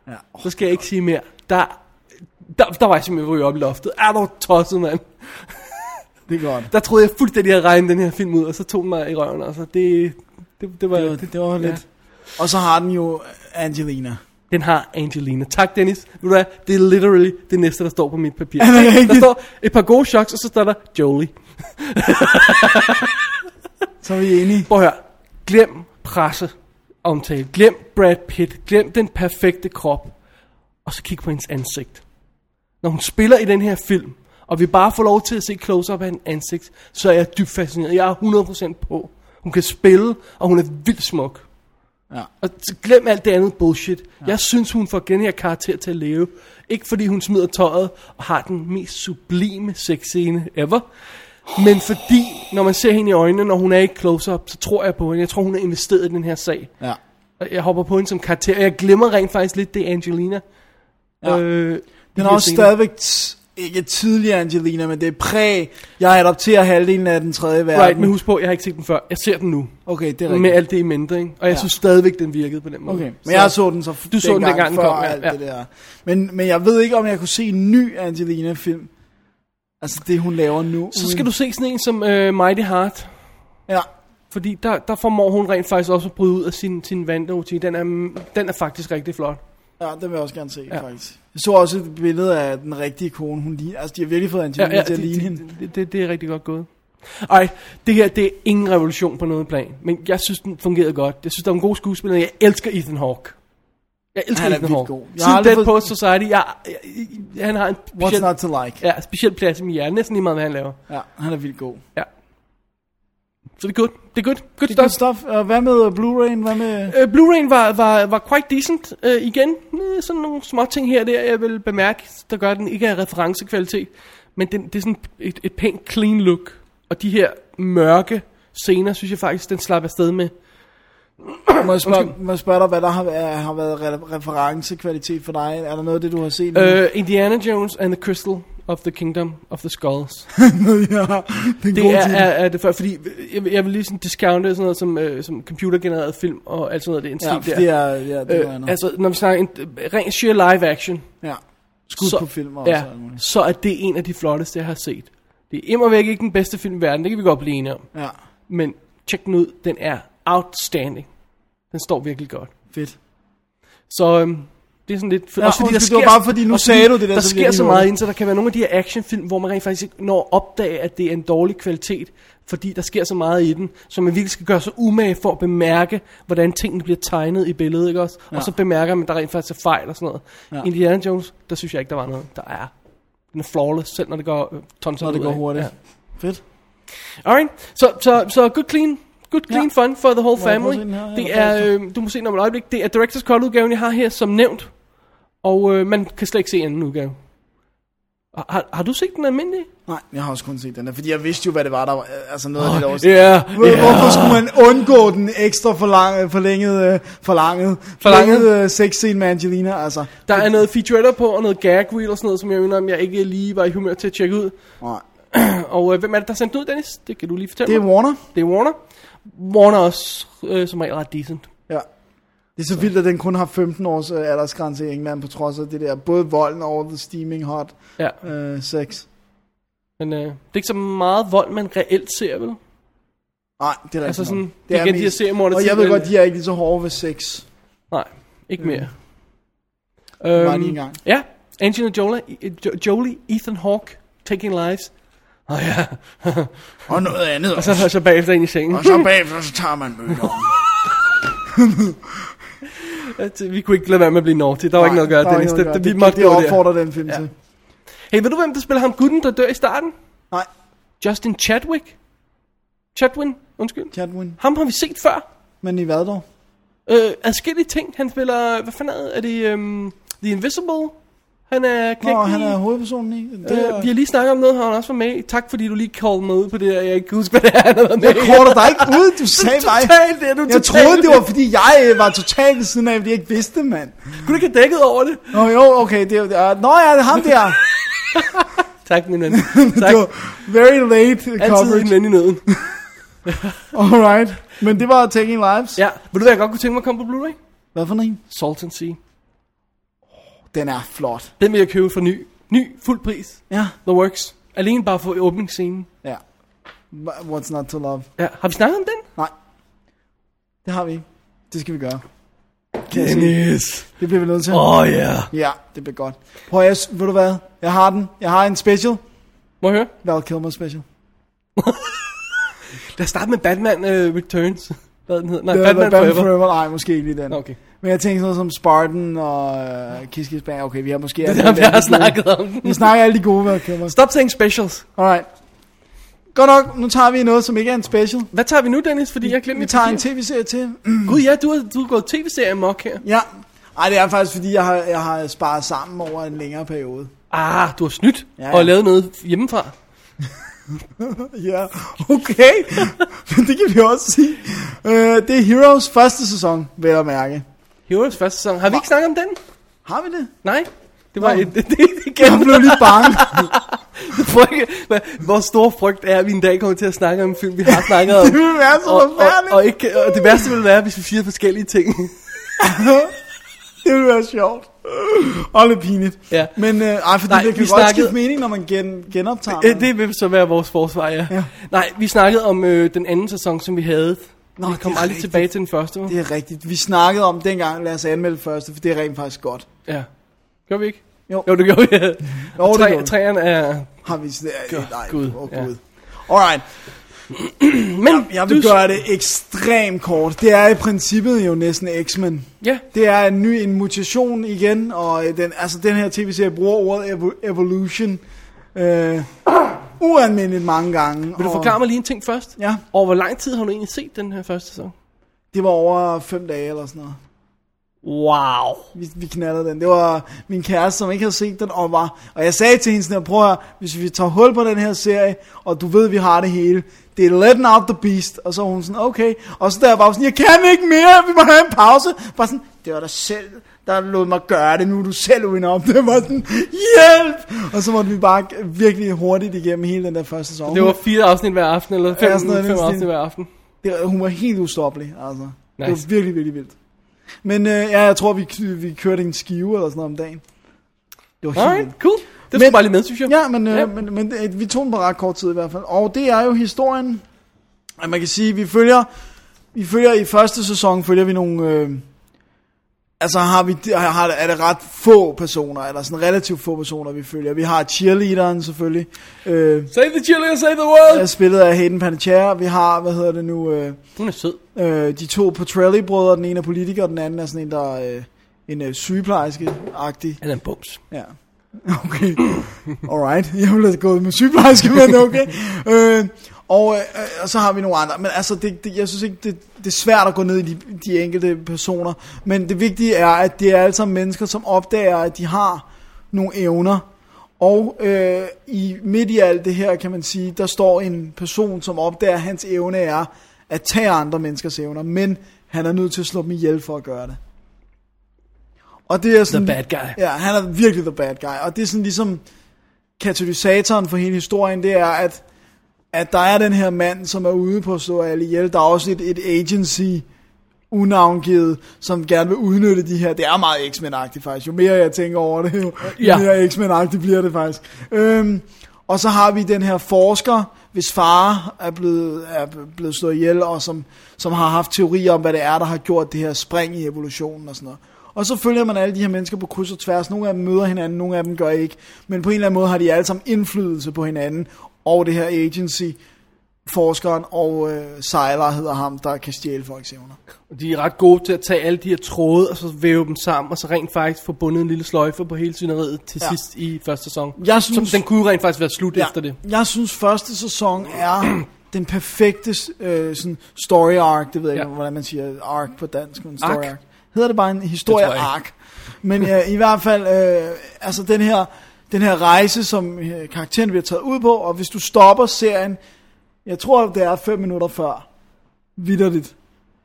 B: Ja.
A: Så skal jeg ikke sige mere. Der, der, der var jeg simpelthen ryge op i loftet. Er du tosset, mand?
B: Det er godt.
A: Der troede jeg fuldstændig, at jeg regnede den her film ud, og så tog den mig i røven. Altså, det, det, det var,
B: Det var, det, det var lidt... Og så har den jo Angelina.
A: Den har Angelina. Tak, Dennis. Ved du hvad? Det er literally det næste, der står på mit papir.
B: Er det
A: der
B: rigtigt?
A: står et par gode shots, og så står der Jolie.
B: Så er vi enige.
A: Prøv at høre. Glem presse omtale. Glem Brad Pitt. Glem den perfekte krop. Og så kig på hendes ansigt. Når hun spiller i den her film, og vi bare får lov til at se close-up af hendes ansigt, så er jeg dybt fascineret. Jeg er 100% på. Hun kan spille, og hun er vildt smuk.
B: Ja.
A: Og så glem alt det andet bullshit. Ja. Jeg synes, hun får den her karakter til at leve. Ikke fordi hun smider tøjet og har den mest sublime sexscene ever. Men fordi, når man ser hende i øjnene, når hun er i close-up, så tror jeg på hende. Jeg tror, hun er investeret i den her sag.
B: Ja.
A: Og Jeg hopper på hende som karakter, og jeg glemmer rent faktisk lidt, det er Angelina.
B: Ja.
A: Øh,
B: Den er også stadigvæk t- ikke tidlig Angelina, men det er præg. Jeg adopterer halvdelen af den tredje verden.
A: Right, men husk på, jeg har ikke set den før. Jeg ser den nu.
B: Okay, det er
A: Med
B: rigtigt.
A: alt det i mente, ikke? Og jeg ja.
B: Ja.
A: synes stadigvæk, den virkede på den måde.
B: Okay, men jeg så den så f-
A: Du så den dengang den
B: før
A: kom, ja,
B: alt
A: ja.
B: det der. Men, men jeg ved ikke, om jeg kunne se en ny Angelina-film. Altså det, hun laver nu.
A: Så skal du se sådan en som øh, Mighty Heart.
B: Ja,
A: Fordi der, der formår hun rent faktisk også at bryde ud af sin, sin vandrutin. Den er, den er faktisk rigtig flot.
B: ja, den vil jeg også gerne se,
A: Ja.
B: ja. faktisk. Jeg så også et billede af den rigtige kone, hun ligner. Altså, de har virkelig fået Angelina ja, ja, til at
A: det,
B: ligne hende.
A: det, det, det, det er rigtig godt gået. Ej, det her, det er ingen revolution på noget plan. Men jeg synes, den fungerede godt. Jeg synes, der er en god skuespiller. Jeg elsker Ethan Hawke. Jeg elsker
B: Han er
A: Ethan
B: vildt
A: Hawke.
B: god. Jeg har
A: Siden
B: aldrig
A: Dead
B: fået-
A: Poets Society, jeg, jeg, jeg, han har en
B: What's
A: speciel,
B: not to like?
A: ja, speciel plads i min hjerne. Næsten lige meget, hvad han laver.
B: Ja, han er vildt god.
A: Ja. Så det er godt. Det er godt. Good
B: Det er godt
A: stuff.
B: stof. Og hvad med øh, Blu-ray'en? Hvad med...
A: Uh, Blu-ray'en var, var, var quite decent uh, igen. Uh, sådan nogle små ting her og der, jeg vil bemærke, der gør at den ikke er referencekvalitet. Men den, det er sådan et, et pænt clean look. Og de her mørke scener, synes jeg faktisk, den slap afsted med.
B: Mm. Må jeg spørge, må jeg spørge dig, hvad der har, er- har været re- referenkvalitet for dig? Er der noget af det, du har (laughs) set? nu?
A: Uh, Indiana Jones and the Crystal of the Kingdom of the Skulls.
B: ja, det er,
A: Det
B: en
A: er,
B: god
A: er,
B: er,
A: er det før, fordi jeg, vil- jeg vil lige sådan discounte sådan noget som, øh, som computergenereret film og alt sådan noget. Det er en
B: ja,
A: stil
B: det
A: der.
B: er, ja, det er noget
A: øh,
B: andet.
A: altså, når vi snakker en, ren sheer live action,
B: ja. Skud på film og
A: ja,
B: alt muligt.
A: så er det en af de flotteste, jeg har set. Det er imod væk ikke den bedste film i verden, det kan vi godt blive enige om.
B: Ja,
A: Men tjek den ud, den er outstanding. Den står virkelig godt.
B: fedt.
A: Så øhm, Det er sådan lidt...
B: Ja, undskyld, det var bare fordi, nu
A: også
B: sagde du det der,
A: Der
B: så
A: sker
B: bliver jeg
A: så
B: lige
A: meget
B: hurtig.
A: inden, så der kan være nogle af de her actionfilm, hvor man rent faktisk ikke når at opdage, at det er en dårlig kvalitet, fordi der sker så meget i den, så man virkelig skal gøre sig umage for at bemærke, hvordan tingene bliver tegnet i billedet, ikke også? Ja. Og så bemærker man, at der rent faktisk er fejl og sådan noget. Ja. Indiana Jones, der synes jeg ikke, der var noget. Der er. Den er flawless, selv når det går øh, tons
B: Når det
A: ud
B: går
A: af.
B: hurtigt.
A: Ja.
B: Fedt.
A: Alright, så, så, så good clean. Good clean ja. fun for the whole
B: Må jeg prøve
A: family.
B: at se den her?
A: Det
B: Ja,
A: er, øh, du må se den om et øjeblik. Det er Directors Cut udgaven, jeg har her som nævnt. Og øh, man kan slet ikke se anden udgave. Har- Har, har du set den almindelige?
B: Nej, jeg har også kun set den der, fordi jeg vidste jo, hvad det var, der var øh, altså noget oh, af det der også.
A: Ja,
B: Hvor- Hvorfor skulle man undgå den ekstra forlang, forlænget, øh, forlanget,
A: Forlanget?
B: forlænget øh, sexscene med Angelina? Altså,
A: Der er noget featurette på, og noget gag reel og sådan noget, som jeg mener, jeg ikke lige var i humør til at tjekke ud.
B: nej.
A: (clears throat) Og øh, hvem er det, der sendte ud, Dennis? Det kan du lige fortælle
B: Det er
A: mig.
B: Warner.
A: Det er Warner. Warner er også øh, som regel ret decent.
B: Ja. Det er så vildt, at den kun har 15 års øh, aldersgrænse i England, på trods af det der, både volden og the steaming hot
A: Ja.
B: øh, sex.
A: Men øh, det er ikke så meget vold, man reelt ser, vel?
B: Nej, det er der
A: Altså
B: ikke noget.
A: sådan, igen, de her seriemorder
B: Og jeg
A: til,
B: ved
A: men-
B: godt, de er ikke lige så hårde ved
A: (laughs)
B: sex.
A: Nej, ikke mere.
B: Øhm, bare lige en gang.
A: Ja, Angelina Jolie, jo, Jolie Ethan Hawke, Taking Lives. Åh oh, ja,
B: Og noget
A: (laughs)
B: andet
A: og så, så bagefter ind i sengen.
B: Og så bagefter, så tager man møder.
A: (laughs) vi kunne ikke lade være med at blive naughty. Der var ikke noget at gøre, Dennis. Det, det, vi måtte
B: det
A: gå
B: opfordrer den film
A: Ja.
B: ja. til.
A: der. Hey, ved du hvem, der spiller ham gutten, der dør i starten?
B: Nej,
A: Justin Chadwick. Chadwin, undskyld.
B: Chadwin.
A: Ham har vi set før.
B: Men i hvad dog?
A: Øh, adskillige ting. Han spiller, hvad fanden er det? Er det øhm, The Invisible? Han er knægt
B: Nå, han
A: i-
B: er hovedpersonen i. Det er,
A: Øh, vi har lige snakket om noget, han også var med i. Tak fordi du lige kaldte mig ud på det, og jeg ikke kan huske, hvad det er, han har været med i.
B: Korter dig ikke ud,
A: (laughs)
B: du sagde mig.
A: Totalt, det er du
B: Jeg
A: totalt-
B: troede, det var, fordi jeg øh, var totalt ved siden af, fordi jeg ikke vidste det, mand.
A: Kunne du ikke have dækket over det?
B: Nå jo, okay, det er det er- Nå ja, det er ham der.
A: Tak, min ven. Tak.
B: (laughs) det var very late
A: Altid en
B: coverage.
A: ven i
B: (laughs)
A: nøden.
B: Alright. Men det var Taking Lives.
A: Ja. Ved du, hvad jeg godt kunne tænke mig at komme på Blu-ray?
B: Hvad for en?
A: Salt and Sea.
B: Den er flot.
A: Den vil jeg købe for ny. Ny, fuld pris.
B: Ja.
A: The Works. Alene bare for åbningsscenen.
B: Ja. Wha- What's not to love?
A: Ja. Har vi snakket om den?
B: Nej. Det har vi ikke. Det skal vi gøre.
A: Dennis.
B: Det bliver vi nødt til.
A: Åh, oh, ja. Yeah.
B: Ja, det bliver godt. Prøv at, ved du hvad? Jeg har den. Jeg har en special.
A: Må jeg høre?
B: Val Kilmer special.
A: Lad os starte med Batman uh, Returns. Hvad den hedder? Nej,
B: Det var
A: Batman,
B: Batman
A: (laughs) Forever.
B: Forever. Nej, måske ikke lige den.
A: Nå, Okay.
B: Men jeg tænkte sådan noget som Spartan og øh, Kiss Kiss Bang. Okay, vi har måske...
A: Det er der, vi har snakket om den.
B: Vi snakker alle de gode Val Kilmer.
A: Stop saying specials.
B: Alright. Godt nok, nu tager vi noget, som ikke er en special.
A: Hvad tager vi nu, Dennis? Fordi jeg glemte
B: Vi
A: mit
B: tager en
A: papir.
B: tv-serie til. (clears throat)
A: Gud, ja, du har, du har gået tv-serie mok her.
B: Ja. Ej, det er faktisk, fordi jeg har, jeg har sparet sammen over en længere periode.
A: Ah, du har snydt ja,
B: Ja,
A: ja. og
B: ja.
A: lavet noget hjemmefra.
B: Ja, okay. (laughs) Men det kan vi også sige. Øh, det er Heroes første sæson, vel at mærke.
A: Heroes første sæson. Har vi ikke snakket om den?
B: Har vi det?
A: Nej. Det var
B: Nå.
A: et, (laughs) det, det, det
B: Jeg blev lige bange.
A: (laughs) frygt, Vores store frygt er, at vi en dag kommer til at snakke om en film, vi har snakket om.
B: (laughs) det ville være så
A: og, og,
B: forfærdeligt.
A: og, ikke, og det værste ville være, hvis vi siger forskellige ting.
B: Det ville være sjovt. Og lidt pinligt.
A: Ja.
B: Men øh, ej, fordi
A: Nej,
B: Nej, det kan
A: vi
B: godt snakkede...
A: snakkede-
B: skifte mening, når man gen, genoptager.
A: Øh, det vil så være vores forsvar, ja.
B: Ja.
A: Nej, vi snakkede om øh, den anden sæson, som vi havde. Nå, vi
B: det
A: kom
B: er
A: aldrig
B: rigtigt.
A: tilbage til den første. Det...
B: det er rigtigt. Vi snakkede om dengang, lad os anmelde første, for det er rent faktisk godt.
A: Ja. Gjorde vi ikke?
B: Jo.
A: jo det gjorde vi. Ja.
B: Jo, det
A: Tre-
B: gjorde vi.
A: Træerne er...
B: Har vi sådan...
A: Gud,
B: Nej,
A: Gud,
B: Åh,
A: ja.
B: Gud. Alright,
A: Men
B: jeg vil
A: du-
B: gøre det ekstremt kort. Det er i princippet jo næsten X-Men.
A: Ja,
B: Det er en ny en mutation igen, og øh, den, altså den her tv-serie bruger ordet evo- evolution øh, ualmindeligt mange gange.
A: vil du
B: og,
A: forklare mig lige en ting først?
B: Ja,
A: Og hvor lang tid har du egentlig set den her første sæson?
B: det var over fem dage eller sådan noget.
A: Wow.
B: Vi, vi knaldede den. Det var min kæreste, som ikke havde set den, og var... Og jeg sagde til hende sådan her, prøv at høre, hvis vi tager hul på den her serie, og du ved, vi har det hele, det er letting out the beast. Og så var hun sådan, okay. Og så der var jeg bare sådan, jeg kan ikke mere, vi må have en pause. Bare sådan, det var dig selv, der lod mig gøre det, nu er du selv uden om (laughs) det. var sådan, hjælp! Og så måtte vi bare virkelig hurtigt igennem hele den der første sæson.
A: Det var fire afsnit hver aften, eller fem,
B: Ja,
A: ja,
B: sådan noget i
A: fem
B: den stil.
A: afsnit hver aften.
B: Det, var- hun var helt ustoppelig, altså. Nice. Det var
A: Nice.
B: virkelig, virkelig vildt. Men øh, ja, jeg tror, vi, vi kørte en skive eller sådan noget om dagen. Det var helt vildt.
A: Alright, cool. Det
B: Men-
A: skulle bare lige med, synes jeg.
B: Ja, men, øh,
A: Ja.
B: ja. men, men øh, vi tog den på ret kort tid i hvert fald. Og det er jo historien, at man kan sige, vi følger, vi følger i første sæson, følger vi nogle, øh, altså har vi, har, er det ret få personer, eller sådan relativt få personer, vi følger. Vi har cheerleaderen selvfølgelig, øh,
A: Save the cheerleader, save the world!
B: der er spillet af Hayden Panettiere. Vi har, hvad hedder det nu, øh,
A: Hun er sød.
B: øh, de to Petrelli-brødre, den ene er politiker, og den anden er sådan en, der er øh, en øh, sygeplejerske-agtig.
A: Han er en bums.
B: Ja. (laughs) Okay. Alright. (laughs) Jeg ville have gået med sygeplejerske, men okay. Øh, og, øh, og så har vi nogle andre. Men altså, det, det, jeg synes ikke, det, det er svært at gå ned i de, de enkelte personer. Men det vigtige er, at det er altså mennesker, som opdager, at de har nogle evner. Og øh, i midt i alt det her, kan man sige, der står en person, som opdager, at hans evne er at tage andre menneskers evner. Men han er nødt til at slå dem ihjel for at gøre det. Og det er sådan...
A: bad guy.
B: Ja, han er virkelig the bad guy. Og det er sådan ligesom katalysatoren for hele historien, det er, at, at der er den her mand, som er ude på at slå alle ihjel. Der er også et, et agency, unavngivet, som gerne vil udnytte de her. Det er meget X-Men-agtigt faktisk. Jo mere jeg tænker over det, jo
A: Ja.
B: ja. mere X-Men-agtigt bliver det faktisk. Øhm, og så har vi den her forsker, hvis far er blevet, er blevet slået ihjel, og som, som har haft teorier om, hvad det er, der har gjort det her spring i evolutionen og sådan noget. Og så følger man alle de her mennesker på kryds og tværs. Nogle af dem møder hinanden, nogle af dem gør ikke. Men på en eller anden måde har de alle sammen indflydelse på hinanden og det her agency, forskeren og øh, Sejler hedder ham, der kan stjæle folks evner.
A: Og De er ret gode til at tage alle de her tråde, og så væve dem sammen, og så rent faktisk få bundet en lille sløjfe på hele sceneriet til ja.
B: Ja.
A: sidst i første sæson.
B: Jeg
A: Som
B: synes-
A: den kunne rent faktisk være slut ja. efter det.
B: Jeg synes første sæson er (clears throat) den perfekte øh, sådan story arc. Det ved jeg
A: Ja.
B: ja. ikke, hvordan man siger arc på dansk. Men story
A: Arc.
B: arc. arc. Hedder det bare en historie
A: Det tror jeg
B: arc? Men øh, i hvert fald, øh, altså den her, den her rejse, som øh, karakteren bliver taget ud på, og hvis du stopper serien, jeg tror det er 5 minutter før, vidderligt,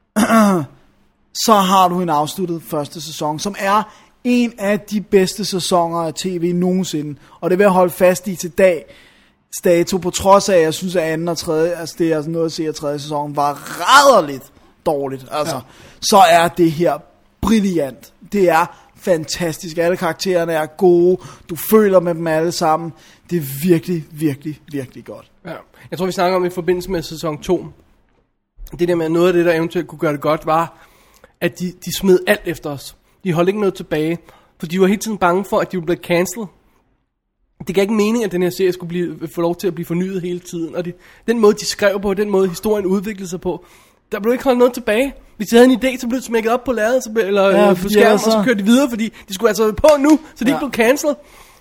B: (clears throat) så har du en afsluttet første sæson, som er en af de bedste sæsoner af tv nogensinde. Og det vil jeg holde fast i til dag dato, på trods af, at jeg synes, at anden og tredje, altså det jeg nåede at se af tredje sæson, var ræderligt dårligt. Altså, ja. så er det her brilliant. Det er fantastisk. Alle karaktererne er gode. Du føler med dem alle sammen. Det er virkelig, virkelig, virkelig godt.
A: Ja. Jeg tror, vi snakker om i forbindelse med sæson 2. Det der med, at noget af det, der eventuelt kunne gøre det godt, var, at de, de smed alt efter os. De holdt ikke noget tilbage, for de var hele tiden bange for, at de ville blive cancelled. Det gav ikke mening, at den her serie skulle blive, få lov til at blive fornyet hele tiden. Og det, den måde, de skrev på, den måde, historien udviklede sig på, der blev ikke holdt noget tilbage. Hvis de havde en idé, så blev det smækket op på ladet, så blev, eller
B: Ja,
A: ja, på
B: fordi
A: skærmen, og
B: ellers
A: så
B: så-
A: kørte de videre, fordi de skulle altså på nu, så de ja.
B: Ja.
A: ikke blev cancelled.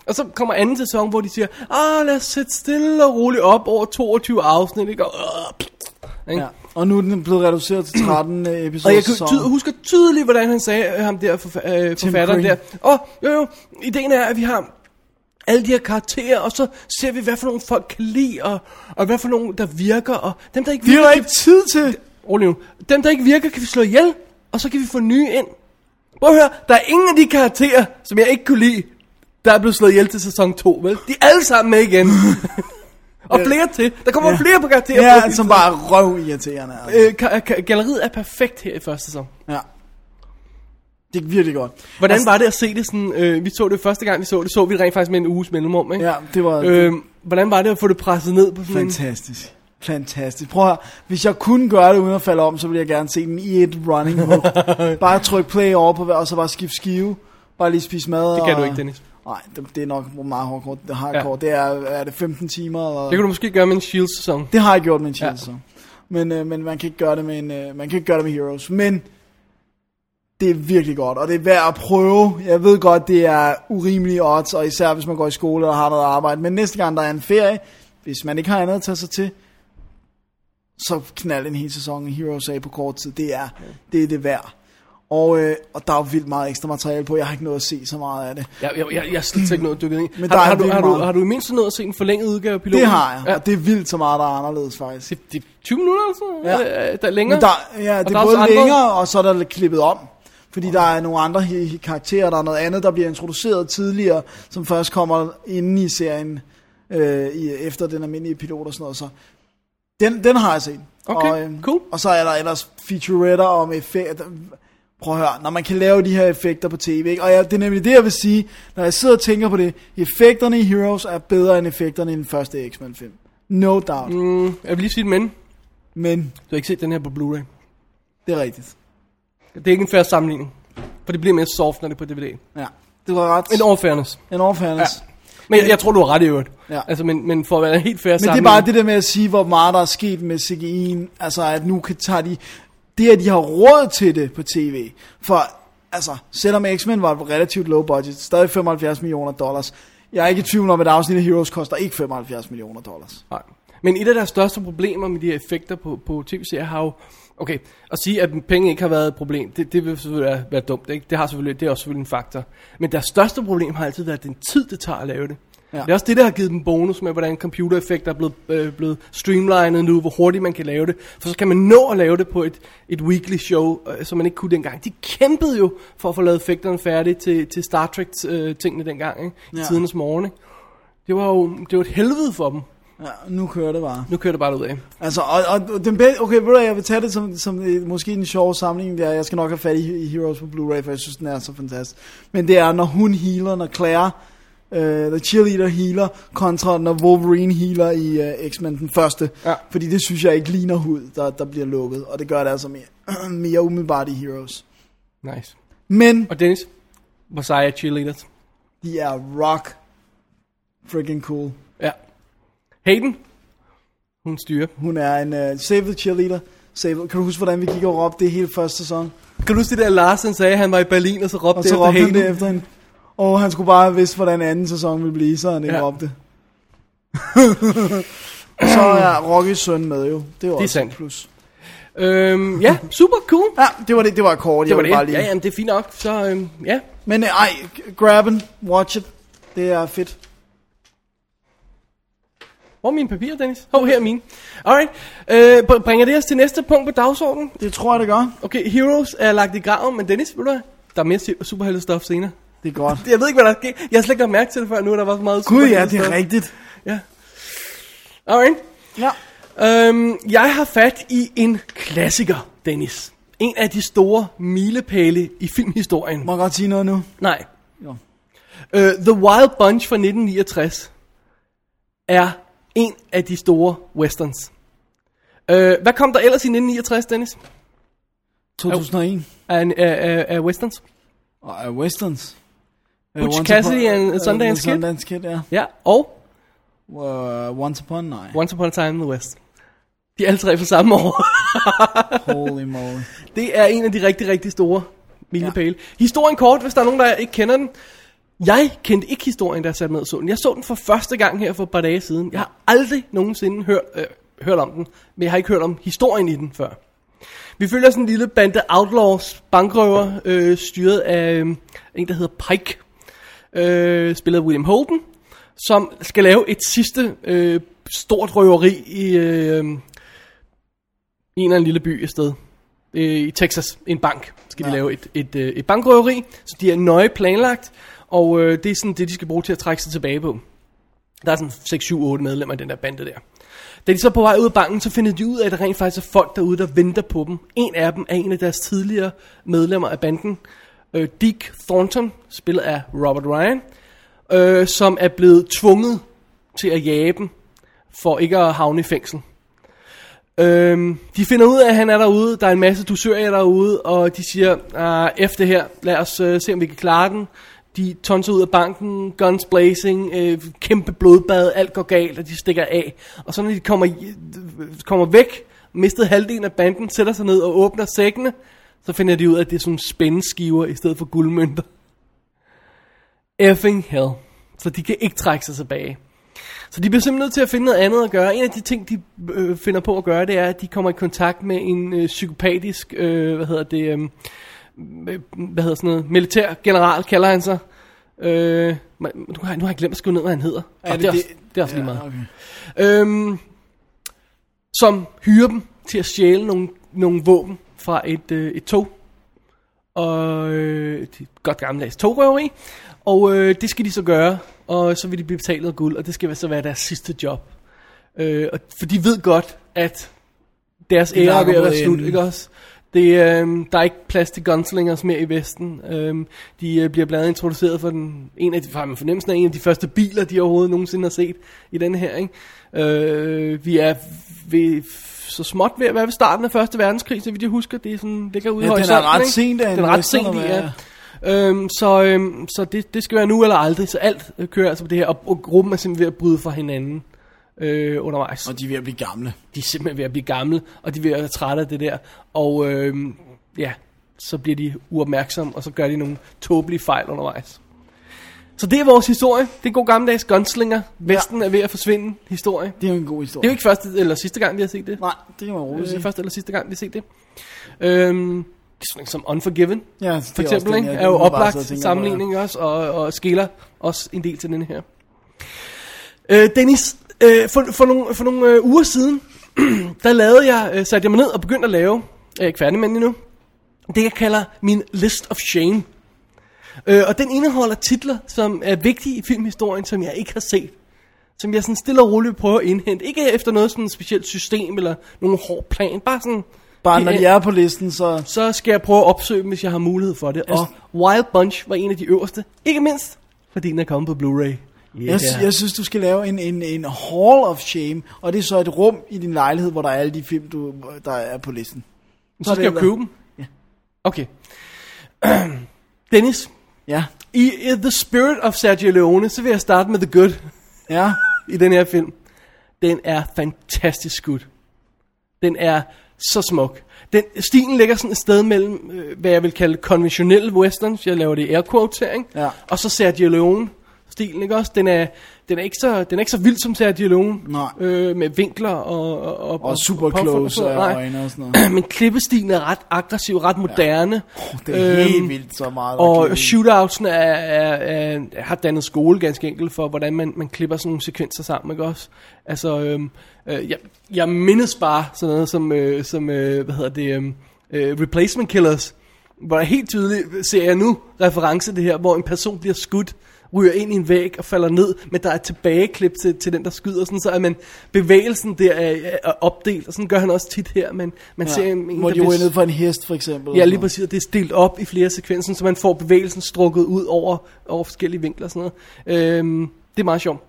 A: Og så kommer anden sæson, hvor de siger, ah, lad os sætte stille og roligt op over 22 afsnit, ikke? Og, øh, ikke?
B: Ja. Og nu er den blevet reduceret til 13 øh, episoder.
A: Og jeg kan
B: sæson.
A: ty- husker tydeligt, hvordan han sagde øh, ham der forfa- øh, forfatteren der.
B: Crane.
A: Og jo, jo, ideen er, at vi har alle de her karakterer, og så ser vi, hvad for nogle folk kan lide, og, og hvad for nogle, der virker, og dem, der ikke
B: Det er
A: virker...
B: der ikke tid til.
A: Rolig nu. Dem, der ikke virker, kan vi slå ihjel, og så kan vi få nye ind. Prøv at høre, der er ingen af de karakterer, som jeg ikke kunne lide, der er blevet slået ihjel til sæson 2, vel? De er alle sammen med
B: (laughs)
A: igen. og flere til. Der kommer
B: Ja.
A: flere på karakterer. på
B: Ja, altså-
A: hele
B: som
A: tiden.
B: bare er røvirriterende. Altså.
A: Øh, ka- ka- galleriet er perfekt her i første sæson.
B: Ja. Det er virkelig godt.
A: Hvordan altså, var det at se det sådan, øh, vi så det første gang, vi så det, så vi det rent faktisk med en uges mellemrum, ikke?
B: Ja, det var...
A: Øh, hvordan var det at få det presset ned på sådan en...
B: Fantastisk. Fantastisk. Prøv at høre, hvis jeg kunne gøre det uden at falde om, så ville jeg gerne se den i et running
A: (laughs)
B: hook. bare tryk play over på hver, og så bare skifte skive. Bare lige spise mad.
A: Det kan
B: og...
A: du ikke, Dennis.
B: Nej, det, det er nok meget hardcore. Det, hardcore. Ja. det er, er det 15 timer. Eller...
A: Det kunne du måske gøre med en Shield-sæson.
B: Det har jeg gjort med en
A: Ja.
B: Shield, så. Men, øh, men man kan ikke gøre det med en, øh, man kan ikke gøre det med Heroes. Men det er virkelig godt, og det er værd at prøve. Jeg ved godt, det er urimelige odds, og især hvis man går i skole og har noget arbejde. Men næste gang, der er en ferie, hvis man ikke har andet at tage sig til, så knald en hel sæson i Heroes af på kort tid. Det er det, er det værd. Og, øh, og der er jo vildt meget ekstra materiale på. Jeg har ikke nået at se så meget af det.
A: Jeg, jeg, jeg, jeg er slet ikke noget (clears throat) dykket ind. i.
B: Men
A: har,
B: der er
A: har, du,
B: virkelig
A: har, du,
B: meget.
A: har du i mindst nået at se en forlænget udgave af piloten?
B: Det har jeg,
A: Ja.
B: og det er vildt så meget, der er anderledes faktisk.
A: Det, det er 20 minutter, altså?
B: Ja.
A: Øh, Der er længere?
B: Men der, ja, det
A: der
B: er
A: er også
B: både
A: andre-
B: længere, og så er der lidt klippet om. Fordi der er nogle andre hi- hi- karakterer, der er noget andet, der bliver introduceret tidligere, som først kommer inden i serien, øh, i, efter den almindelige pilot og sådan noget. Så den, den har jeg set.
A: Okay,
B: og, øhm,
A: cool.
B: Og så er der ellers featuretter om effekter. Prøv at høre, når man kan lave de her effekter på tv, ikke? og jeg, det er nemlig det, jeg vil sige, når jeg sidder og tænker på det, effekterne i Heroes er bedre end effekterne i den første X-Men film. No doubt. Mm.
A: Mm, jeg vil lige sige et men.
B: Men
A: Du har ikke set den her på Blu-ray.
B: det er rigtigt.
A: Det er ikke en fair sammenligning. For det bliver mere soft, når det er på DVD.
B: Ja. Det var ret.
A: In all fairness.
B: En overfairness.
A: Ja. Men jeg, jeg tror, du har ret i øvrigt.
B: Ja.
A: Altså, men, men for at være helt fair
B: Men det er bare det der med at sige, hvor meget der er sket med CGI'en, altså at nu kan tage de, det at de har råd til det på tv, for altså, selvom X-Men var et relativt low budget, stadig 75 millioner dollars, jeg er ikke i tvivl om, at et afsnit af Heroes koster ikke 75 millioner dollars.
A: Nej. Men et af deres største problemer med de her effekter på, på tv-serier har jo... Okay, at sige, at penge ikke har været et problem, det, det vil selvfølgelig være, være dumt. Ikke? Det, har selvfølgelig, det er også selvfølgelig en faktor. Men deres største problem har altid været den tid, det tager at lave det. Ja. Det er også det, der har givet dem bonus med, hvordan computereffekter er blevet, øh, blevet streamlined nu, hvor hurtigt man kan lave det. For så kan man nå at lave det på et, et weekly show, øh, som man ikke kunne dengang. De kæmpede jo for at få lavet effekterne færdige til, til Star Trek-tingene dengang, ikke? i
B: Ja.
A: tidernes morgen. Ikke? Det var jo det var et helvede for dem.
B: Ja, nu kører det bare.
A: Nu kører det bare ud af.
B: Altså, og, og den bedste, okay, ved du hvad, jeg vil tage det som, som øh, måske en sjov sammenligning der, jeg skal nok have fat i, i Heroes på Blu-ray, for jeg synes, den er så fantastisk. Men det er, når hun healer, når Claire, øh, The Cheerleader healer, kontra når Wolverine healer i øh, X-Men den første.
A: Ja.
B: Fordi det synes jeg ikke ligner hud, der, der bliver lukket, og det gør det altså mere, (clears throat) mere umiddelbart i Heroes.
A: Nice.
B: Men
A: Og Dennis, hvor seje er cheerleaders.
B: de er rock freaking cool.
A: Ja. Hayden, hun styrer.
B: Hun er en øh, save the cheerleader. Save, kan du huske, hvordan vi gik og råbte det hele første sæson?
A: Kan du huske det der, Lars han sagde, at han var i Berlin, og så råbte
B: Og
A: det
B: så
A: efter
B: råbte han
A: Hayden?
B: det efter hende. Og han skulle bare have vidst, hvordan anden sæson ville blive, så han ikke
A: Ja.
B: ja. råbte. (laughs) så er Rockys søn med jo. Det er, også
A: sandt.
B: et plus.
A: Øhm, ja, super cool.
B: Ja, det var det. Det var kort.
A: Det var
B: jeg ville Bare
A: det.
B: lige.
A: Ja, jamen, det er fint nok. Så øhm, ja,
B: Men øh, ej, grab den, watch it. Det er fedt.
A: hvor er mine papirer, Dennis? Hov, her er mine. Alright, øh, br- bringer det os til næste punkt på dagsordenen?
B: Det tror jeg, det gør.
A: Okay, Heroes er lagt i graven, men Dennis, ved du hvad? Der er mere superhelte stuff senere.
B: Det er godt.
A: Jeg ved ikke, hvad der sker. Jeg har slet ikke lagt mærke til det før nu, at der var så meget
B: Gud ja, det
A: superheltestuff.
B: er rigtigt.
A: Ja. Alright.
B: Ja.
A: Øhm, jeg har fat i en klassiker, Dennis. En af de store milepæle i filmhistorien.
B: Må jeg godt sige noget nu?
A: Nej.
B: Jo.
A: Øh, The Wild Bunch fra 1969 er en af de store westerns. Øh, hvad kom der ellers i 1969, Dennis?
B: 2001.
A: Af, en- af, af, af westerns?
B: Og er westerns. Øh,
A: Butch
B: Once
A: Cassidy
B: Upon-
A: and
B: øh,
A: Sundance Kid?
B: Sundance Kid, ja.
A: Ja, og
B: Uh, Once Upon, nej.
A: Once Upon a Time in the West. De er alle tre fra samme år.
B: Holy moly.
A: Det er en af de rigtig, rigtig store milepæle. Ja. Historien kort, hvis der er nogen, der ikke kender den. Jeg kendte ikke historien, der jeg satte mig ned og så den. Jeg så den for første gang her for et par dage siden. Jeg har aldrig nogensinde hørt, øh, hørt om den, men jeg har ikke hørt om historien i den før. Vi følger sådan en lille bande outlaws, bankrøver, øh, styret af øh, en, der hedder Pike, øh, spillet af William Holden, som skal lave et sidste øh, stort røveri i øh, i en eller anden lille by et sted. Øh, I Texas, en bank, skal ja. de lave et, et, øh, et bankrøveri, så de er nøje planlagt, og øh, det er sådan det, de skal bruge til at trække sig tilbage på. Der er sådan 6, 7, 8 medlemmer af den der bande der. Da de så er på vej ud af banken, så finder de ud af, at der rent faktisk er folk derude, der venter på dem. En af dem er en af deres tidligere medlemmer af banden, øh, Dick Thornton, spillet af Robert Ryan, øh, som er blevet tvunget til at jage dem, for ikke at havne i fængsel. Øhm, de finder ud af, at han er derude, der er en masse dusører derude, og de siger, ah, efter det her, lad os øh, se, om vi kan klare den. De tonser ud af banken, guns blazing, øh, kæmpe blodbad, alt går galt, og de stikker af. Og så når de kommer, i- kommer væk, mistet halvdelen af banden, sætter sig ned og åbner sækkene, så finder de ud af, at det er sådan nogle spændeskiver i stedet for guldmønter. Effing hell. Så de kan ikke trække sig tilbage. Så de bliver simpelthen nødt til at finde noget andet at gøre. En af de ting, de øh, finder på at gøre, det er, at de kommer i kontakt med en øh, psykopatisk, øh, hvad hedder det, øh, hvad hedder sådan noget, militær general, kalder han sig. Øh, men nu, har jeg, nu har jeg glemt at skrive ned, hvad han hedder. Er det, det, er også, det er også lige meget.
B: Okay.
A: Øhm, som hyrer dem til at stjæle nogle, nogle våben fra et, øh, et tog. Og øh, det er et godt gammeldags togrøveri. Og øh, det skal de så gøre, og så vil de blive betalt noget guld, og det skal så være deres sidste job. Øh, og, for de ved godt, at deres ære er
B: lakker
A: ved at
B: mod
A: være slut,
B: enden.
A: ikke også? Det, øhm, der er ikke plads til gunslingers mere i Vesten. Øhm, de øh, bliver blandt andet introduceret for den, en af de, har man fornemmelsen af en af de første biler, de overhovedet nogensinde har set i den her. Ikke? Øh, vi er ved, så småt ved at være ved starten af Første Verdenskrig, så vidt jeg husker. Det er sådan, ligger ude
B: Ja,
A: i
B: den er
A: horisonten.
B: ret
A: ikke?
B: sent af en
A: Den er ret
B: western
A: sent i,
B: at
A: ja. Øhm, så øhm, så det, det skal være nu eller aldrig. Så alt øh, kører altså på det her, og, og gruppen er simpelthen ved at bryde fra hinanden øh, undervejs
B: Og de er ved at blive gamle.
A: de er simpelthen ved at blive gamle, og de er ved at være trætte af det der. Og øh, ja, så bliver de uopmærksomme, og så gør de nogle tåbelige fejl undervejs. Så det er vores historie. Det er en god gammeldags gunslinger. Vesten ja. er ved at forsvinde historie. Det
B: Det er jo en god historie.
A: er jo ikke første eller sidste gang, vi har set det.
B: Nej, det kan man roligt
A: Det er
B: sige.
A: første eller sidste gang, vi har set det. Øhm, det er sådan en som Unforgiven,
B: Ja, det er
A: for
B: også
A: eksempel,
B: den,
A: ikke?
B: jeg
A: er jo
B: umiddelbart
A: oplagt
B: sidder og tænker på,
A: sammenligning også, og, og skiller også en del til den her. Øh, Dennis, øh, for, for nogle, for nogle øh, uger siden, (clears throat) der lavede jeg, øh, satte jeg mig ned og begyndte at lave, jeg er ikke færdig med den endnu, det jeg kalder min list of shame. Øh, og den indeholder titler, som er vigtige i filmhistorien, som jeg ikke har set. Som jeg sådan stille og roligt prøver at indhente. Ikke efter noget sådan specielt system eller nogen hård plan. Bare sådan...
B: Bare når
A: det-
B: de er på listen, så...
A: så skal jeg prøve at opsøge dem, hvis jeg har mulighed for det. Og Wild Bunch var en af de øverste. Ikke mindst, fordi den er kommet på Blu-ray.
B: Jeg, sy- jeg synes, du skal lave en, en, en hall of shame, og det er så et rum i din lejlighed, hvor der er alle de film, du, der er på listen.
A: så skal jeg
B: det-
A: jo købe dem. Okay. (clears throat) Dennis,
B: Ja,
A: i, i The Spirit of Sergio Leone, så vil jeg starte med The Good
B: ja.
A: i den her film. Den er fantastisk skudt. Den er så smuk. Den, stilen ligger sådan et sted mellem, øh, hvad jeg vil kalde konventionelle westerns, jeg laver det i air quotes her, ikke?
B: Ja.
A: og så Sergio Leone stilen, ikke også? Den er, den er, ikke, så, den er ikke så vild som Sergio Leone,
B: Nej.
A: Øh, med vinkler og... Og, og,
B: Og super
A: påfund
B: close
A: sådan
B: og
A: noget.
B: øjne og sådan noget.
A: Nej. (clears throat) Men klippestilen er ret aggressiv, ret moderne. Ja.
B: Det er øhm, helt vildt så meget. der kan
A: Og
B: lide.
A: shootoutsen er, er, er, har dannet skole ganske enkelt for, hvordan man, man klipper sådan nogle sekvenser sammen, ikke også? Altså, øhm, øh, jeg, jeg mindes bare sådan noget som, øh, som øh, hvad hedder det, øhm, øh, Replacement Killers, hvor jeg helt tydeligt ser jeg nu reference til det her, hvor en person bliver skudt, ryger ind i en væg og falder ned, men der er et tilbageklip til, til den, der skyder, sådan så at man, bevægelsen der er, er opdelt, og sådan gør han også tit her, men man ja, ser en, en
B: Hvor
A: der
B: de
A: bliver-
B: ryger ned for en hest, for eksempel.
A: Ja,
B: og
A: lige
B: sådan
A: præcis. og Det er delt op i flere sekvenser, så man får bevægelsen strukket ud over, over forskellige vinkler og sådan noget. Øhm, det er meget sjovt.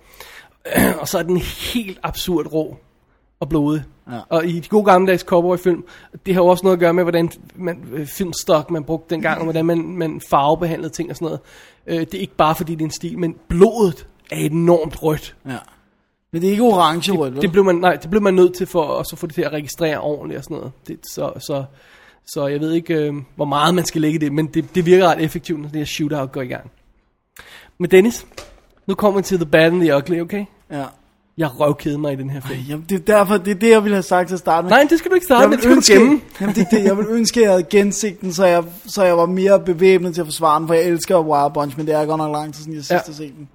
A: (clears throat) og så er den helt absurd rå og blodig. Ja. Og i de gode gammeldags cowboyfilm, det har jo også noget at gøre med, hvordan man, øh, filmstok man brugte dengang, og hvordan man, man farvebehandlede ting og sådan noget. Øh, det er ikke bare fordi, det er en stil, men blodet er enormt rødt.
B: noget. Ja. Men det er ikke orange rødt,
A: Det blev man, nej, det blev man nødt til for at så få det til at registrere ordentligt og sådan noget. Det, så, så, så jeg ved ikke, øh, hvor meget man skal lægge i det, men det, det virker ret effektivt, når det her shootout går i gang. Men Dennis, nu kommer vi til The Bad and the Ugly, okay?
B: Ja.
A: Jeg røvkede mig i den her film.
B: Jamen, det er derfor, det er det, jeg ville have sagt til at starte med.
A: Nej, det skal du ikke starte
B: jeg
A: med,
B: vil
A: det skal
B: ønske,
A: du gemme.
B: (laughs) jamen, det, er det, jeg vil ønske, at jeg havde genset den, så jeg, så jeg var mere bevæbnet til at forsvare den, for jeg elsker Wild Bunch, men det er godt nok lang tid siden, jeg sidst
A: Ja.
B: ja. har set den.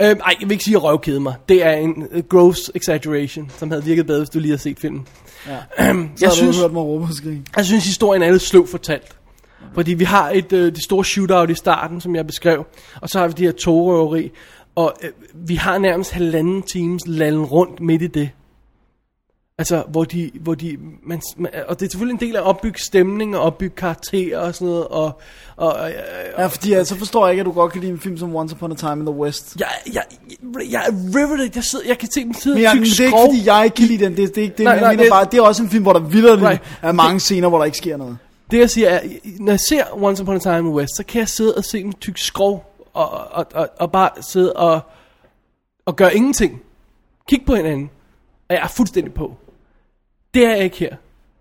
A: Øhm, ej, jeg vil ikke sige, at jeg røvkede mig. Det er en øh, gross exaggeration, som havde virket bedre, hvis du lige havde set filmen. Ja.
B: Så
A: jeg
B: har
A: synes,
B: du hørt mig råbe og skrige.
A: Jeg synes, historien er lidt sløv fortalt. Fordi vi har et, øh, det store shootout i starten, som jeg beskrev, og så har vi det her togrøveri, og øh, vi har nærmest halvanden times landen rundt midt i det. Altså, hvor de, hvor de man, man, og det er selvfølgelig en del af at opbygge stemning og opbygge karakterer og sådan noget, og, og, og
B: Ja, fordi jeg, så forstår jeg ikke, at du godt kan lide en film som Once Upon a Time in the West.
A: jeg, jeg, jeg, jeg er riveted, jeg, sidder, jeg kan se dem sidde
B: Men
A: og
B: jeg,
A: tykke
B: det er ikke,
A: skrov.
B: fordi jeg ikke kan lide den. Det, det er ikke
A: Nej,
B: det, nej,
A: nej,
B: jeg nej, mener
A: det-
B: det... bare. Det er også en film, hvor der vidderligt
A: Right.
B: er mange scener, hvor der ikke sker noget.
A: Det jeg siger er, når jeg ser Once Upon a Time in the West, så kan jeg sidde og se en tyk skrov, og, og, og, og bare sidde og, og gøre ingenting. Kig på hinanden, og jeg er fuldstændig på. Det er jeg ikke her.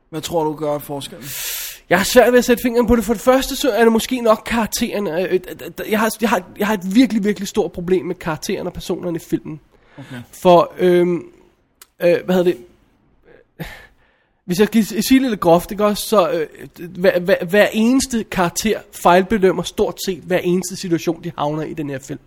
B: Hvad tror du gør forskellen?
A: Jeg har svært ved at sætte fingeren på det. For det første, så er det måske nok karakteren. Øh, Jeg har, jeg, har, jeg har et virkelig, virkelig stort problem med karakteren og personerne i filmen. Okay. For, øhm, øh, hvad hedder det? Hvis jeg skal sige det lidt groft, ikke også, så øh, hver, hver, hver eneste karakter fejlbedømmer stort set hver eneste situation, de havner i den her film.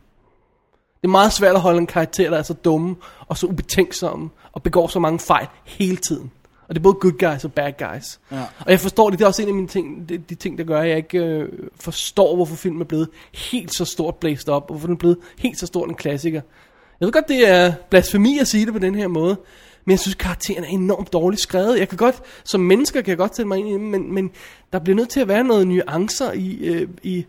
A: Det er meget svært at holde en karakter, der er så dumme og så ubetænksomme og begår så mange fejl hele tiden. Og det er både good guys og bad guys. Ja. Og jeg forstår det, det er også en af mine ting, de, de ting, der gør, at jeg ikke øh, forstår, hvorfor filmen er blevet helt så stort blæst op, og hvorfor den er blevet helt så stor en klassiker. Jeg ved godt, det er blasfemi at sige det på den her måde, Men jeg synes, karakteren er enormt dårligt skrevet. Jeg kan godt, som mennesker kan jeg godt sætte mig ind i det, men, men der bliver nødt til at være noget nuancer i, øh, i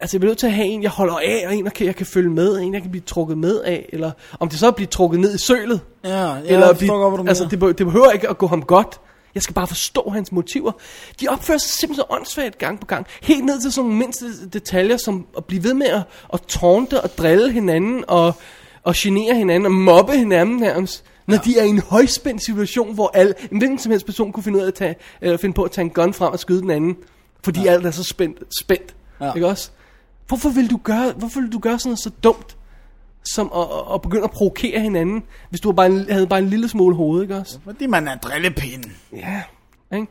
A: Altså jeg bliver nødt til at have en, jeg holder af, og en, jeg kan, jeg kan følge med, en, jeg kan blive trukket med af, eller om det så er at blive trukket ned i sølet.
B: Ja, ja,
A: eller
B: jeg
A: blive,
B: forstår godt, hvad du
A: altså,
B: mener.
A: det, be- det behøver ikke at gå ham godt. Jeg skal bare forstå hans motiver. De opfører sig simpelthen så åndssvagt gang på gang. Helt ned til sådan nogle mindste detaljer, som at blive ved med at, at tårnte og drille hinanden, og, og genere hinanden, og mobbe hinanden nærmest. Når ja. de er i en højspændt situation, hvor alle, en hvilken som helst person kunne finde, ud af at tage, eller finde på at tage en gun frem og skyde den anden. Fordi ja. alt er så spændt. spændt
B: Ja.
A: ja. Ikke også? Hvorfor vil du gøre, hvorfor vil du gøre sådan noget så dumt? som at, at- at begynde at provokere hinanden, hvis du bare en, havde bare en lille smule hoved, ikke også?
B: Fordi man er drillepinden.
A: Ja. Ikke?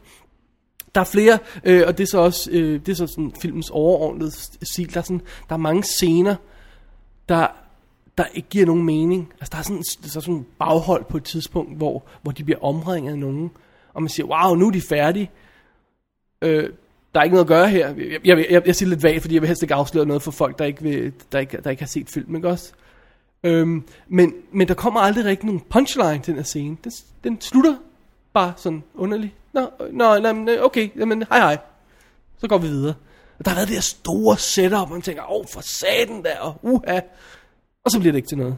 A: Der er flere, øh, og det er så også øh, det er så sådan filmens overordnede st- stil. Der er, sådan, der er mange scener, der, der ikke giver nogen mening. Altså, der er sådan, der er sådan en baghold på et tidspunkt, hvor, hvor de bliver omringet af nogen, og man siger, wow, nu er de færdige. Øh, der er ikke noget at gøre her. Jeg, jeg, jeg, jeg siger lidt vagt, fordi jeg vil helst ikke afsløre noget for folk, der ikke, vil, der ikke, der ikke har set filmen, ikke også? Øhm, men, men der kommer aldrig rigtig nogen punchline til den her scene. Den, den slutter bare sådan underligt. Nå, øh, nå jamen, øh, okay, jamen, hej hej. Så går vi videre. Og der har været det her store setup, og man tænker, åh, for satan der, og uha. Og så bliver det ikke til noget.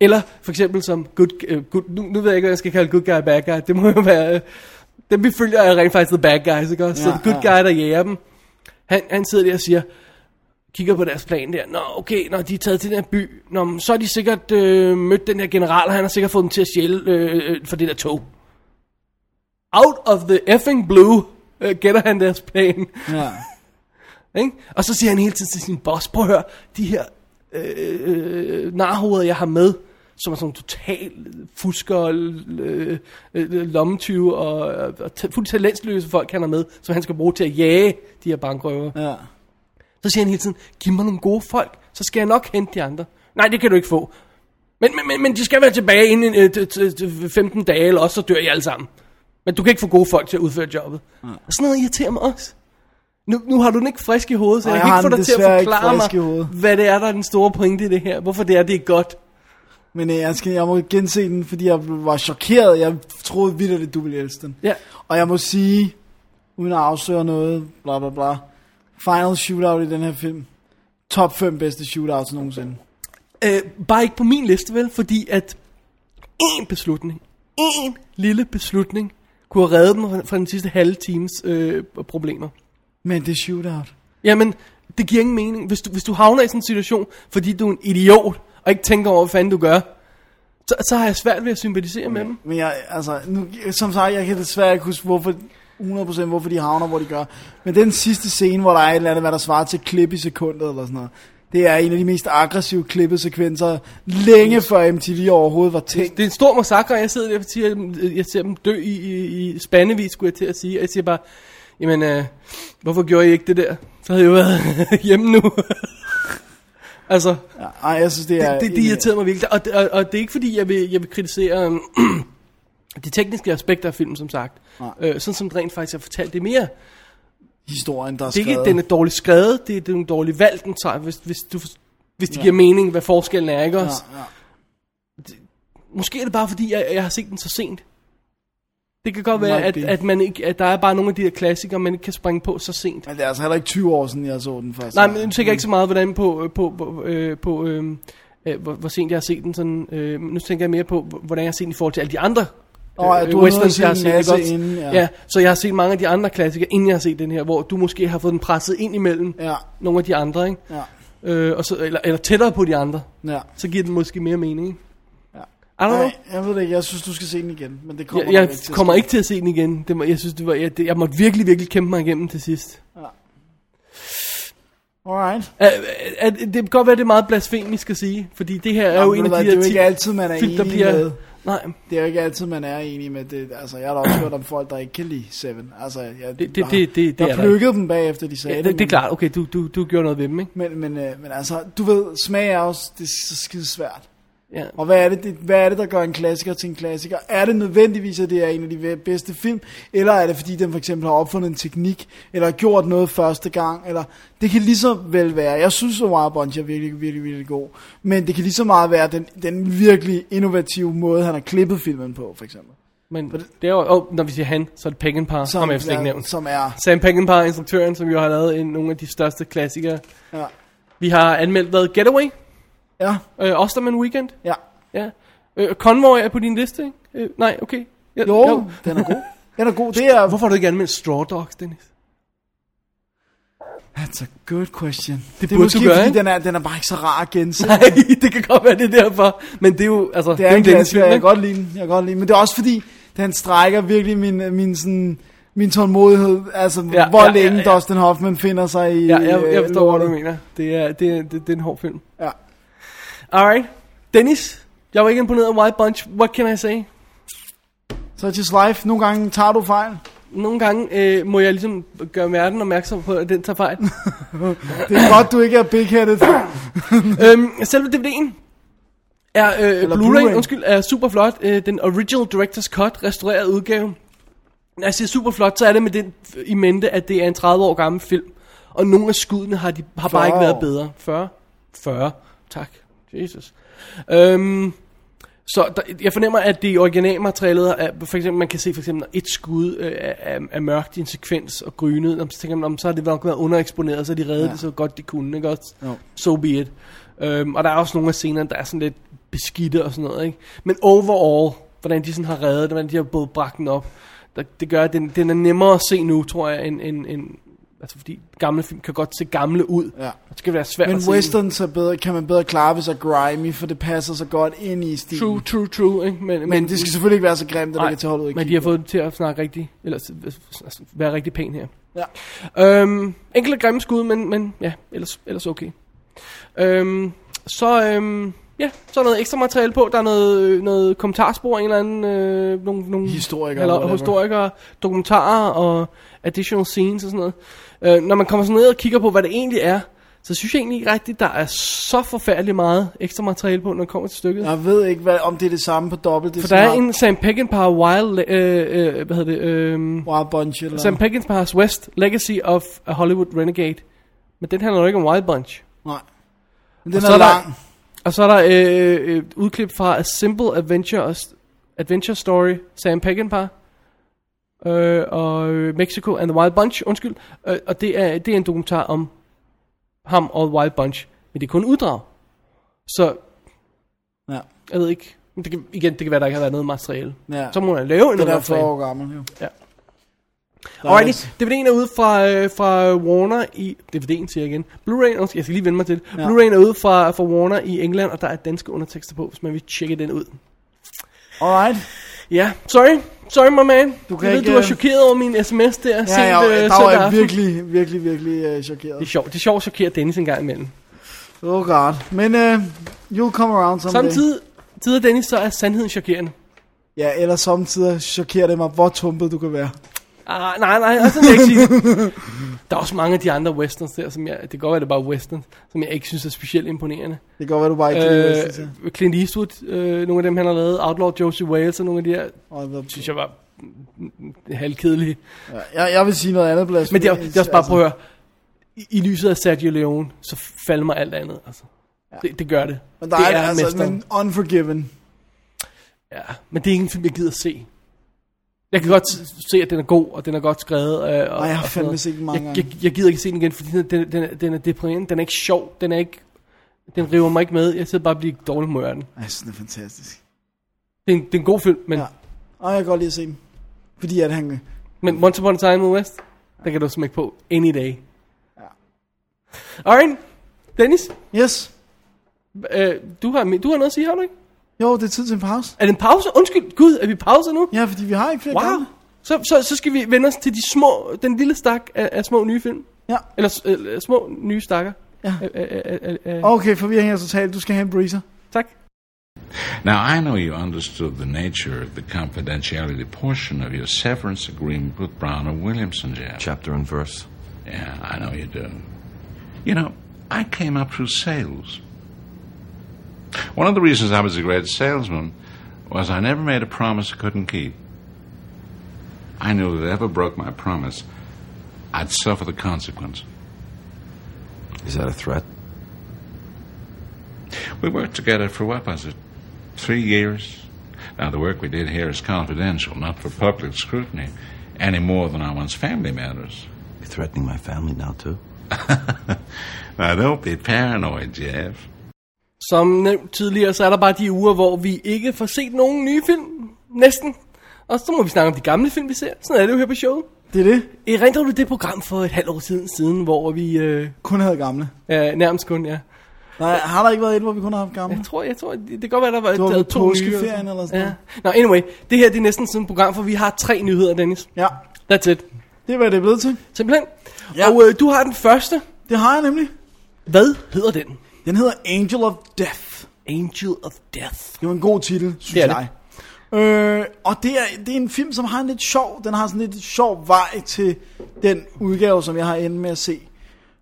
A: Eller for eksempel som good, øh, good, nu, nu ved jeg ikke, hvad jeg skal kalde good guy, bad guy. Det må jo være... Øh, dem vi følger er rent faktisk the bad guys, ikke også? Ja,
B: Ja,
A: så the good
B: ja.
A: guy, der jager dem. Han, han sidder der og siger, kigger på deres plan der. Nå, okay, når de er taget til den her by, nå, men så har de sikkert øh, mødt den her general, og han har sikkert fået dem til at stjæle øh, øh, for det der tog. Out of the effing blue øh, gætter han deres plan.
B: Ja.
A: Ikke? Og så siger han hele tiden til sin boss, prøv at høre, de her øh, øh, narhoveder, jeg har med, som er sådan total fusker, og, øh, øh, lommetyve og, og ta- fuldt talentløse folk, han har med, som han skal bruge til at jage de her bankrøver.
B: Ja.
A: Så siger han hele tiden, giv mig nogle gode folk, så skal jeg nok hente de andre. Nej, det kan du ikke få. Men, men, men, men de skal være tilbage inden øh, t- t- t- 15 dage, eller også så dør I alle sammen. Men du kan ikke få gode folk til at udføre jobbet. Ja. Og sådan noget irriterer mig også. Nu, nu har du den ikke frisk i hovedet, så
B: Nej,
A: jeg,
B: jeg
A: kan
B: har
A: ikke få
B: den
A: dig til at
B: desværre ikke
A: forklare
B: frisk i
A: mig,
B: hovedet.
A: hvad det er, der er den store pointe i det her. Hvorfor det er, det er godt.
B: Men øh, jeg, skal, jeg må gense den, fordi jeg var chokeret. Jeg troede vidderligt, du ville elske den.
A: Ja.
B: Og jeg må sige, uden at afsløre noget, bla bla bla, final shootout i den her film. Top 5 bedste shootouts nogensinde.
A: Øh, bare ikke på min liste, vel? Fordi at én beslutning, én lille beslutning, kunne have reddet dem fra- fra den sidste halve times øh, problemer.
B: Men det er shootout.
A: Jamen, det giver ingen mening. Hvis du, hvis du havner i sådan en situation, fordi du er en idiot, og ikke tænker over, hvad fanden du gør, så, så har jeg svært ved at sympatisere med dem.
B: Men jeg, altså, nu, som sagt, jeg kan desværre ikke huske, hvorfor, 100% hvorfor de havner, hvor de gør. Men den sidste scene, hvor der er et eller andet, hvad der svarer til klip i sekundet, eller sådan noget. Det er en af de mest aggressive klippesekvenser, længe før MTV overhovedet var tænkt.
A: Det er en stor massakre, og jeg sidder der og siger, øh, jeg ser dem dø i, i, i spandevis, skulle jeg til at sige. Og jeg siger bare, jamen, øh, hvorfor gjorde I ikke det der? Så havde jeg jo været (laughs) hjemme nu. altså,
B: Ej, jeg synes, det er...
A: det, det, det irriterede mig virkelig. Og, det- og, og det er ikke fordi, jeg vil, jeg vil kritisere (clears throat) øhm, de tekniske aspekter af filmen, som sagt.
B: Nej.
A: Øh, sådan som det rent faktisk er fortalt. Det er mere,
B: Historien, der er
A: Det er ikke,
B: skrevet.
A: den er dårligt skrevet, det er, det er nogle dårlige valg, den tager, hvis, hvis, du, hvis det giver mening, hvad forskellen er, ikke også?
B: Ja, ja.
A: Måske er det bare, fordi jeg, jeg har set den så sent. Det kan godt være,
B: Might
A: at,
B: be.
A: at, man ikke, at der er bare nogle af de der klassikere, man ikke kan springe på så sent.
B: Men det er altså heller ikke 20 år siden, jeg så den første.
A: Nej,
B: gang.
A: men nu tænker jeg ikke så meget hvordan på, øh, på, på, øh, på øh, øh, hvor, hvor sent jeg har set den. Sådan, øh, nu tænker jeg mere på, hvor- hvordan jeg har set den i forhold til alle de andre øh,
B: Åh, ja, du har nået at se en
A: ikke
B: masse
A: også?
B: inden, ja.
A: ja, så jeg har set mange af de andre klassikere, inden jeg har set den her, hvor du måske har fået den presset ind imellem
B: Ja.
A: nogle af de andre, ikke?
B: Ja,
A: øh, og så, eller, eller tættere på de andre,
B: ja.
A: så giver den måske mere mening. ikke?
B: Ja.
A: I don't know.
B: Nej, jeg ved det ikke. Jeg synes, du skal se den igen. Men det kommer
A: Jeg, jeg
B: nok til at
A: kommer
B: ske.
A: ikke til at se den igen. Det var, jeg synes, det var, jeg, det, jeg måtte virkelig, virkelig kæmpe mig igennem til sidst.
B: Alright.
A: Øh, øh, øh, det kan godt være, det er meget blasfemisk at sige, fordi det her er jo
B: Jamen,
A: en
B: ved
A: af
B: du
A: de
B: hvad,
A: her ti-
B: det er jo ikke altid, man er
A: film, der
B: enig
A: bliver...
B: med.
A: Nej,
B: Det er jo ikke altid, man er enig med det. Altså, jeg har da også hørt om folk, der ikke kan lide Seven. Altså,
A: det-
B: jeg,
A: det- det- det er
B: jeg
A: der
B: plukkede dem bagefter, de sagde
A: ja, det, det,
B: men-
A: er klart. Okay, du, du, du gjorde noget ved dem, ikke?
B: Men, men, øh, men altså, du ved, smag er også det er så skide svært.
A: Ja.
B: Og hvad er, det, det, hvad er det, der gør en klassiker til en klassiker? Er det nødvendigvis, at det er en af de bedste film? Eller er det, fordi den for eksempel har opfundet en teknik, eller gjort noget første gang? Eller det kan lige så vel være. Jeg synes, at Wild Bunch er virkelig, virkelig, virkelig god. Men det kan lige så meget være den, den virkelig innovative måde, han har klippet filmen på, for eksempel.
A: Men det er jo, oh, når vi siger han, så er det Peckinpah, som, ham jeg slet ikke
B: er-
A: nævnt.
B: som er...
A: Sam Peckinpah, instruktøren, som jo har lavet en, nogle af de største klassikere.
B: Ja.
A: Vi har anmeldt hvad? Getaway,
B: Ja,
A: øh, Osterman Weekend,
B: ja.
A: ja. Øh, Convoy er på din liste, ikke? Øh, nej, okay. Ja,
B: Jo, den er god. Den er god. Det er...
A: Hvorfor har du ikke anmeldt Straw Dogs,
B: (laughs)
A: Dennis?
B: That's a good question. Det, det er
A: burde
B: måske,
A: du gøre,
B: fordi
A: ikke?
B: den er, den er bare ikke så rar at gense.
A: Nej, det kan godt være, det er derfor. Men det er jo, altså...
B: Det er en
A: jo Dennis'
B: klassiker,
A: film,
B: jeg kan
A: ikke?
B: godt lide den, jeg kan godt lide den. Men det er også fordi, den strækker virkelig min, min, sådan, min tålmodighed. Altså, ja, hvor ja, længe ja, ja. Dustin Hoffman finder sig i
A: Ja, jeg, jeg
B: øh,
A: forstår, hvad du
B: lortet.
A: mener. Det er, det, er, det, det er en hård film.
B: Ja.
A: Alright. Dennis, jeg var ikke imponeret af Wild Bunch. What can I say?
B: Så just life, nogle gange tager du fejl.
A: Nogle gange øh, må jeg ligesom gøre verden opmærksom på, at den tager fejl.
B: Det er godt, du ikke er big-headed.
A: øhm, selve DVD'en er, øh, Blu-ray,
B: Eller
A: Blu-ray,
B: Blu-ray.
A: undskyld, er super flot. Øh, den original director's cut, restaureret udgave. Når jeg siger super flot, så er det med den f- i mente, at det er en 30 år gammel film. Og nogle af skuddene har, de, har bare
B: 40
A: ikke været
B: år.
A: bedre. 40? 40. Tak. Jesus. Øhm, så der, jeg fornemmer, at det originalmaterialet, er, for eksempel, man kan se for eksempel, når et skud øh, er, er, er mørkt i en sekvens og grynet, når man så tænker, man, "Nå, men så har det nok været undereksponeret, så har de reddet ja. det så godt de kunne, ikke også?
B: Jo.
A: So be it. Øhm, og der er også nogle af scenerne, der er sådan lidt beskidte og sådan noget, ikke? Men overall, hvordan de sådan har reddet det, hvordan de har både bragt den op, der, det gør, at den, den er nemmere at se nu, tror jeg, end, end, end altså fordi gamle film kan godt se gamle ud.
B: Ja.
A: Og det skal være svært
B: Men
A: at se.
B: westerns er bedre, kan man bedre klare, hvis er grimy, for det passer så godt ind i stilen.
A: True, true, true, ikke? Men,
B: Men det skal selvfølgelig ikke være så grimt, at det kan tage holdet ud i
A: men de har fået dem til at snakke rigtig, eller s- s- s- være rigtig pæn her.
B: Ja.
A: Øhm, enkelte grimme skud, men, men ja, ellers, ellers okay. Øhm, så, øhm, ja, så er noget ekstra materiale på. Der er noget, øh, noget kommentarspor, en eller anden... Øh, nogle, nogle,
B: Historikere,
A: Eller
B: whatever.
A: historikere, dokumentarer og additional scenes og sådan noget. Øh, når man kommer sådan ned og kigger på, hvad det egentlig er, så synes jeg egentlig ikke rigtigt, der er så forfærdeligt meget ekstra materiale på, når det kommer til stykket.
B: Jeg ved ikke, hvad, om det er det samme på dobbelt. Det
A: For der er en Sam Peckinpah Wild, øh, øh, hvad hedder det, øh,
B: Wild Bunch eller
A: Sam Peckinpah's West, Legacy of a Hollywood Renegade. Men den handler jo ikke om Wild Bunch.
B: Nej. Men den
A: Og
B: er,
A: så er der-
B: lang.
A: Og så er der øh, et udklip fra A Simple Adventure, Adventure Story, Sam Peckinpah. Øh, og øh, Mexico and the Wild Bunch, undskyld. Øh, og det er, det er en dokumentar om ham og Wild Bunch. Men det er kun uddrag. Så
B: Ja.
A: jeg ved ikke. Men Det kan, igen, det kan være, der ikke har været noget materiale.
B: Ja.
A: Så må man lave en
B: Den er 40
A: materiale.
B: år gammel, jo.
A: Ja.
B: Der er
A: Alrighty,
B: også-
A: DVD'en er ude fra, øh, fra Warner i... DVD'en siger jeg igen. Blu-ray'en, undskyld, jeg skal lige vende mig til. Ja. Blu-ray'en er ude fra, fra Warner i England, og der er danske undertekster på, hvis man vil tjekke den ud.
B: Alright.
A: Ja, sorry. Sorry, my man. Du
B: kan
A: kan jeg ved,
B: ikke,
A: du var
B: øh,
A: chokeret over min sms der. Ja,
B: Ja,
A: sent,
B: ja,
A: øh,
B: der var
A: søndag
B: jeg
A: aften.
B: virkelig, virkelig, virkelig øh,
A: Det er
B: chokeret.
A: sjovt. Det er sjovt at chokere Dennis en gang imellem.
B: Oh god. Men øh, you'll come around someday.
A: Samtidig tider Dennis, så er sandheden chokerende.
B: Ja, eller samtidig chokerer det mig, hvor tumpet du kan være.
A: Ah, nej, nej, altså, det vil jeg ikke sige.
B: (laughs)
A: Der er også mange af de andre westerns der, som jeg, det kan godt være, det er bare westerns, som jeg ikke synes er specielt imponerende.
B: Det kan godt være, du bare ikke kan lide Westerns, ja.
A: øh, Clint Eastwood, øh, nogle af dem han har lavet, Outlaw Josie Wales og nogle af de her,
B: Og hvad-
A: synes jeg var mm, mm, halvkedelige.
B: jeg, jeg vil sige noget andet. Blas,
A: Men det er, det er også bare, prøv at høre, i, i lyset af Sergio Leone, så falder mig alt andet. Altså. Ja. Det, det gør det.
B: Men der
A: det
B: er, er altså,
A: mesteren.
B: men Unforgiven.
A: Ja, men det er ikke en film, jeg gider se. Jeg kan godt s- se, at den er god, og den er godt skrevet. Øh, og, Ej,
B: jeg har fandme set den mange
A: jeg,
B: gange.
A: Jeg, jeg gider ikke se den igen, fordi den, den, den, er- den er deprimerende, den er ikke sjov, den er ikke... Den river mig ikke med, jeg sidder bare og bliver dårlig humør af den.
B: Ej, jeg synes, den er fantastisk.
A: Det er, en, det er en god film, men, ja.
B: Ja. Og jeg kan godt lide at se den. Fordi at han...
A: men Once Upon a Time in the West, der kan du smække på any day. Ja. Alright, Dennis,
B: Yes.
A: øh, du, har, du har noget at sige, har du ikke?
B: Jo, det er tid til en pause.
A: Er det en pause? Undskyld, gud, er vi pauser nu?
B: Ja, fordi vi har ikke flere
A: Wow.
B: gange.
A: Så, så, så skal vi vende os til de små, den lille stak af, af små nye film.
B: Ja.
A: Eller s- eller små nye stakker. Øh,
B: Ja.
A: Æ, æ, æ, æ, æ.
B: Okay, for vi er her totalt. Du skal have en breezer.
A: Tak.
J: Now, I know you understood the nature of the confidentiality portion of your severance agreement with Brown and Williamson, Jeff.
K: Chapter and verse.
J: Yeah, I know you do. You know, I came up through sales. One of the reasons I was a great salesman was I never made a promise I couldn't keep. I knew that if I ever broke my promise, I'd suffer the consequence.
K: Is that a threat?
J: We worked together for what was it? Three years. Now, the work we did here is confidential, not for public scrutiny, any more than our one's family matters.
K: You're threatening my family now, too?
J: Now, don't be paranoid, Jeff.
A: Som nævnt tidligere, så er der bare de uger, hvor vi ikke får set nogen nye film. Næsten. Og så må vi snakke om de gamle film, vi ser. Sådan er det jo her på showet.
B: Det er det.
A: Erindrer du det program for et halvt år siden, siden hvor vi øh,
B: Kun havde gamle.
A: er nærmest kun, ja.
B: Nej, har der ikke været et, hvor vi kun har haft gamle?
A: Jeg tror, jeg tror, det, det kan godt være, der var,
B: Det var
A: der
B: ved
A: var to nye.
B: påskeferien eller sådan
A: ja. Nå, anyway, det her det er næsten sådan et program, for vi har tre nyheder, Dennis.
B: Ja.
A: That's it.
B: Det er, hvad det er blevet til.
A: Simpelthen.
B: Ja.
A: Ja. Og øh, du har den første.
B: Det har jeg nemlig.
A: Hvad hedder den?
B: Den hedder Angel of Death.
A: Angel of Death.
B: Det var en god titel, synes
A: Det er
B: jeg. Øh, og det er, det er en film, som har en lidt sjov, den har sådan lidt sjov vej til den udgave, som jeg har endt med at se.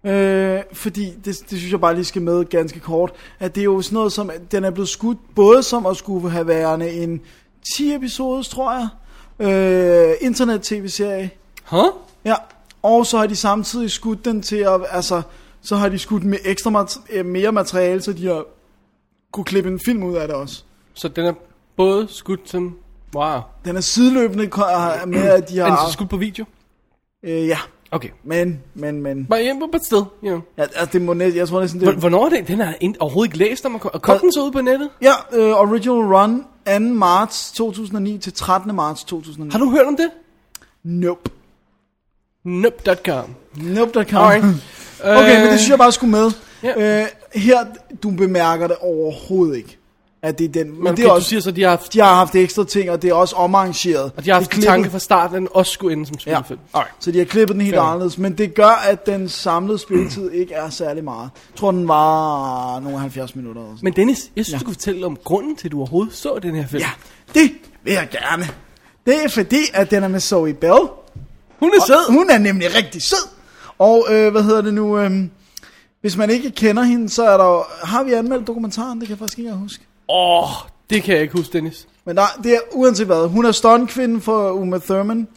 B: Øh, fordi, det, det synes jeg bare lige skal med ganske kort, at det er jo sådan noget som, at den er blevet skudt både som at skulle have værende en 10 episodes, tror jeg, øh, internet-tv-serie,
A: Huh?
B: Ja, og så har de samtidig skudt den til at, altså, så har de skudt med ekstra mat- øh, mere materiale, så de har kunne klippe en film ud af det også.
A: Så den er både skudt som... Wow.
B: Den er sideløbende ko- har- med, at de
A: Ja. Er den
B: har...
A: så skudt på video?
B: Øh, ja,
A: Okay.
B: men, men, men...
A: Bare hjemme på et sted, you know.
B: Ja, altså, det må næ- jeg tror næsten, det
A: Hvor- Hvornår er det? Den har jeg ind- overhovedet ikke læst om. Og kom, og kom
B: Hvad?
A: den så ud på nettet?
B: Ja, øh, Original Run 2. marts 2009 til 13. marts 2009.
A: Har du hørt om det?
B: Nope.
A: Nope.com.
B: Nope.com.
A: Alright.
B: (laughs)
A: Øh,
B: Okay, men det synes jeg bare skulle med.
A: Ja.
B: Øh, her, du bemærker det overhovedet ikke, at det er den. Men
A: Men
B: det er
A: okay, du
B: også,
A: siger så, at de har haft,
B: de har haft ekstra ting, og det er også omarrangeret.
A: og de har haft
B: Det
A: en
B: er klippet-
A: tanke fra starten, at den også skulle ende som
B: Ja.
A: spillefilm. Alright.
B: Så de har klippet den helt
A: Fair. Mm.
B: anderledes, men det gør, at den samlede spilletid ikke er særlig meget. Jeg tror, den var nogle 70 minutter. Eller sådan.
A: Men Dennis, jeg synes,
B: Ja.
A: ja. du kan fortælle om grunden til, at du overhovedet så den her film.
B: ja, det vil jeg gerne. Det er fordi, at den er med Zoe Bell.
A: Hun er sød.
B: Og Hun er nemlig rigtig sød. Og øh, hvad hedder det nu? Øh, hvis man ikke kender hende, så er der jo, Har vi anmeldt dokumentaren? Det kan jeg faktisk ikke engang huske.
A: Åh, oh, det kan jeg ikke huske, Dennis.
B: Men nej, det er uanset hvad. Hun er stuntkvinde for Uma Thurman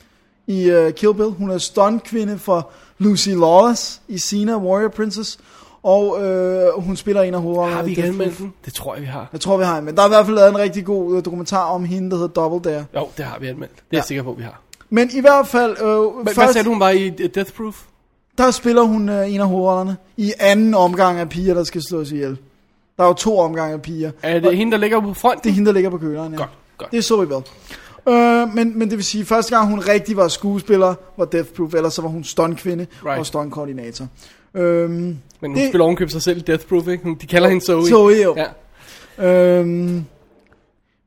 B: i uh, Kill Bill. Hun er stuntkvinde for Lucy Lawless i Sina Warrior Princess. Og øh, hun spiller en af hovedrollerne.
A: Har
B: i
A: vi ikke
B: Death
A: anmeldt
B: Proof.
A: den? Det tror jeg, vi har.
B: Jeg tror, vi har en, men der er i hvert fald lavet en rigtig god øh, dokumentar om hende, der hedder Double Dare.
A: Jo, det har vi anmeldt. Det er ja. jeg sikker på, vi har.
B: Men i hvert fald, øh,
A: Men, Hvad
B: først,
A: sagde du, hun var i øh, Death Proof?
B: der spiller hun øh, en af hovedrollerne i anden omgang af piger, der skal slås ihjel. Der er jo to omgange af piger.
A: Er det hende, der ligger på front?
B: Det er hende, der ligger på køleren, ja.
A: Godt, godt.
B: Det så vi vel. Øh, men, men det vil sige, første gang hun rigtig var skuespiller, var Death Proof, ellers så var hun stuntkvinde right.
A: Right.
B: og stuntkoordinator. Øhm,
A: Men hun
B: det-
A: det... spiller ovenkøbt sig selv i Death Proof, ikke? Hun- De kalder hende Zoe.
B: Zoe, jo.
A: Ja.
B: øhm,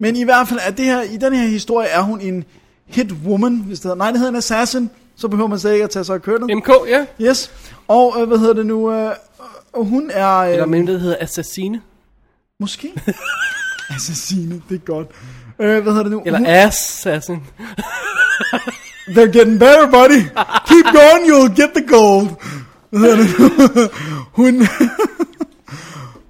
B: men i hvert fald, at det her, i den her historie er hun en hit woman, hvis det hedder. Nej, det hedder en assassin, så behøver man slet ikke at tage sig af kønnet.
A: MK, ja.
B: Yes. Og øh, hvad hedder det nu? Øh, øh, hun er... Øh,
A: Eller med hende, der hedder Assassine.
B: Måske. (laughs) Assassine, det er godt. Øh, hvad hedder det nu?
A: Eller
B: hun,
A: Assassin.
B: They're getting better, buddy. Keep going, you'll get the gold. (laughs) Hvad hedder det nu? hun, (laughs)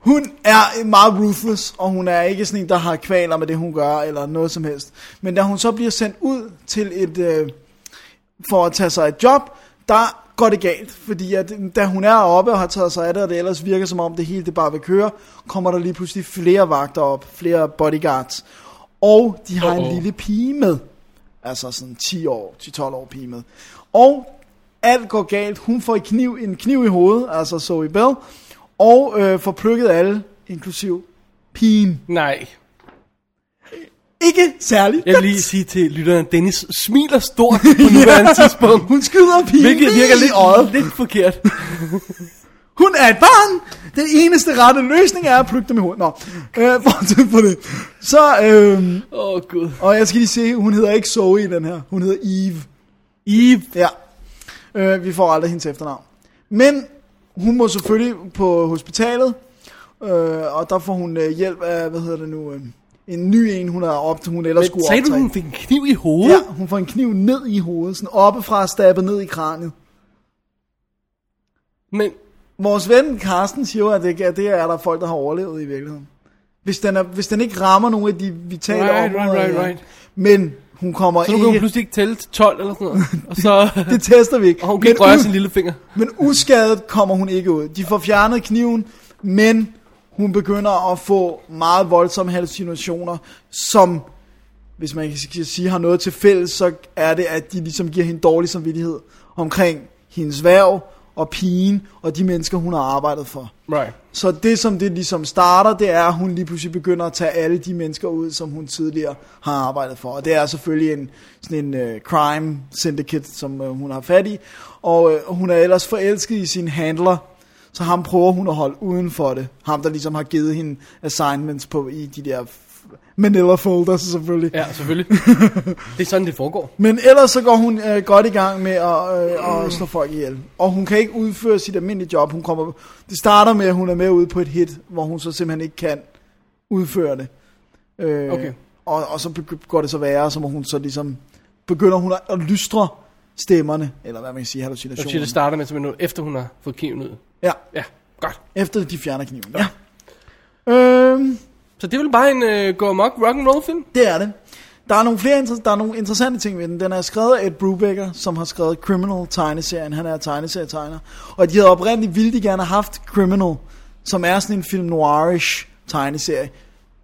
B: hun er meget ruthless, og hun er ikke sådan en, der har kvaler med det, hun gør, eller noget som helst. Men da hun så bliver sendt ud til et, øh, for at tage sig et job, der går det galt. Fordi at, da hun er oppe og har taget sig af det, og det ellers virker som om det hele det bare vil køre, kommer der lige pludselig flere vagter op, flere bodyguards. Og de har en lille pige med. Altså sådan 10 år, 10-12 år pige med. Og alt går galt. Hun får en kniv, en kniv i hovedet, altså Zoe Bell, og øh, får plukket alle, inklusiv pigen.
A: Nej.
B: Ikke særlig.
A: Jeg vil lige
B: (laughs)
A: sige til lytteren, Dennis smiler stort på nuværende tidspunkt.
B: Hun skyder pigen
A: Hvilket
B: lige
A: virker
B: i
A: lidt,
B: øjet.
A: lidt forkert.
B: Hun er et barn. Den eneste rette løsning er at plukke dem i hovedet. Nå, øh, fortsæt på det. Så, øh,
A: Åh, oh, Gud.
B: og jeg skal lige se, hun hedder ikke Zoe i den her. Hun hedder Eve.
A: Eve.
B: Ja. Øh, vi får aldrig hendes efternavn. Men hun må selvfølgelig på hospitalet, øh, og der får hun øh, hjælp af, hvad hedder det nu, øh, en ny en, hun har op, hun ellers skulle
A: Men sagde du,
B: optræde.
A: hun fik en kniv i hovedet?
B: Ja, hun får en kniv ned i hovedet, sådan oppefra stabbet ned i kraniet.
A: Men
B: Vores ven Carsten siger jo, at det, at det er der folk, der har overlevet i virkeligheden. Hvis den, er, hvis den ikke rammer nogle af de vitale
A: Right, right,
B: områder.
A: right,
B: ja.
A: right.
B: Men hun kommer
A: Så nu kan hun
B: ikke...
A: pludselig ikke tælle til 12 eller sådan noget.
B: (laughs)
A: Og så...
B: det tester vi ikke.
A: og hun kan ikke
B: Men
A: røre
B: ud-
A: sin lille finger.
B: Men uskadet kommer hun ikke ud. De får fjernet kniven, men hun begynder at få meget voldsomme hallucinationer, som, hvis man kan sige, har noget til fælles, så er det, at de ligesom giver hende dårlig samvittighed omkring hendes værv og pigen og de mennesker, hun har arbejdet for.
A: Right.
B: Så det, som det ligesom starter, det er, at hun lige pludselig begynder at tage alle de mennesker ud, som hun tidligere har arbejdet for. Og det er selvfølgelig en, sådan en uh, crime syndicate, som uh, hun har fat i. Og uh, hun er ellers forelsket i sin handler, så ham prøver hun at holde uden for det. Ham, der ligesom har givet hende assignments på i de der f- manila folders selvfølgelig.
A: Ja,
B: (laughs)
A: selvfølgelig. det er sådan, det foregår.
B: Men ellers så går hun øh, godt i gang med at, øh, at slå folk ihjel. Og hun kan ikke udføre sit almindelige job. Hun kommer, det starter med, at hun er med ude på et hit, hvor hun så simpelthen ikke kan udføre det. Øh,
A: Okay.
B: og, og så begy- går det så værre, så må hun så ligesom, begynder hun at, at lystre stemmerne, eller hvad man kan sige,
A: Jeg siger, det
B: hallucinationen.
A: starter med som en efter hun har fået kniven ud.
B: Ja,
A: Ja, godt.
B: efter de fjerner kniven. Ja. Øhm,
A: Så det er vel bare en øh, gå amok rock'n'roll film?
B: Det er det. Der er nogle flere inter- der er nogle interessante ting ved den. Den er skrevet af Ed Brubaker, som har skrevet Criminal tegneserien. Han er tegneserietegner. Og de havde oprindeligt vildt gerne haft Criminal, som er sådan en film noirish tegneserie.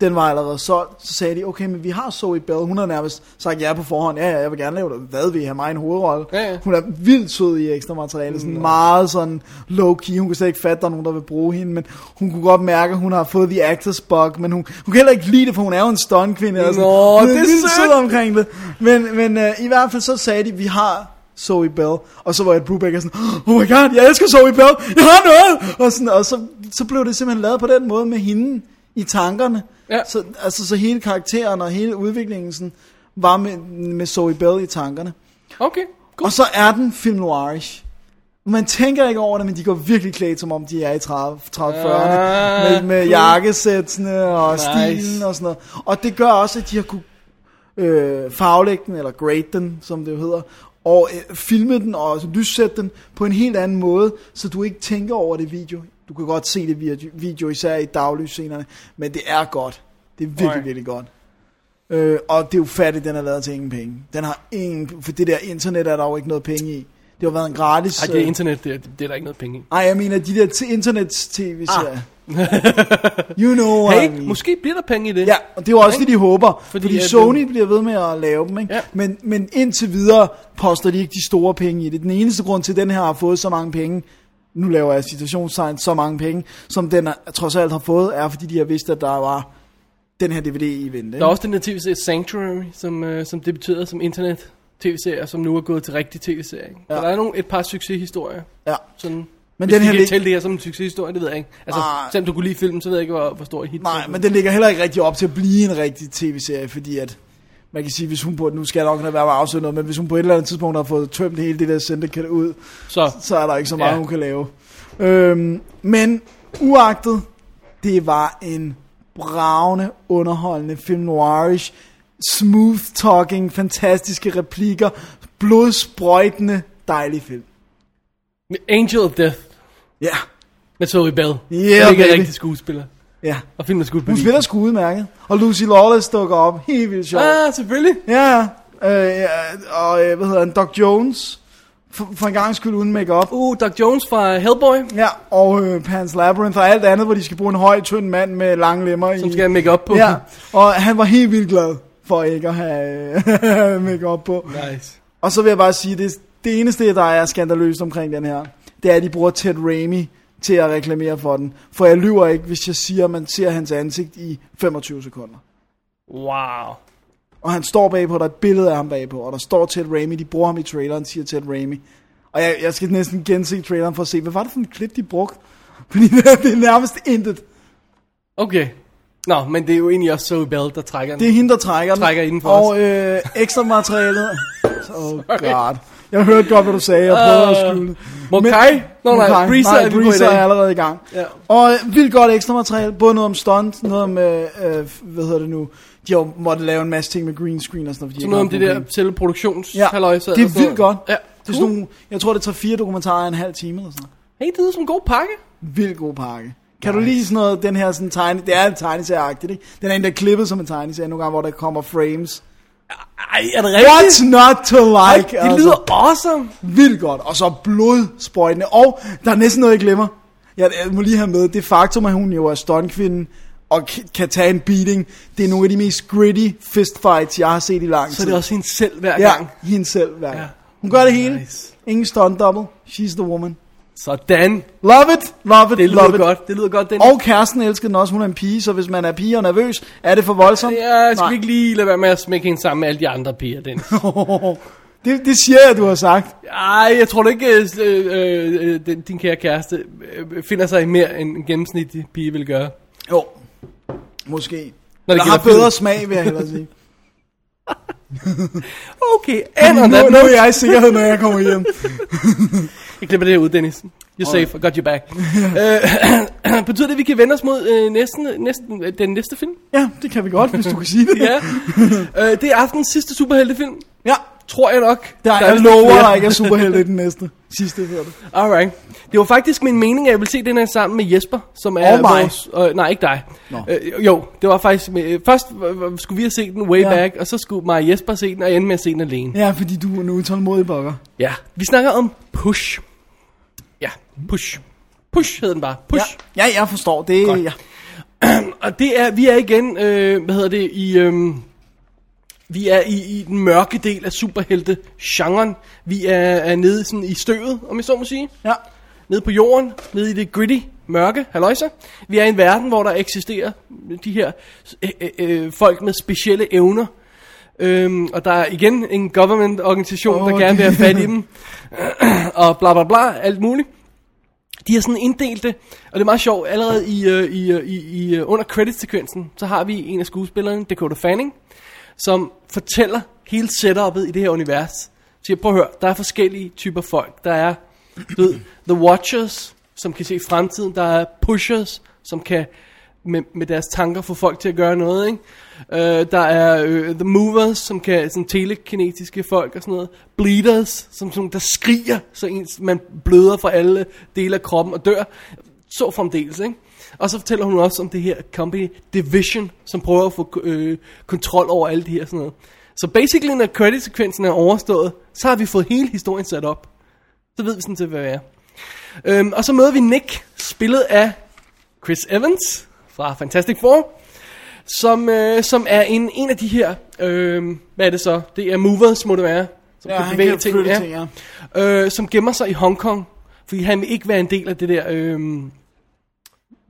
B: Den var allerede solgt, så sagde de, okay, men vi har Zoe Bell, hun har nærmest sagt ja på forhånd, ja, ja, jeg vil gerne lave det, hvad vil I have mig i en hovedrolle?
A: Ja, Mm. ja.
B: Hun er vildt sød i ekstra materiale, sådan meget sådan low-key, hun kunne slet ikke fatte, at der er nogen, der vil bruge hende, men hun kunne godt mærke, at hun har fået the actors bug, men hun, hun kan heller ikke lide det, for hun er jo en stunt-kvinde, og sådan.
A: Nå,
B: Hun
A: det er
B: vildt
A: sødt.
B: sød omkring det. Men, men øh, i hvert fald så sagde de, vi har Zoe Bell. Og så var jeg Brubaker sådan, oh my god, jeg elsker Zoe Bell, jeg har noget! Og, sådan, og så, så blev det simpelthen lavet på den måde med hende i tankerne.
A: Ja.
B: Så, altså, så hele karakteren og hele udviklingen sådan, var med, med Zoe Bell i tankerne.
A: Okay,
B: Cool. Og så er den film noirish. Man tænker ikke over det, men de går virkelig klædt, som om de er i 30 30'erne.
A: Ah,
B: med, med
A: cool.
B: jakkesættene og
A: Nice.
B: stilen og sådan noget. Og det gør også, at de har kunne øh, farvelægge den, eller grade den, som det jo hedder, og øh, filme den og lyssætte den på en helt anden måde, så du ikke tænker over det video. Du kan godt se det video, video især i daglysscenerne, men det er godt. Det er virkelig,
A: Right.
B: virkelig godt. Øh, og det er jo fattigt, den er lavet til ingen penge. Den har ingen, for det der internet er der jo ikke noget penge i. Det har været en gratis...
A: Ej, det er
B: øh,
A: internet, det er, det er der ikke noget
B: (laughs)
A: penge i.
B: ej, jeg mener de der t- internets-tv-serier. you know what I
A: Ah. Hey,
B: mean.
A: måske bliver der penge i det.
B: Ja, og det er jo også det, de håber.
A: Fordi
B: Fordi, fordi
A: at-
B: Sony bliver ved med at lave dem, ikke?
A: Ja.
B: Men, men indtil videre poster de ikke de store penge i det. Den eneste grund til, at den her har fået så mange penge, nu laver jeg citationstegn, så mange penge, som den er, trods alt har fået, er fordi de har vidst, at der var den her DVD i
A: Der
B: vente.
A: er
B: ikke?
A: også den der tv-serie Sanctuary, som, øh, som debuterede som internet tv-serie, som nu er gået til rigtig tv-serie. ikke? Så
B: Ja.
A: der er nogle, et par succeshistorier.
B: Ja.
A: Sådan,
B: Men
A: hvis
B: den
A: vi
B: her
A: kan
B: lig-
A: tælle det her som en succeshistorie, det ved jeg ikke. Altså,
B: Nej.
A: selvom du kunne lide filmen, så ved jeg ikke, hvor, hvor stor et hit.
B: Nej, men den ligger heller ikke rigtig op til at blive en rigtig tv-serie, fordi at man kan sige, hvis hun på, nu skal jeg nok lade være med at afsløre noget, men hvis hun på et eller andet tidspunkt har fået tømt hele det der syndicate ud,
A: Så,
B: så er der ikke så meget,
A: Ja.
B: ja. hun kan lave. Øhm, men uagtet, det var en bravende, underholdende film noirish, smooth talking, fantastiske replikker, blodsprøjtende, dejlig film.
A: Angel of Death
B: Ja,
A: med Zoe Bell.
B: Yeah,
A: Som ikke er
B: baby.
A: rigtig skuespiller.
B: ja.
A: Og filmen er skudt på
B: Hun
A: lige.
B: spiller sgu udmærket, og Lucy Lawless dukker op, helt vildt sjovt.
A: Ah, selvfølgelig.
B: Ja, ja. Øh, ja, og øh, hvad hedder han, Doc Jones, for, for en gang skyld uden makeup.
A: Uh, Doc Jones fra Hellboy,
B: Ja, og øh, Pans Labyrinth og alt andet, hvor de skal bruge en høj, tynd mand med lange lemmer
A: som
B: i.
A: skal have make op på.
B: Ja, og han var helt vildt glad for ikke at have øh, (laughs) makeup på.
A: Nice.
B: Og så vil jeg bare sige, det, det eneste, der er skandaløst omkring den her, det er, at de bruger Ted Raimi til at reklamere for den. For jeg lyver ikke, hvis jeg siger, at man ser hans ansigt i 25 sekunder.
A: Wow.
B: Og han står bagpå, og der er et billede af ham bagpå, og der står Ted Raimi, de bruger ham i traileren, siger Ted Raimi. Og jeg, jeg skal næsten gense traileren for at se, hvad var det for en klip, de brugte? (laughs) Fordi det er nærmest intet.
A: Okay. Nå, men det er jo egentlig også Zoe Bell, der trækker den.
B: Det er hende, der trækker den.
A: Trækker indenfor os.
B: Og øh, ekstra
A: (laughs)
B: materialet. Oh god. Jeg hørte godt, hvad du sagde, og prøvede at skjule det.
A: Øh, Mokai? Nå, nej,
B: Mokai.
A: Breezer er vi på i
B: Breezer
A: dag.
B: er allerede i gang.
A: Ja.
B: Og øh, vildt godt ekstra materiale, både noget om stunt, noget om, øh, øh, hvad hedder det nu, de har jo måttet lave en masse ting med green screen og sådan noget. fordi
A: Så
B: de
A: noget om
B: ikke
A: det
B: har haft nogen
A: der
B: penge.
A: selve produktions
B: Ja,
A: halløjsa
B: det er
A: og sådan
B: vildt
A: noget.
B: godt.
A: Ja.
B: Det er sådan nogle, jeg tror, det tager fire dokumentarer af en halv time eller sådan noget.
A: Hey, det lyder som en god pakke.
B: Vildt god pakke. Kan nice. du lige sådan noget, den her sådan tegne, det er en tegneserieagtigt, ikke? Den er en, der er klippet som en tegneserie nogle gange, hvor der kommer frames.
A: Ej, er det rigtigt?
B: What's not to like? altså?
A: Ej, det lyder awesome.
B: vildt godt. Og så blodsprøjtende. Og der er næsten noget, jeg glemmer. Jeg jeg må lige have med, det faktum, at hun jo er stuntkvinde, og k- kan tage en beating, det er nogle af de mest gritty fistfights, jeg har set i lang tid.
A: Så er det også hende selv hver
B: ja,
A: gang.
B: hende selv hver gang.
A: Ja.
B: Hun gør det hele.
A: Nice.
B: Ingen stunt double. She's the woman.
A: Sådan.
B: Love it, love it,
A: Det
B: love
A: lyder
B: it.
A: godt. Det lyder godt, den.
B: Og kæresten elskede den også, hun er en pige, så hvis man er pige og nervøs, er det for voldsomt?
A: Ja, skal
B: Nej.
A: vi ikke lige lade være med at smække hende sammen med alle de andre piger, den.
B: det, det siger jeg, du har sagt.
A: Ej, jeg tror da ikke, øh, øh, øh, den- din kære kæreste øh, finder sig i mere, end en gennemsnitlig pige vil gøre.
B: Jo, måske.
A: Når
B: Jeg
A: det
B: har
A: gælder
B: bedre
A: film.
B: smag, vil jeg hellere
A: (laughs)
B: sige.
A: Okay, and
B: nu,
A: on that
B: nu
A: note.
B: er jeg i sikkerhed, når jeg kommer
A: (laughs)
B: hjem.
A: Jeg klipper det her ud, Dennis. You're safe, I got you
B: (laughs)
A: back. øh, (clears throat) betyder det, at vi kan vende os mod øh, næsten, næsten, øh, den næste film?
B: Ja, det kan vi godt, hvis du kan sige det. (laughs)
A: Ja. øh, det er aftens sidste superheltefilm.
B: ja.
A: Tror jeg nok.
B: Der, der er
A: vist
B: lover,
A: flere.
B: der ikke er superhelte i den
A: (laughs)
B: næste. Sidste hedder det.
A: Alright. Det var faktisk min mening, at jeg ville se den her sammen med Jesper, som er
B: Og mig.
A: vores... Øh, nej, ikke dig. Øh, jo, det var faktisk... Med, øh, først øh, øh, skulle vi have set den way
B: Ja.
A: ja. back, og så skulle mig og Jesper se den, og ende med at se den alene.
B: Ja, fordi du er en utålmodig bokker.
A: Ja. Vi snakker om Push. Ja, Push. Push hed den bare.
B: Ja.
A: Push.
B: ja, jeg forstår det.
A: Godt.
B: Ja.
A: Og det er, vi er igen, øh, hvad hedder det, i, øh, vi er i, i den mørke del af superhelte-genren. Vi er, er nede sådan i støvet, om jeg så må sige.
B: ja.
A: Nede på jorden, nede i det gritty, mørke, halløjsa. Vi er i en verden, hvor der eksisterer de her øh, øh, øh, folk med specielle evner. Øhm, og der er igen en government-organisation, oh, der
B: Åh,
A: gerne vil have
B: det-
A: fat i dem. (clears throat) og bla bla bla, alt muligt. De er sådan inddelte, og det er meget sjovt, allerede i, øh, i, øh, i, i øh, under creditsekvensen, så har vi en af skuespillerne, Dakota Fanning, som fortæller hele setupet i det her univers. Siger, prøv at høre, der er forskellige typer folk. Der er du ved, The Watchers, som kan se fremtiden. Der er Pushers, som kan med, med deres tanker få folk til at gøre noget. Ikke? Øh, der er øh, The Movers, som kan sådan telekinetiske folk og sådan noget. Bleeders, som, som der skriger, så ens, man bløder fra alle dele af kroppen og dør. Så fremdeles, ikke? Og så fortæller hun også om det her company Division, som prøver at få øh, kontrol over alt det her sådan noget. Så basically, når credit-sekvensen er overstået, så har vi fået hele historien sat op. Så ved vi sådan til, hvad vi er. Øhm, og så møder vi Nick, spillet af Chris Evans fra Fantastic Four, som, øh, som er en, en af de her, øh, hvad er det så? Det er movers, må det være. Som
B: Ja, han kan flytte ting, ja.
A: Øh, som gemmer sig i Hongkong, fordi han vil ikke være en del af det der øh,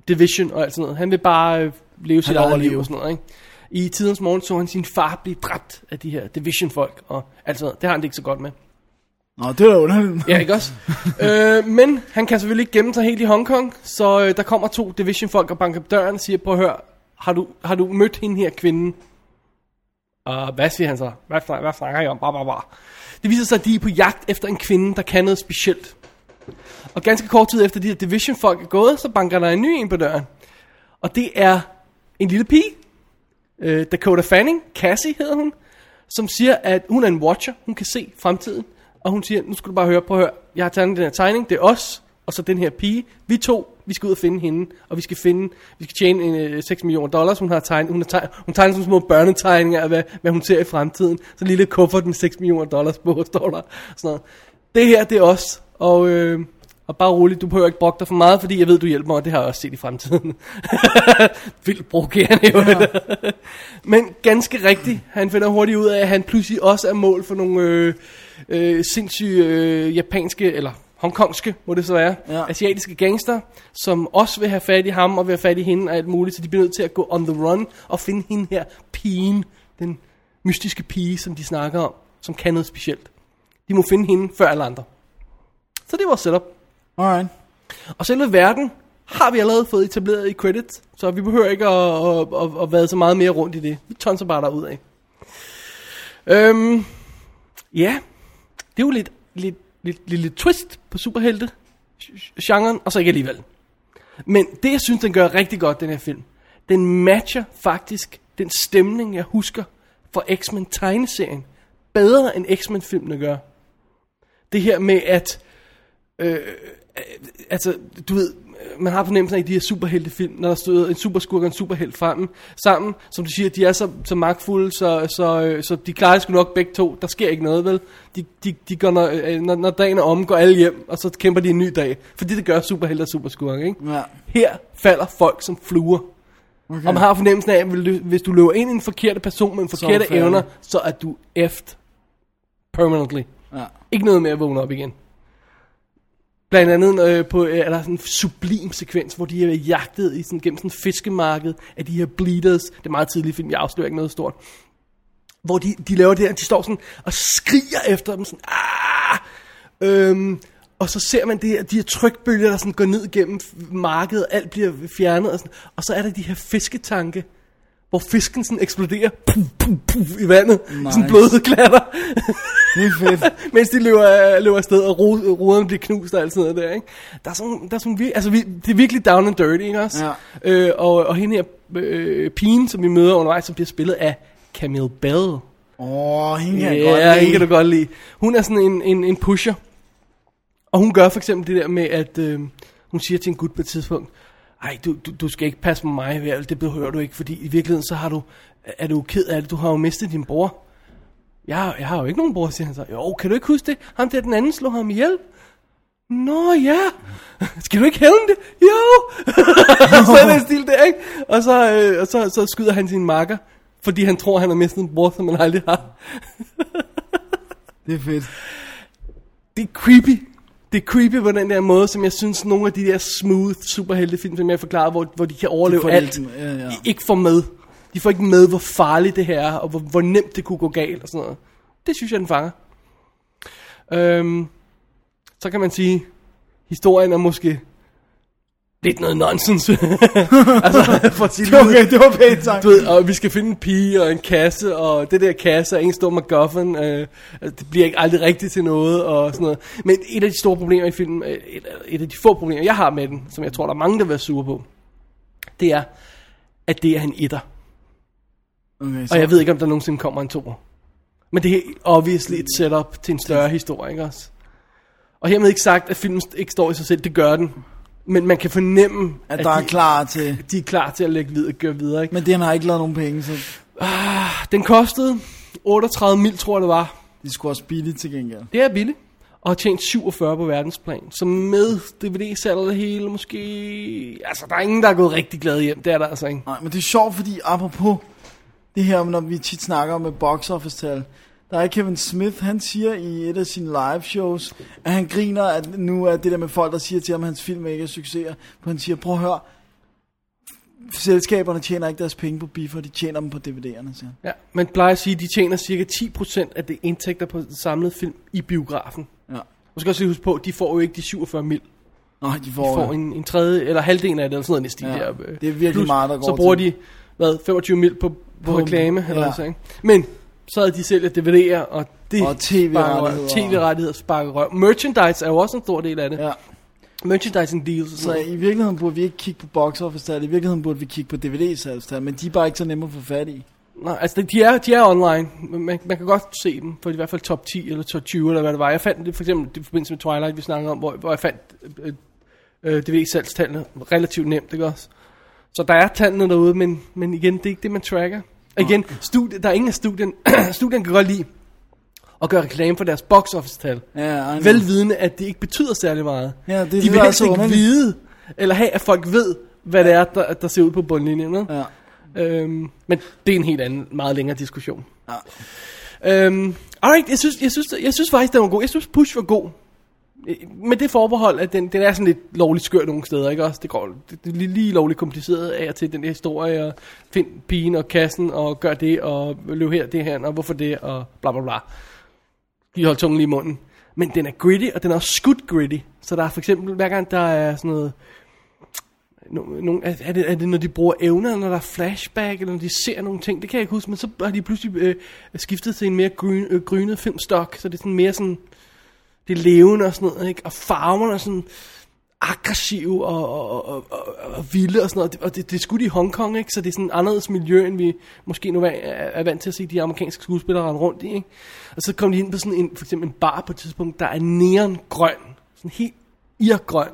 A: division og alt sådan noget. Han vil bare øh, leve sit
B: vil
A: eget liv
B: overleve.
A: og sådan noget, ikke? I tidens morgen så han sin far blive dræbt af de her division-folk og alt sådan noget. Det har han det ikke så godt med.
B: Nå, det er da
A: (laughs)
B: underligt.
A: Ja, ikke også? øh, men han kan selvfølgelig ikke gemme sig helt i Hongkong, så øh, der kommer to Division-folk og banker på døren og siger, prøv at høre, har du, har du mødt hende her kvinde? Og hvad siger han så? Hvad, snak- hvad snakker I om? Blah, blah, blah. Det viser sig, at de er på jagt efter en kvinde, der kan noget specielt. Og ganske kort tid efter de her Division-folk er gået, så banker der en ny en på døren. Og det er en lille pige, øh, Dakota Fanning, Cassie hedder hun, som siger, at hun er en watcher, hun kan se fremtiden, og hun siger, nu skal du bare høre, prøv at høre, jeg har tegnet den her tegning, det er os, og så den her pige, vi to, vi skal ud og finde hende, og vi skal finde, vi skal tjene en, øh, 6 millioner dollars, hun har tegnet, hun, har tegnet, hun tegner sådan små børnetegninger af, hvad, hvad hun ser i fremtiden, så en lille kuffert med 6 millioner dollars på, (laughs) står der, sådan noget. Det her, det er os, og, øh, og bare roligt, du behøver ikke brokke dig for meget, fordi jeg ved, du hjælper mig, og det har jeg også set i fremtiden. (laughs) Vildt provokerende jo. Ja. Men ganske rigtigt, han finder hurtigt ud af, at han pludselig også er mål for nogle øh, øh, sindssyge øh, japanske, eller hongkongske, må det så være,
B: Ja.
A: ja. asiatiske gangster, som også vil have fat i ham og vil have fat i hende og alt muligt, så de bliver nødt til at gå on the run og finde hende her, pigen, den mystiske pige, som de snakker om, som kan noget specielt. De må finde hende før alle andre. Så det var setup.
B: Alright.
A: Og selve verden har vi allerede fået etableret i credits, så vi behøver ikke at, at, at, at være så meget mere rundt i det. Vi tonser bare derud af. Øhm, ja, det er jo lidt, lidt, lidt, lidt, lidt twist på superhelte genren, og så ikke alligevel. Men det, jeg synes, den gør rigtig godt, den her film, den matcher faktisk den stemning, jeg husker fra X-Men tegneserien, bedre end X-Men filmene gør. Det her med, at Øh, altså, du ved, man har fornemmelsen af, at de her superheltefilm, når der stod en superskurk og en superhelt fremme, sammen, som du siger, de er så, så magtfulde, så, så, øh, så de klarer det sgu nok begge to. Der sker ikke noget, vel? De, de, de går, når, øh, når, når dagen er omme, går alle hjem, og så kæmper de en ny dag. Fordi det gør superhelte og superskurke, ikke?
B: Ja.
A: Her falder folk som fluer. Okay. Og man har fornemmelsen af, at vil du- hvis du løber ind i en forkert person med en
B: Så er
A: forkerte
B: du færdig.
A: evner, så er du eft. Permanently.
B: Ja.
A: Ikke noget med at vågne op igen. Blandt andet øh, på, øh, er der sådan en sublim sekvens, hvor de er jagtet i sådan, gennem sådan en fiskemarked af de her bleeders. Det er meget tidlig film, jeg afslører ikke noget stort. Hvor de, de laver det her, de står sådan og skriger efter dem, sådan, "Ah!" øhm, og så ser man det her, de her trykbølger, der sådan går ned gennem f- markedet, alt bliver fjernet, og, sådan, og så er der de her fisketanke, hvor fisken sådan eksploderer puff, puff, puff, i vandet, nice. sådan
B: Nice.
A: blodet klatter.
B: Det er fedt.
A: (laughs) Mens de løber, løber afsted, og ru- ruderne bliver knust og alt sådan noget der, ikke? Der er sådan, der er sådan vir- altså, vi, det er virkelig down and dirty, ikke også?
B: Ja.
A: Øh, og, og hende her øh, pigen, som vi møder undervejs, som bliver spillet af Camille Bell.
B: Åh, oh, hende kan jeg godt
A: Ja,
B: lide.
A: hende kan du godt lide. Hun er sådan en, en, en pusher. Og hun gør for eksempel det der med, at øh, hun siger til en gut på et tidspunkt, ej, du, du, du skal ikke passe på mig, Vel, det behøver du ikke, fordi i virkeligheden så har du, er du ked af det, du har jo mistet din bror. Jeg, har- jeg har jo ikke nogen bror, siger han så. Jo, kan du ikke huske det? Ham der den anden slog ham ihjel. Nå ja, (laughs) skal du ikke hævne det? Jo! (laughs) Sådan en stil der, ikke? Og, så, øh, og så, så skyder han sin makker, fordi han tror, han har mistet en bror, som han aldrig har.
B: Det er fedt.
A: det er creepy. Det er creepy på den der måde, som jeg synes, nogle af de der smooth superheltefilm, som jeg forklarede, hvor, hvor de kan overleve
B: får
A: de alt,
B: lidt- ja, ja.
A: I ikke får med. De får ikke med, hvor farligt det her er, og hvor, hvor nemt det kunne gå galt og sådan noget. Det synes jeg, den fanger. Øhm, så kan man sige, historien er måske lidt noget nonsens. (laughs) altså, for at sige (laughs) det ud.
B: Okay, det var pænt sagt.
A: Du ved, og vi skal finde en pige og en kasse, og det der kasse og en stor MacGuffin, øh, altså, det bliver ikke aldrig rigtigt til noget, og sådan noget. Men et af de store problemer i filmen, øh, et, et af de få problemer, jeg har med den, som jeg tror, der er mange, der vil være sure på, det er, at det er en etter.
B: Okay, så.
A: Og jeg ved ikke, om der nogensinde kommer en toer. Men det er helt obviously et setup til en større historie, ikke også? Og hermed ikke sagt, at filmen st- ikke står i sig selv, det gør den. Men man kan fornemme,
B: At der er
A: de,
B: klar til...
A: de er klar til at lægge videre, gøre videre, ikke?
B: Men den har ikke lavet nogen penge, så
A: Den kostede 38 mil, tror jeg det var.
B: de skulle også billigt til gengæld.
A: Det er billigt. Og har tjent 47 på verdensplan. Så med DVD-salget og det hele, måske... Altså, der er ingen, der er gået rigtig glad hjem. Det er der altså ikke.
B: Nej, men det er sjovt, fordi apropos det her, når vi tit snakker om et box office tal, der er Kevin Smith, han siger i et af sine live shows, at han griner, at nu er det der med folk, der siger til ham, at hans film ikke er succeser, for han siger, prøv at høre, selskaberne tjener ikke deres penge på biffer, de tjener dem på DVD'erne, siger han.
A: Ja, man plejer at sige, at de tjener cirka 10% af det indtægter på den samlede film i biografen.
B: Ja.
A: Du skal også lige huske på, de får jo ikke de 47 mil. De
B: Nej, de får,
A: får en, en tredje, eller halvdelen af det, eller sådan noget næsten.
B: Ja,
A: Der,
B: det er
A: øh,
B: virkelig meget, der går
A: Så bruger
B: til.
A: de, hvad, 25 mil på, på, reklame, eller
B: ja.
A: ja. sådan, ikke? Men så er de sælger DVD'er, og det
B: Og TV-rettigheder.
A: sparker- TV-rettigheder sparker røv. Merchandise er jo også en stor del af det.
B: Ja.
A: Merchandising deals og
B: Så
A: sådan noget.
B: i virkeligheden burde vi ikke kigge på box office tal, i virkeligheden burde vi kigge på DVD-salgstal, men de er bare ikke så nemme at få fat i.
A: Nej, altså de er, de er online. men Man, man kan godt se dem, for i hvert fald top 10 eller top 20 eller hvad det var. Jeg fandt det for eksempel det i forbindelse med Twilight, vi snakkede om, hvor, hvor jeg fandt øh, øh, DVD-salgstallene relativt nemt, ikke også? Så der er tallene derude, men, men igen, det er ikke det, man tracker. Og igen, studie, der er ingen af studien, (clears throat) studien kan godt lide at gøre reklame for deres box office-tal.
B: Ja, I know.
A: Velvidende, at det ikke betyder særlig meget.
B: Ja, det er
A: de
B: det,
A: vil
B: der er
A: helst
B: så
A: ikke
B: underligt.
A: vide, eller have, at folk ved, hvad det er, der, der ser ud på bundlinjen. Ja.
B: Ja.
A: Øhm, men det er en helt anden, meget længere diskussion. Ja. Øhm, alright, jeg synes, jeg, synes, jeg synes faktisk, den var god. Jeg synes, Push var god. Øh, Med det forbehold, at den, den er sådan lidt lovligt skør nogle steder, ikke også? Det, går, det, det er lige, lige lovligt kompliceret af og til, den der historie, og find pigen og kassen, og gør det, og løb her, det her, og hvorfor det, og bla bla bla. De holdt tungen lige i munden. Men den er gritty, og den er også skudt gritty. Så der er for eksempel, hver gang der er sådan noget, No, no, er, er, det, er det, når de bruger evner, når der er flashback, eller når de ser nogle ting? Det kan jeg ikke huske, men så har de pludselig øh, skiftet til en mere gryn, øh, grynet filmstok, så det er sådan mere sådan, det er levende og sådan noget, ikke? Og farverne er sådan aggressive og, og, og, og, og vilde og sådan noget. Og det, det er skudt i Hongkong, ikke? Så det er sådan anderledes miljø, end vi måske nu er, er vant til at se de amerikanske skuespillere rende rundt i, ikke? Og så kom de ind på sådan en, for eksempel en bar på et tidspunkt, der er neongrøn. Sådan helt irgrøn.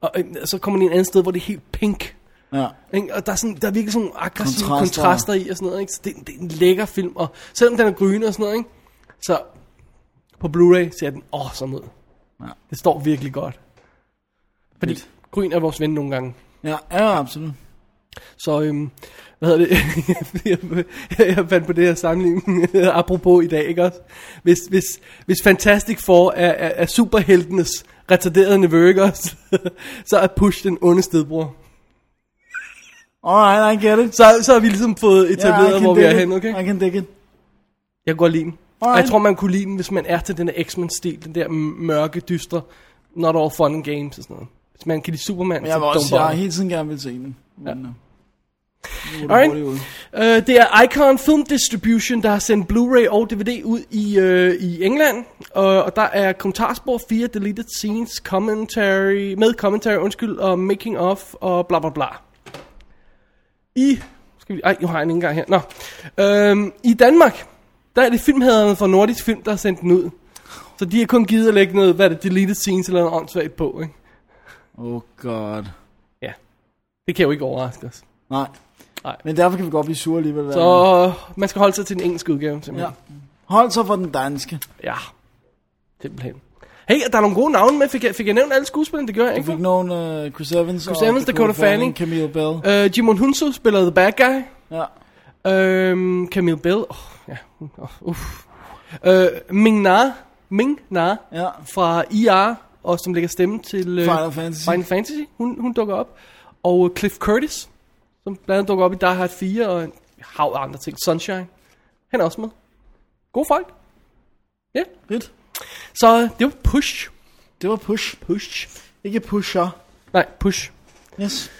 A: Og øh, så kommer den en anden sted, hvor det er helt pink.
B: Ja.
A: Ikke? Og der er, sådan, der er virkelig sådan nogle aggressive kontraster,
B: Kontraster.
A: kontraster i og sådan noget. Ikke? Så det, det er en lækker film. Og selvom den er grøn og sådan noget, ikke? så på Blu-ray ser den awesome ud.
B: Ja.
A: Det står virkelig godt. Fordi Lidt. grøn er vores ven nogle gange.
B: Ja, ja, absolut.
A: Så øhm, hvad hedder det? (laughs) jeg, jeg fandt på det her sammenligning (laughs) apropos i dag, ikke også? Hvis, hvis, hvis Fantastic Four er, er, er superheltenes retarderede niveau, ikke også? (laughs) så er Push den onde stedbror.
B: Alright, I get it.
A: Så, så har vi ligesom fået etableret,
B: I
A: yeah,
B: can
A: hvor vi
B: dig
A: er
B: it.
A: henne, okay?
B: I can dig it.
A: Jeg kan godt lide den. Og
B: Alright.
A: jeg tror, man kunne lide den, hvis man er til den der X-Men-stil, den der m- mørke, dystre, not all fun and games og sådan noget. Hvis man kan lide Superman,
B: Jeg,
A: så
B: vil også,
A: don't
B: jeg har
A: bother.
B: hele tiden gerne vil se den. Ja. Men, uh, nu er det
A: Alright.
B: hurtigt ud.
A: Øh, det er Icon Film Distribution, der har sendt Blu-ray og DVD ud i, øh, i England. Og, og der er kommentarspor 4, deleted scenes, commentary, med commentary, undskyld, og making of, og bla bla bla. I, skal vi, ej, nu har jeg den ikke engang her. Nå. Øhm, I Danmark, der er det filmhederne fra Nordisk Film, der har sendt den ud. Så de har kun givet at lægge noget, hvad er det, deleted scenes eller noget åndssvagt på, ikke?
B: Oh god.
A: Ja. Det kan jo ikke overraske os.
B: Nej.
A: Nej.
B: Men derfor kan vi godt blive sure alligevel. hver gang.
A: Så man skal holde sig til den engelske udgave, simpelthen.
B: Ja. Hold så for den danske.
A: Ja, simpelthen. Hey, der er nogle gode navne med. Fik jeg, fik jeg nævnt alle skuespillerne? Det gør jeg
B: Du
A: ikke.
B: fik nogen uh, Chris Evans
A: Chris Evans, Dakota Fanning.
B: Camille Bell.
A: Uh, Jimon Hunsu spiller The Bad Guy.
B: Ja.
A: Uh, Camille Bell. Oh, ja. Oh, uff. Uh, Ming Na. Ming Na
B: Ja.
A: fra IR, og som lægger stemme til uh,
B: Final Fantasy.
A: Final Fantasy. Hun, hun dukker op. Og uh, Cliff Curtis, som blandt andet dukker op i Die Hard 4 og en hav af andre ting. Sunshine. Han er også med. Gode folk. Ja. Yeah.
B: Fedt.
A: Så øh, det var Push.
B: Det var push.
A: Push.
B: Ikke pusher.
A: Nej, Push.
B: Yes.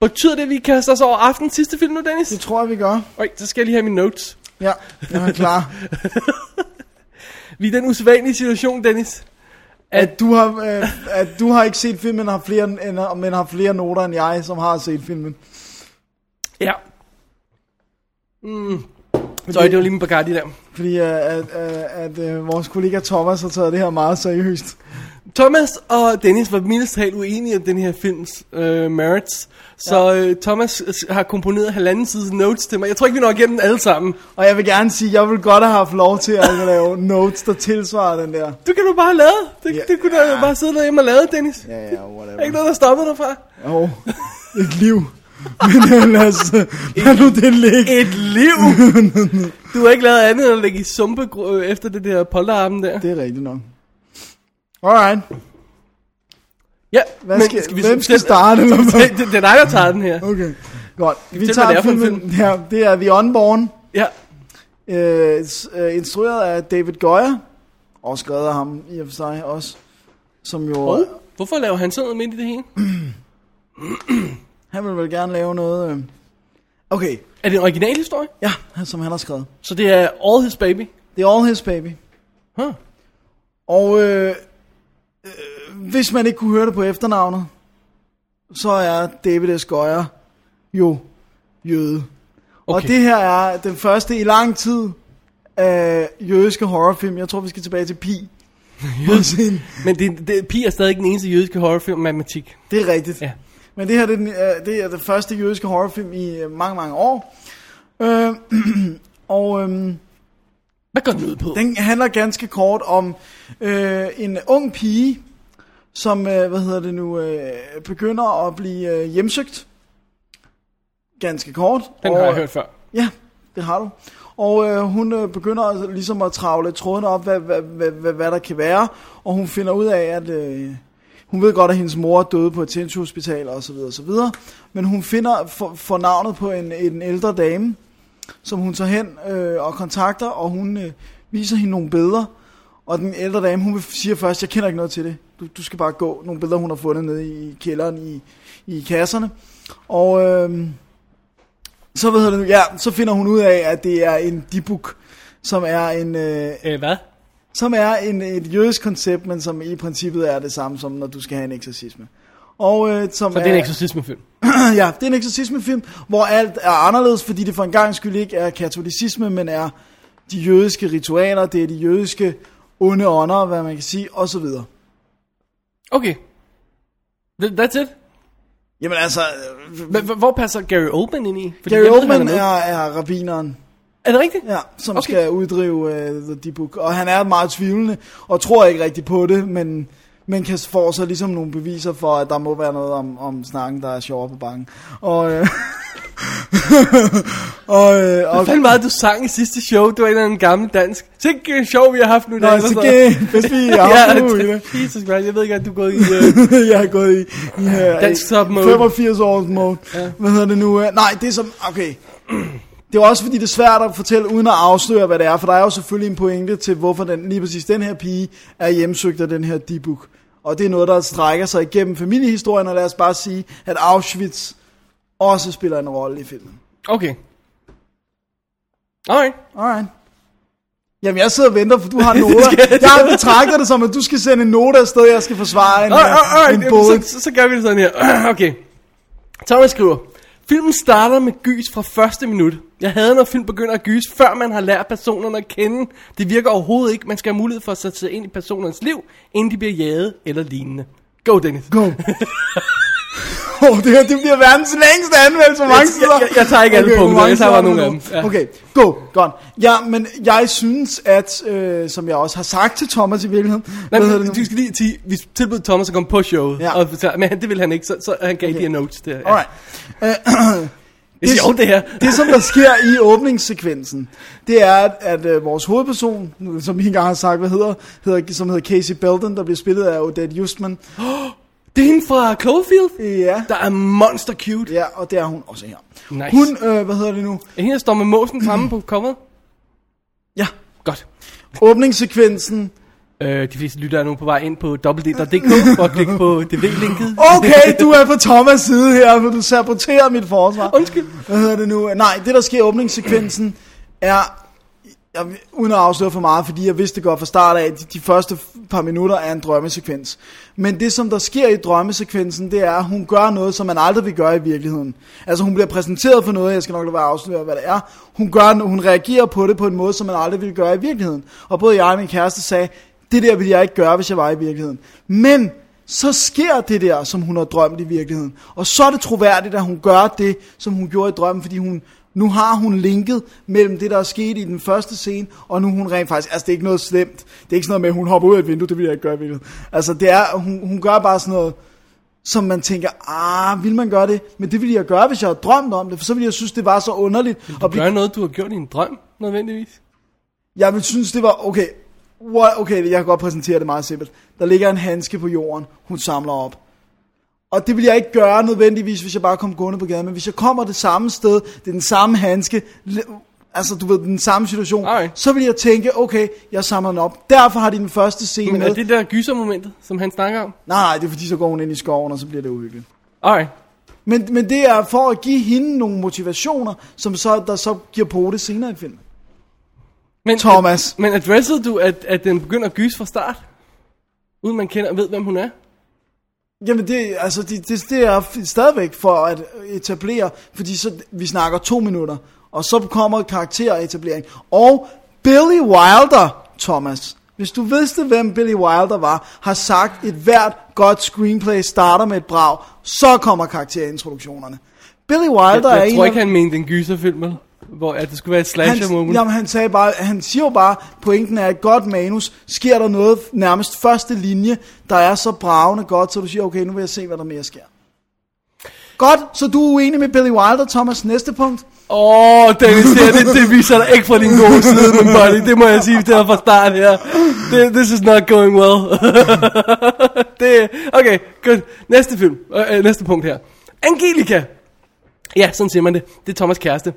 A: Betyder det, at vi kaster os over aftenens sidste film nu, Dennis?
B: Det tror jeg, vi gør.
A: Oj, så skal jeg lige have mine notes.
B: Ja, jeg er klar.
A: Vi er i den usædvanlige situation, Dennis.
B: At du, har, øh, at du har ikke set filmen, har flere, end, men har flere noter end jeg, som har set filmen.
A: Ja. Mm. Så det var lige min Bacardi der.
B: Fordi øh, at, øh, at øh, vores kollega Thomas har taget det her meget seriøst.
A: Thomas og Dennis var mildest talt uenige om den her films øh, merits. Så øh, Thomas øh, har komponeret halvanden side notes til mig. Jeg tror ikke, vi når igennem alle sammen.
B: Og jeg vil gerne sige, at jeg vil godt have haft lov til at lave notes, der tilsvarer den der.
A: Du kan du bare lave. Det,
B: Ja.
A: det kunne du jo bare sidde derhjemme og lave, Dennis.
B: Ja, ja,
A: Der er ikke
B: whatever.
A: noget, der stopper dig fra.
B: Jo, et liv. Men øh, lad os, øh, lad nu det ligge.
A: Et liv! du har ikke lavet andet end at ligge i sumpe øh, efter det der polterarmen der.
B: Det er rigtigt nok. Alright,
A: Ja,
B: hvad
A: men
B: skal, skal vi, hvem skal starte?
A: (laughs)
B: Eller
A: Det,
B: hvad?
A: det, det er dig, der tager den her.
B: Okay, godt.
A: Fortæl,
B: Vi
A: hvad det er
B: tager
A: for en
B: filmen. Ja, det er The Unborn.
A: Ja,
B: øh, s- øh, instrueret af David Goyer, og skrevet af ham i og for sig også, som jo,
A: og
B: oh.
A: hvorfor laver han sådan noget midt i det hele?
B: han vil vel gerne lave noget, øh. okay,
A: Er det en original historie?
B: ja, han- som han har skrevet.
A: Så det er All His Baby.
B: Det er All His Baby.
A: Huh.
B: Og øh, øh, hvis man ikke kunne høre det på efternavnet, så er David S. Goyer jo jøde. Okay. Og
A: Okay.
B: det her er den første i lang tid af jødiske horrorfilm. Jeg tror, vi skal tilbage til Pi. Yes.
A: Men det, det, Pi er stadig ikke den eneste jødiske horrorfilm med matematik.
B: Det er rigtigt.
A: Ja.
B: Ja. Men det her det er, den, øh, det er den første jødiske horrorfilm i øh, mange, mange år. Øh, (clears throat) og øh,
A: Hvad går den ud på?
B: den handler ganske kort om øh, en ung pige, som øh, hvad hedder det nu øh, begynder at blive øh, hjemsøgt. Ganske kort.
A: Den
B: og,
A: har jeg hørt før.
B: Ja, det har du. Og øh, hun øh, begynder altså ligesom at travle trådene op, hvad, hvad, hvad, hvad, hvad der kan være. Og hun finder ud af, at øh, hun ved godt, at hendes mor døde på et sindshospital og så videre og så videre. Men hun finder for, for navnet på en, en ældre dame, som hun tager hen øh, og kontakter, og hun øh, viser hende nogle billeder. Og den ældre dame, hun siger først, jeg kender ikke noget til det. Du, du skal bare gå. Nogle billeder, hun har fundet nede i kælderen i, i kasserne. Og... Øh, så, hvad hedder det nu? Ja, så finder hun ud af, at det er en dibuk, som er, en, øh,
A: Æh, hvad?
B: som er en, et jødisk koncept, men som i princippet er det samme som, når du skal have en eksorcisme. Og, øh, som
A: Så det er en eksorcismefilm.
B: (laughs) ja, det er en eksorcismefilm, hvor alt er anderledes, fordi det for en gang skyld ikke er katolicisme, men er de jødiske ritualer, det er de jødiske onde ånder, hvad man kan sige, og så videre.
A: Okay. Th- that's it?
B: Jamen altså,
A: Men h- hvor passer Gary Oldman ind i? Fordi
B: Gary
A: jeg ved, han
B: Oldman
A: med.
B: er, er rabineren.
A: Er det rigtigt?
B: Ja, som
A: Okay.
B: okay. skal uddrive uh, The Deep Book. Og han er meget tvivlende, og tror ikke rigtig på det, men, men kan få så ligesom nogle beviser for, at der må være noget om, om snakken, der er sjovere på banken. Og, øh, (laughs) og, øh, og,
A: Hvad fanden var det, du sang i sidste show? Det var en eller anden gammel dansk. Sikke en show, vi har haft nu.
B: Nå, så gæ, hvis
A: (laughs)
B: vi er
A: ja,
B: afslutter i
A: det-
B: det.
A: Jesus Christ, jeg ved ikke, at du er gået i... Uh...
B: (laughs) jeg har gået i, i her,
A: Dansk sub-mode.
B: 85 års mode. Ja. Hvad hedder det nu? Øh, Nej, det er som, okay. (clears throat) Det er også fordi, det er svært at fortælle, uden at afsløre, hvad det er, for der er jo selvfølgelig en pointe til, hvorfor den, lige præcis den her pige er hjemsøgt af den her dibuk. Og det er noget, der strækker sig igennem familiehistorien, og lad os bare sige, at Auschwitz også spiller en rolle i filmen.
A: øh. Okay. Alright.
B: Alright. Jamen, jeg sidder og venter, for du
A: (laughs)
B: har noter. Jeg betragter det som, at du skal sende en note afsted, jeg skal forsvare en,
A: Alright, alright,
B: en
A: alright.
B: båd.
A: Jamen, Så, så, så gør vi det sådan her. (clears throat) okay. Thomas skriver, Filmen starter med gys fra første minut. Jeg havde, når film begynder at gys, før man har lært personerne at kende. Det virker overhovedet ikke. Man skal have mulighed for at sætte sig ind i personernes liv, inden de bliver jaget eller lignende. Go, Dennis.
B: Go. oh, det her det bliver verdens længste anmeldelse. Hvor mange
A: Jeg-
B: sider?
A: jeg- jeg tager ikke alle punkter,
B: hvor mange
A: jeg tager bare
B: sider
A: nogle
B: er
A: af
B: der
A: dem.
B: nu?
A: Ja.
B: Okay, go, godt. Ja, men jeg synes, at, øh, som jeg også har sagt til Thomas i virkeligheden.
A: Nej,
B: hvad hedder det
A: men,
B: nu?
A: du skal lige sige, vi tilbød Thomas at komme på showet,
B: Ja.
A: ja. og, så- men han- det ville han ikke, så, så han gav okay. de her notes der. Ja.
B: Alright.
A: Det er sjovt det her. Det,
B: det som der sker i åbningssekvensen, det er, at, at øh, vores hovedperson, nu, som vi engang har sagt, hvad hedder, hedder, som hedder Casey Belden, der bliver spillet af Odette Justman.
A: det er hende fra Cloverfield,
B: Ja,
A: der er monster cute.
B: ja og det er hun også her.
A: Nice.
B: Hun, øh, hvad hedder det nu?
A: Er hende, der står med måsen fremme på coveret?
B: Ja,
A: Godt.
B: åbningssekvensen.
A: Øh, de fleste lytter er nu på vej ind på www.dk for at klikke på dv-linket.
B: Okay, du er på Thomas' side her, for du saboterer mit forsvar.
A: (laughs) Undskyld.
B: Hvad hedder det nu? Nej, det der sker i åbningssekvensen er, jeg, uden at afsløre for meget, fordi jeg vidste godt fra start af, at de, de første par minutter er en drømmesekvens. Men det, som der sker i drømmesekvensen, det er, at hun gør noget, som man aldrig vil gøre i virkeligheden. Altså, hun bliver præsenteret for noget, jeg skal nok lade være at afsløre, hvad det er. Hun, gør, hun reagerer på det på en måde, som man aldrig ville gøre i virkeligheden. Og både jeg og min kæreste sagde, det der ville jeg ikke gøre, hvis jeg var i virkeligheden. Men så sker det der, som hun har drømt i virkeligheden. Og så er det troværdigt, at hun gør det, som hun gjorde i drømmen, fordi hun, nu har hun linket mellem det, der er sket i den første scene, og nu hun rent faktisk, altså det er ikke noget slemt. Det er ikke sådan noget med, at hun hopper ud af et vindue, det vil jeg ikke gøre i virkeligheden. Altså det er, hun, hun gør bare sådan noget, som man tænker, ah, vil man gøre det? Men det ville jeg gøre, hvis jeg havde drømt om det, for så ville jeg synes, det var så underligt. at blive-
A: Gør noget, du har gjort i en drøm, nødvendigvis.
B: jeg vil synes, det var, okay, what, okay, jeg kan godt præsentere det meget simpelt. Der ligger en handske på jorden, hun samler op. Og det vil jeg ikke gøre nødvendigvis, hvis jeg bare kom gående på gaden. Men hvis jeg kommer det samme sted, det er den samme handske, l- altså du ved, den samme situation,
A: Ej.
B: så vil jeg tænke, okay, jeg samler den op. Derfor har de den første scene
A: Men
B: med.
A: er det der gysermomentet, som han snakker om?
B: Nej, det er fordi, så går hun ind i skoven, og så bliver det uhyggeligt.
A: Alright.
B: Men, men det er for at give hende nogle motivationer, som så, der så giver på det senere i filmen.
A: Men,
B: Thomas.
A: Men adressede du, at, at den begynder at gyse fra start? Uden man kender og ved, hvem hun er?
B: Jamen det, altså det, det, det er f- stadigvæk for at etablere, fordi så, vi snakker to minutter, og så kommer karakteretablering. Og Billy Wilder, Thomas, hvis du vidste, hvem Billy Wilder var, har sagt, et hvert godt screenplay starter med et brag, så kommer karakterintroduktionerne. Billy Wilder
A: jeg
B: er
A: jeg
B: en
A: tror
B: af-
A: ikke, han mente en gyserfilm, vel? Hvor at det skulle være et slasher
B: han,
A: moment.
B: jamen, han, sagde bare, han siger jo bare, pointen er et godt manus, sker der noget nærmest første linje, der er så bravende godt, så du siger, okay, nu vil jeg se, hvad der mere sker. Godt, så du er uenig med Billy Wilder, Thomas, næste punkt.
A: Åh, oh, Dennis, det, her, det, det viser dig ikke fra din gode side, min buddy. Det må jeg sige, det er fra start her. Det, this is not going well. (laughs) det, okay, good. Næste film. Øh, øh, næste punkt her. Angelica. Ja, sådan siger man det. Det er Thomas kæreste.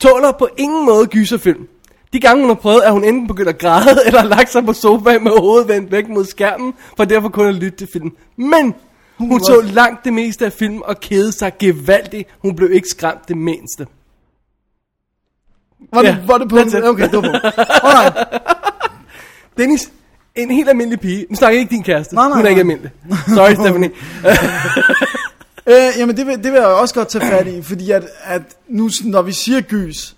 A: Tåler på ingen måde gyserfilm. De gange hun har prøvet, at hun enten begyndt at græde, (laughs) eller har lagt sig på sofaen med hovedet vendt væk mod skærmen, for derfor kun at lytte til film. Men hun så langt det meste af film og kede sig gevaldigt. Hun blev ikke skræmt det mindste.
B: Var det,
A: Ja,
B: yeah, var det punkt?
A: that's it.
B: Okay, det
A: (laughs)
B: var punkt. Alright.
A: Dennis, en helt almindelig pige. Nu snakker jeg ikke din kæreste.
B: Nej, nej,
A: Hun er ikke
B: nej.
A: almindelig. Sorry, Stephanie.
B: Øh, jamen, det vil, det vil jeg også godt tage fat i, fordi at, at nu, sådan, når vi siger gys,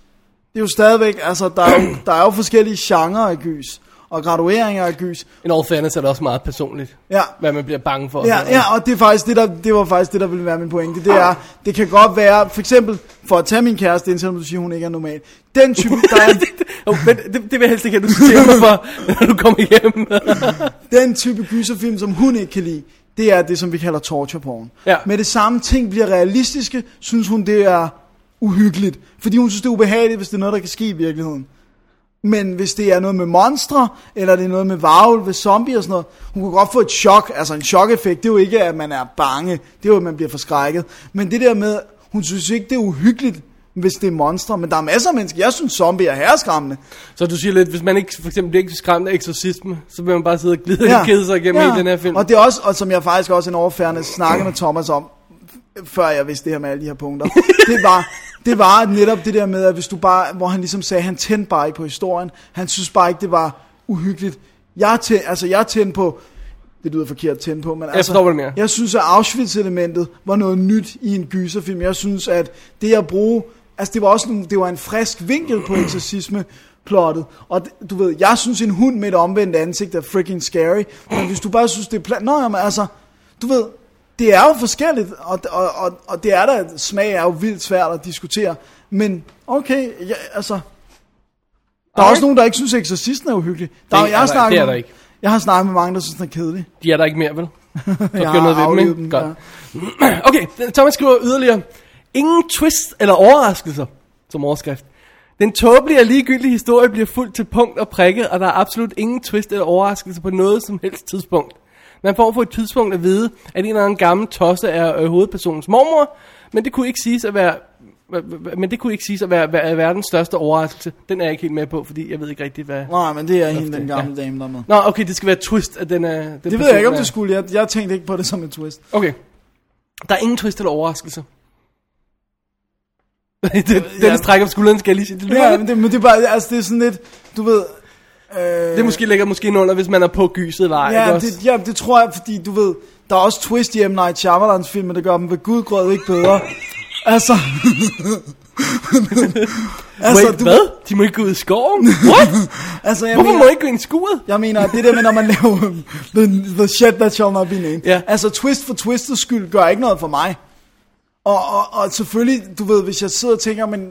B: det er jo stadigvæk, altså, der er jo, der er jo forskellige genrer af gys. og gradueringer af gys.
A: En all fairness er det også meget personligt.
B: Ja.
A: Hvad man bliver bange for.
B: Ja, ja, og det, er faktisk det, der, det var faktisk det, der ville være min pointe. Det er, det kan godt være, for eksempel, for at tage min kæreste ind, selvom du siger, hun ikke er normal. Den (laughs) type, der er,
A: Oh, men det, det, vil jeg helst ikke, at du citerer mig for, når du kommer hjem.
B: den type gyserfilm, som hun ikke kan lide, det er det, som vi kalder torture porn.
A: Ja.
B: Med det samme ting bliver realistiske, synes hun, det er uhyggeligt. Fordi hun synes, det er ubehageligt, hvis det er noget, der kan ske i virkeligheden. Men hvis det er noget med monstre, eller det er noget med varulve, zombie og sådan noget, hun kunne godt få et chok. Altså en chokeffekt, det er jo ikke, at man er bange, det er jo, at man bliver forskrækket. Men det der med, hun synes ikke, det er uhyggeligt, hvis det er monstre. Men der er masser af mennesker, jeg synes, zombie er herreskræmmende.
A: så du siger lidt, hvis man ikke for eksempel bliver ikke skræmt af eksorcisme, så vil man bare sidde og glide
B: (laughs)
A: ja. og kede sig igennem ja. hele den her film.
B: Og det er også, og som jeg faktisk også en overfærdende snakkede med Thomas om, før jeg vidste det her med alle de her
A: (laughs)
B: punkter, det var, det var netop det der med, at hvis du bare, hvor han ligesom sagde, han tændte bare ikke på historien, han synes bare ikke, det var uhyggeligt. Jeg tændte, altså jeg tændte på, det lyder forkert at tænde på, men jeg altså,
A: forstår, hvad du mener.
B: jeg synes, at Auschwitz-elementet var noget nyt i en gyserfilm. Jeg synes, at det at bruge, altså det var også nogle, det var en frisk vinkel på exorcisme, plottet. Og d- du ved, jeg synes en hund med et omvendt ansigt er freaking scary, men hvis du bare synes, det er plat... Nå, jamen, altså, du ved, det er jo forskelligt, og, og, og, og det er der, smag er jo vildt svært at diskutere, men okay, ja, altså, der er også nogen, der ikke synes, at eksorcisten er uhyggelig. Der,
A: Det
B: er- jeg har
A: er der-
B: snakket
A: det er
B: med-
A: der ikke.
B: Jeg har snakket med mange, der synes, den er kedelig.
A: De er der ikke mere,
B: (laughs)
A: vel? Så
B: Jeg
A: gør noget
B: har
A: ved dem,
B: aflivet
A: ikke?
B: dem,
A: Godt. (clears throat) Okay, Thomas skriver yderligere. Ingen twist eller overraskelser, som overskrift. Den tåbelige og ligegyldige historie bliver fuldt til punkt og prikke, og der er absolut ingen twist eller overraskelse på noget som helst tidspunkt. Man får på et tidspunkt at vide, at en eller anden gammel tosse er øh, hovedpersonens mormor, men det kunne ikke siges at være men det kunne ikke siges at være, være verdens største overraskelse. Den er jeg ikke helt med på, fordi jeg ved ikke rigtigt, hvad...
B: Nej, men det er hende, den gamle dame, der er med.
A: Nå, okay, det skal være twist, at den er... Den
B: Det ved jeg ikke, om det skulle. Jeg, jeg tænkte ikke på det som en twist.
A: Okay. Der er ingen twist eller overraskelse. (laughs) det, det, ja. strækker på skulderen, skal jeg lige sige. Det, lyder
B: Ja,
A: lidt-
B: men det, men det er bare, altså, det er sådan lidt, du ved... Øh,
A: det er måske lægger måske ind under, hvis man er på gyset eller ej. ikke
B: Ja,
A: også?
B: det, ja, det tror jeg, fordi du ved, der er også twist i M. Night Shyamalan's film, men det gør dem ved gudgrød ikke
A: (laughs)
B: bedre. altså... (laughs) altså,
A: Wait, hvad? De må ikke gå ud i skoven?
B: (laughs)
A: What?
B: Altså, jeg
A: Hvorfor
B: mener,
A: må de ikke gå ind i skuret?
B: jeg mener, det der med, når man (laughs) laver the, the shit that shall not be named.
A: Ja.
B: Altså, twist for twistets skyld gør ikke noget for mig. Og, og, og selvfølgelig, du ved, hvis jeg sidder og tænker, men...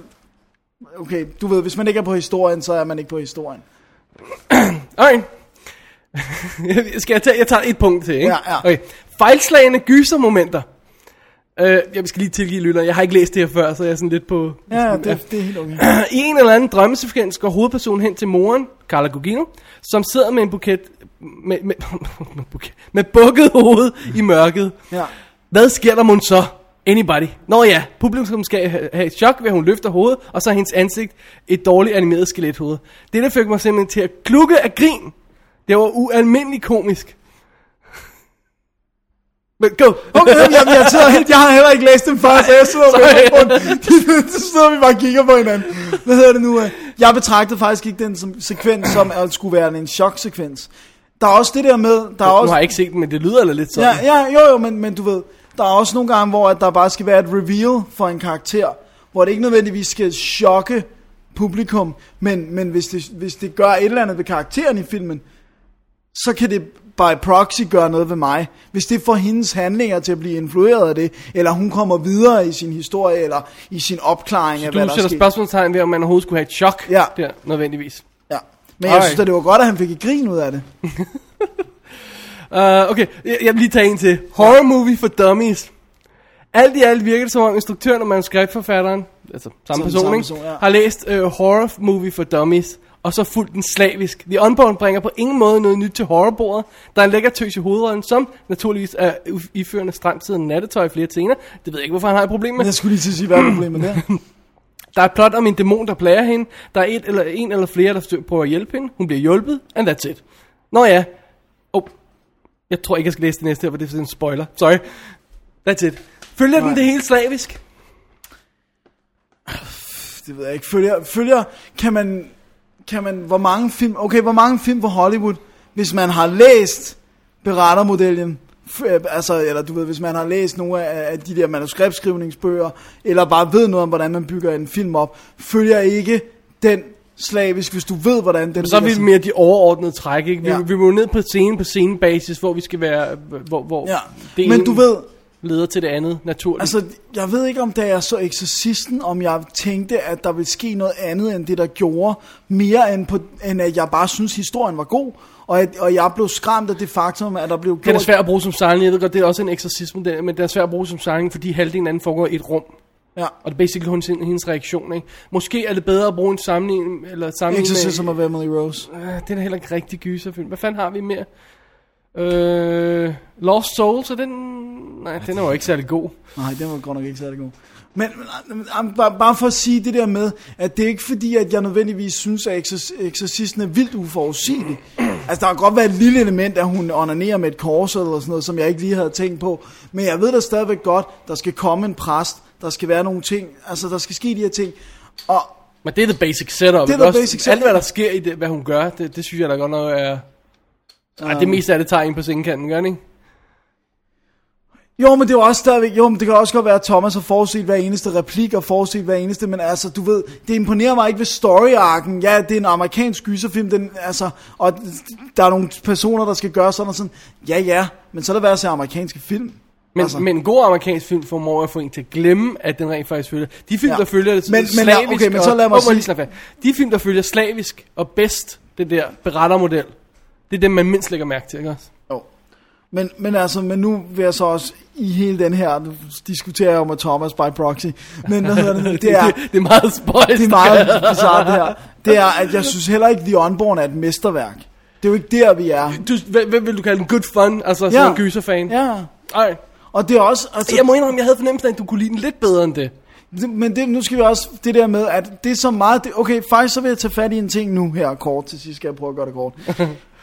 B: Okay, du ved, hvis man ikke er på historien, så er man ikke på historien.
A: Okay. (laughs) Skal jeg tage, jeg tager et punkt til, ikke?
B: Ja, ja.
A: Okay. Fejlslagende gysermomenter. Øh, jeg skal lige tilgive lytteren, jeg har ikke læst det her før, så jeg er sådan lidt på...
B: Ja, det, det er helt okay.
A: I en eller anden drømmesekvens går hovedpersonen hen til moren, Carla Gugino, som sidder med en buket med, med, (laughs) med, buket, med bukket hoved i mørket.
B: Ja. (laughs)
A: Hvad sker der mon så? Anybody. Nå ja, publikum skal ha- have et chok, ved at hun løfter hovedet, og så er hendes ansigt et dårligt animeret skelethoved. Det der fik mig simpelthen til at klukke af grin. Det var ualmindeligt
B: (laughs)
A: komisk. Men go!
B: Okay, jamen, jeg, sidder helt, jeg har heller ikke læst dem før, så jeg sidder
A: (laughs)
B: med rundt. så sidder vi bare og kigger på hinanden. Hvad hedder det nu? øh? Jeg betragtede faktisk ikke den som, sekvens som at skulle være en choksekvens. Der er også det der med, der er
A: Nu har
B: også...
A: jeg ikke set den, men det lyder da lidt sådan.
B: Ja, ja, jo, jo, men, men du ved, der er også nogle gange, hvor at der bare skal være et reveal for en karakter, hvor det ikke nødvendigvis skal chokke publikum, men, men hvis, det, hvis det gør et eller andet ved karakteren i filmen, så kan det by proxy gøre noget ved mig. Hvis det får hendes handlinger til at blive influeret af det, eller hun kommer videre i sin historie, eller i sin opklaring af,
A: Du
B: hvad der er
A: sætter
B: sket.
A: spørgsmålstegn ved, om man overhovedet skulle have et chok
B: Ja.
A: der, nødvendigvis.
B: Ja. Men jeg
A: Alright.
B: synes da, det var godt, at han fik et grin ud af det.
A: Uh, okay, jeg, jeg vil lige tage en til. Horror movie for dummies. Alt i alt virker det som om instruktøren og manuskriptforfatteren, altså samme
B: Som
A: person,
B: samme
A: ikke?
B: person, ja.
A: har læst uh, horror movie for dummies, og så fulgt den slavisk. The Unborn bringer på ingen måde noget nyt til horrorbordet. Der er en lækker tøs i hovedrollen, som naturligvis er u- iførende stramtiden nattetøj i flere scener. Det ved jeg ikke, hvorfor han har et problem med.
B: Men jeg skulle lige til at sige, hvad er
A: (laughs)
B: problemet der?
A: Der er et plot om en dæmon, der plager hende. Der er et eller en eller flere, der forsøger- prøver at hjælpe hende. Hun bliver hjulpet, and that's it. Nå ja. Oh. Jeg tror ikke, jeg skal læse det næste her, for det er sådan en spoiler. Sorry. That's it. Følger den det hele slavisk?
B: det ved jeg ikke, følger, følger kan man, kan man, hvor mange film, okay, hvor mange film fra Hollywood, hvis man har læst berettermodellen, f- øh, altså, eller du ved, hvis man har læst nogle af, af de der manuskriptskrivningsbøger, eller bare ved noget om, hvordan man bygger en film op, følger ikke den slavisk, hvis du ved, hvordan den
A: Så er vi mere de overordnede træk, ikke? Vi,
B: Ja.
A: ja. vi må jo ned på scene på scenebasis, hvor vi skal være, hvor, hvor
B: Ja.
A: det
B: Men
A: ene
B: du ved-
A: leder til det andet, naturligt.
B: Altså, jeg ved ikke, om da jeg så Exorcisten, om jeg tænkte, at der ville ske noget andet, end det, der gjorde. Mere end, på, end at jeg bare synes, historien var god. Og, at, og jeg blev skræmt af det faktum, at der blev gjort...
A: Den er svær at bruge som sejling. Jeg ved godt, det er også en eksorcisme, den- men den er svær at bruge som sejling, fordi halvdelen af den foregår i et rum.
B: Ja.
A: Og det er basically hendes, hendes reaktion, ikke? Måske er det bedre at bruge en sammenligning, eller sammenligning
B: Exorcism of Emily Rose.
A: med... Øh, den er heller ikke rigtig gyserfilm. Hvad fanden har vi mere? Øh, Lost Souls, er den... Nej, den er jo ikke særlig god.
B: Nej, den var godt nok ikke særlig god. Men, men, men am- bare, bare for at sige det der med, at det er ikke fordi, at jeg nødvendigvis synes, at exor- exorcisten er vildt uforudsigelig. Altså, der kan godt være et lille element, at hun onanerer med et kors eller sådan noget, som jeg ikke lige havde tænkt på. Men jeg ved da stadigvæk godt, der skal komme en præst, der skal være nogle ting, altså der skal ske de her ting. Og
A: Men det er the basic setup.
B: Det er
A: ikke
B: the
A: også?
B: basic
A: Alt, hvad
B: setup.
A: der sker i det, hvad hun gør, det, det synes jeg da godt nok er... Ej, det meste af det tager en på sengekanten, gør den ikke?
B: Jo, men det er jo også stadigvæk, jo, men det kan også godt være, at Thomas har forudset hver eneste replik og forudset hver eneste, men altså, du ved, det imponerer mig ikke ved story -arken. Ja, det er en amerikansk gyserfilm, den, altså, og der er nogle personer, der skal gøre sådan og sådan. Ja, ja, men så er der værd at se amerikanske film.
A: Men,
B: altså.
A: altså. men en god amerikansk film formår at få en til at glemme, at den rent faktisk følger. De film,
B: Ja.
A: ja. der følger det
B: Men-
A: men,
B: men,
A: slavisk,
B: okay, men så lad mig
A: og, Åh, må jeg
B: sige-
A: lige slappe af. De film, der følger slavisk og bedst det der berettermodel, det er dem, man mindst lægger mærke til, ikke også?
B: Men, men altså, men nu vil jeg så også i hele den her, nu diskuterer jeg jo med Thomas by proxy, men hvad hedder det, det er,
A: det, det er meget spøjst.
B: det er meget bizarre det her, det er, at jeg synes heller ikke, The Unborn er et mesterværk. Det er jo ikke der, vi er.
A: (laughs) Du, hvad, hvad vil du kalde en good fun, altså ja. sådan en gyserfan?
B: Ja,
A: Ej.
B: og det er også... Altså,
A: Jeg må indrømme, jeg havde fornemmelsen af, at du kunne lide den lidt bedre end det.
B: Det- Men det, nu skal vi også det der med, at det er så meget... Det, okay, faktisk så vil jeg tage fat i en ting nu her kort, til sidst skal jeg prøve at gøre det kort.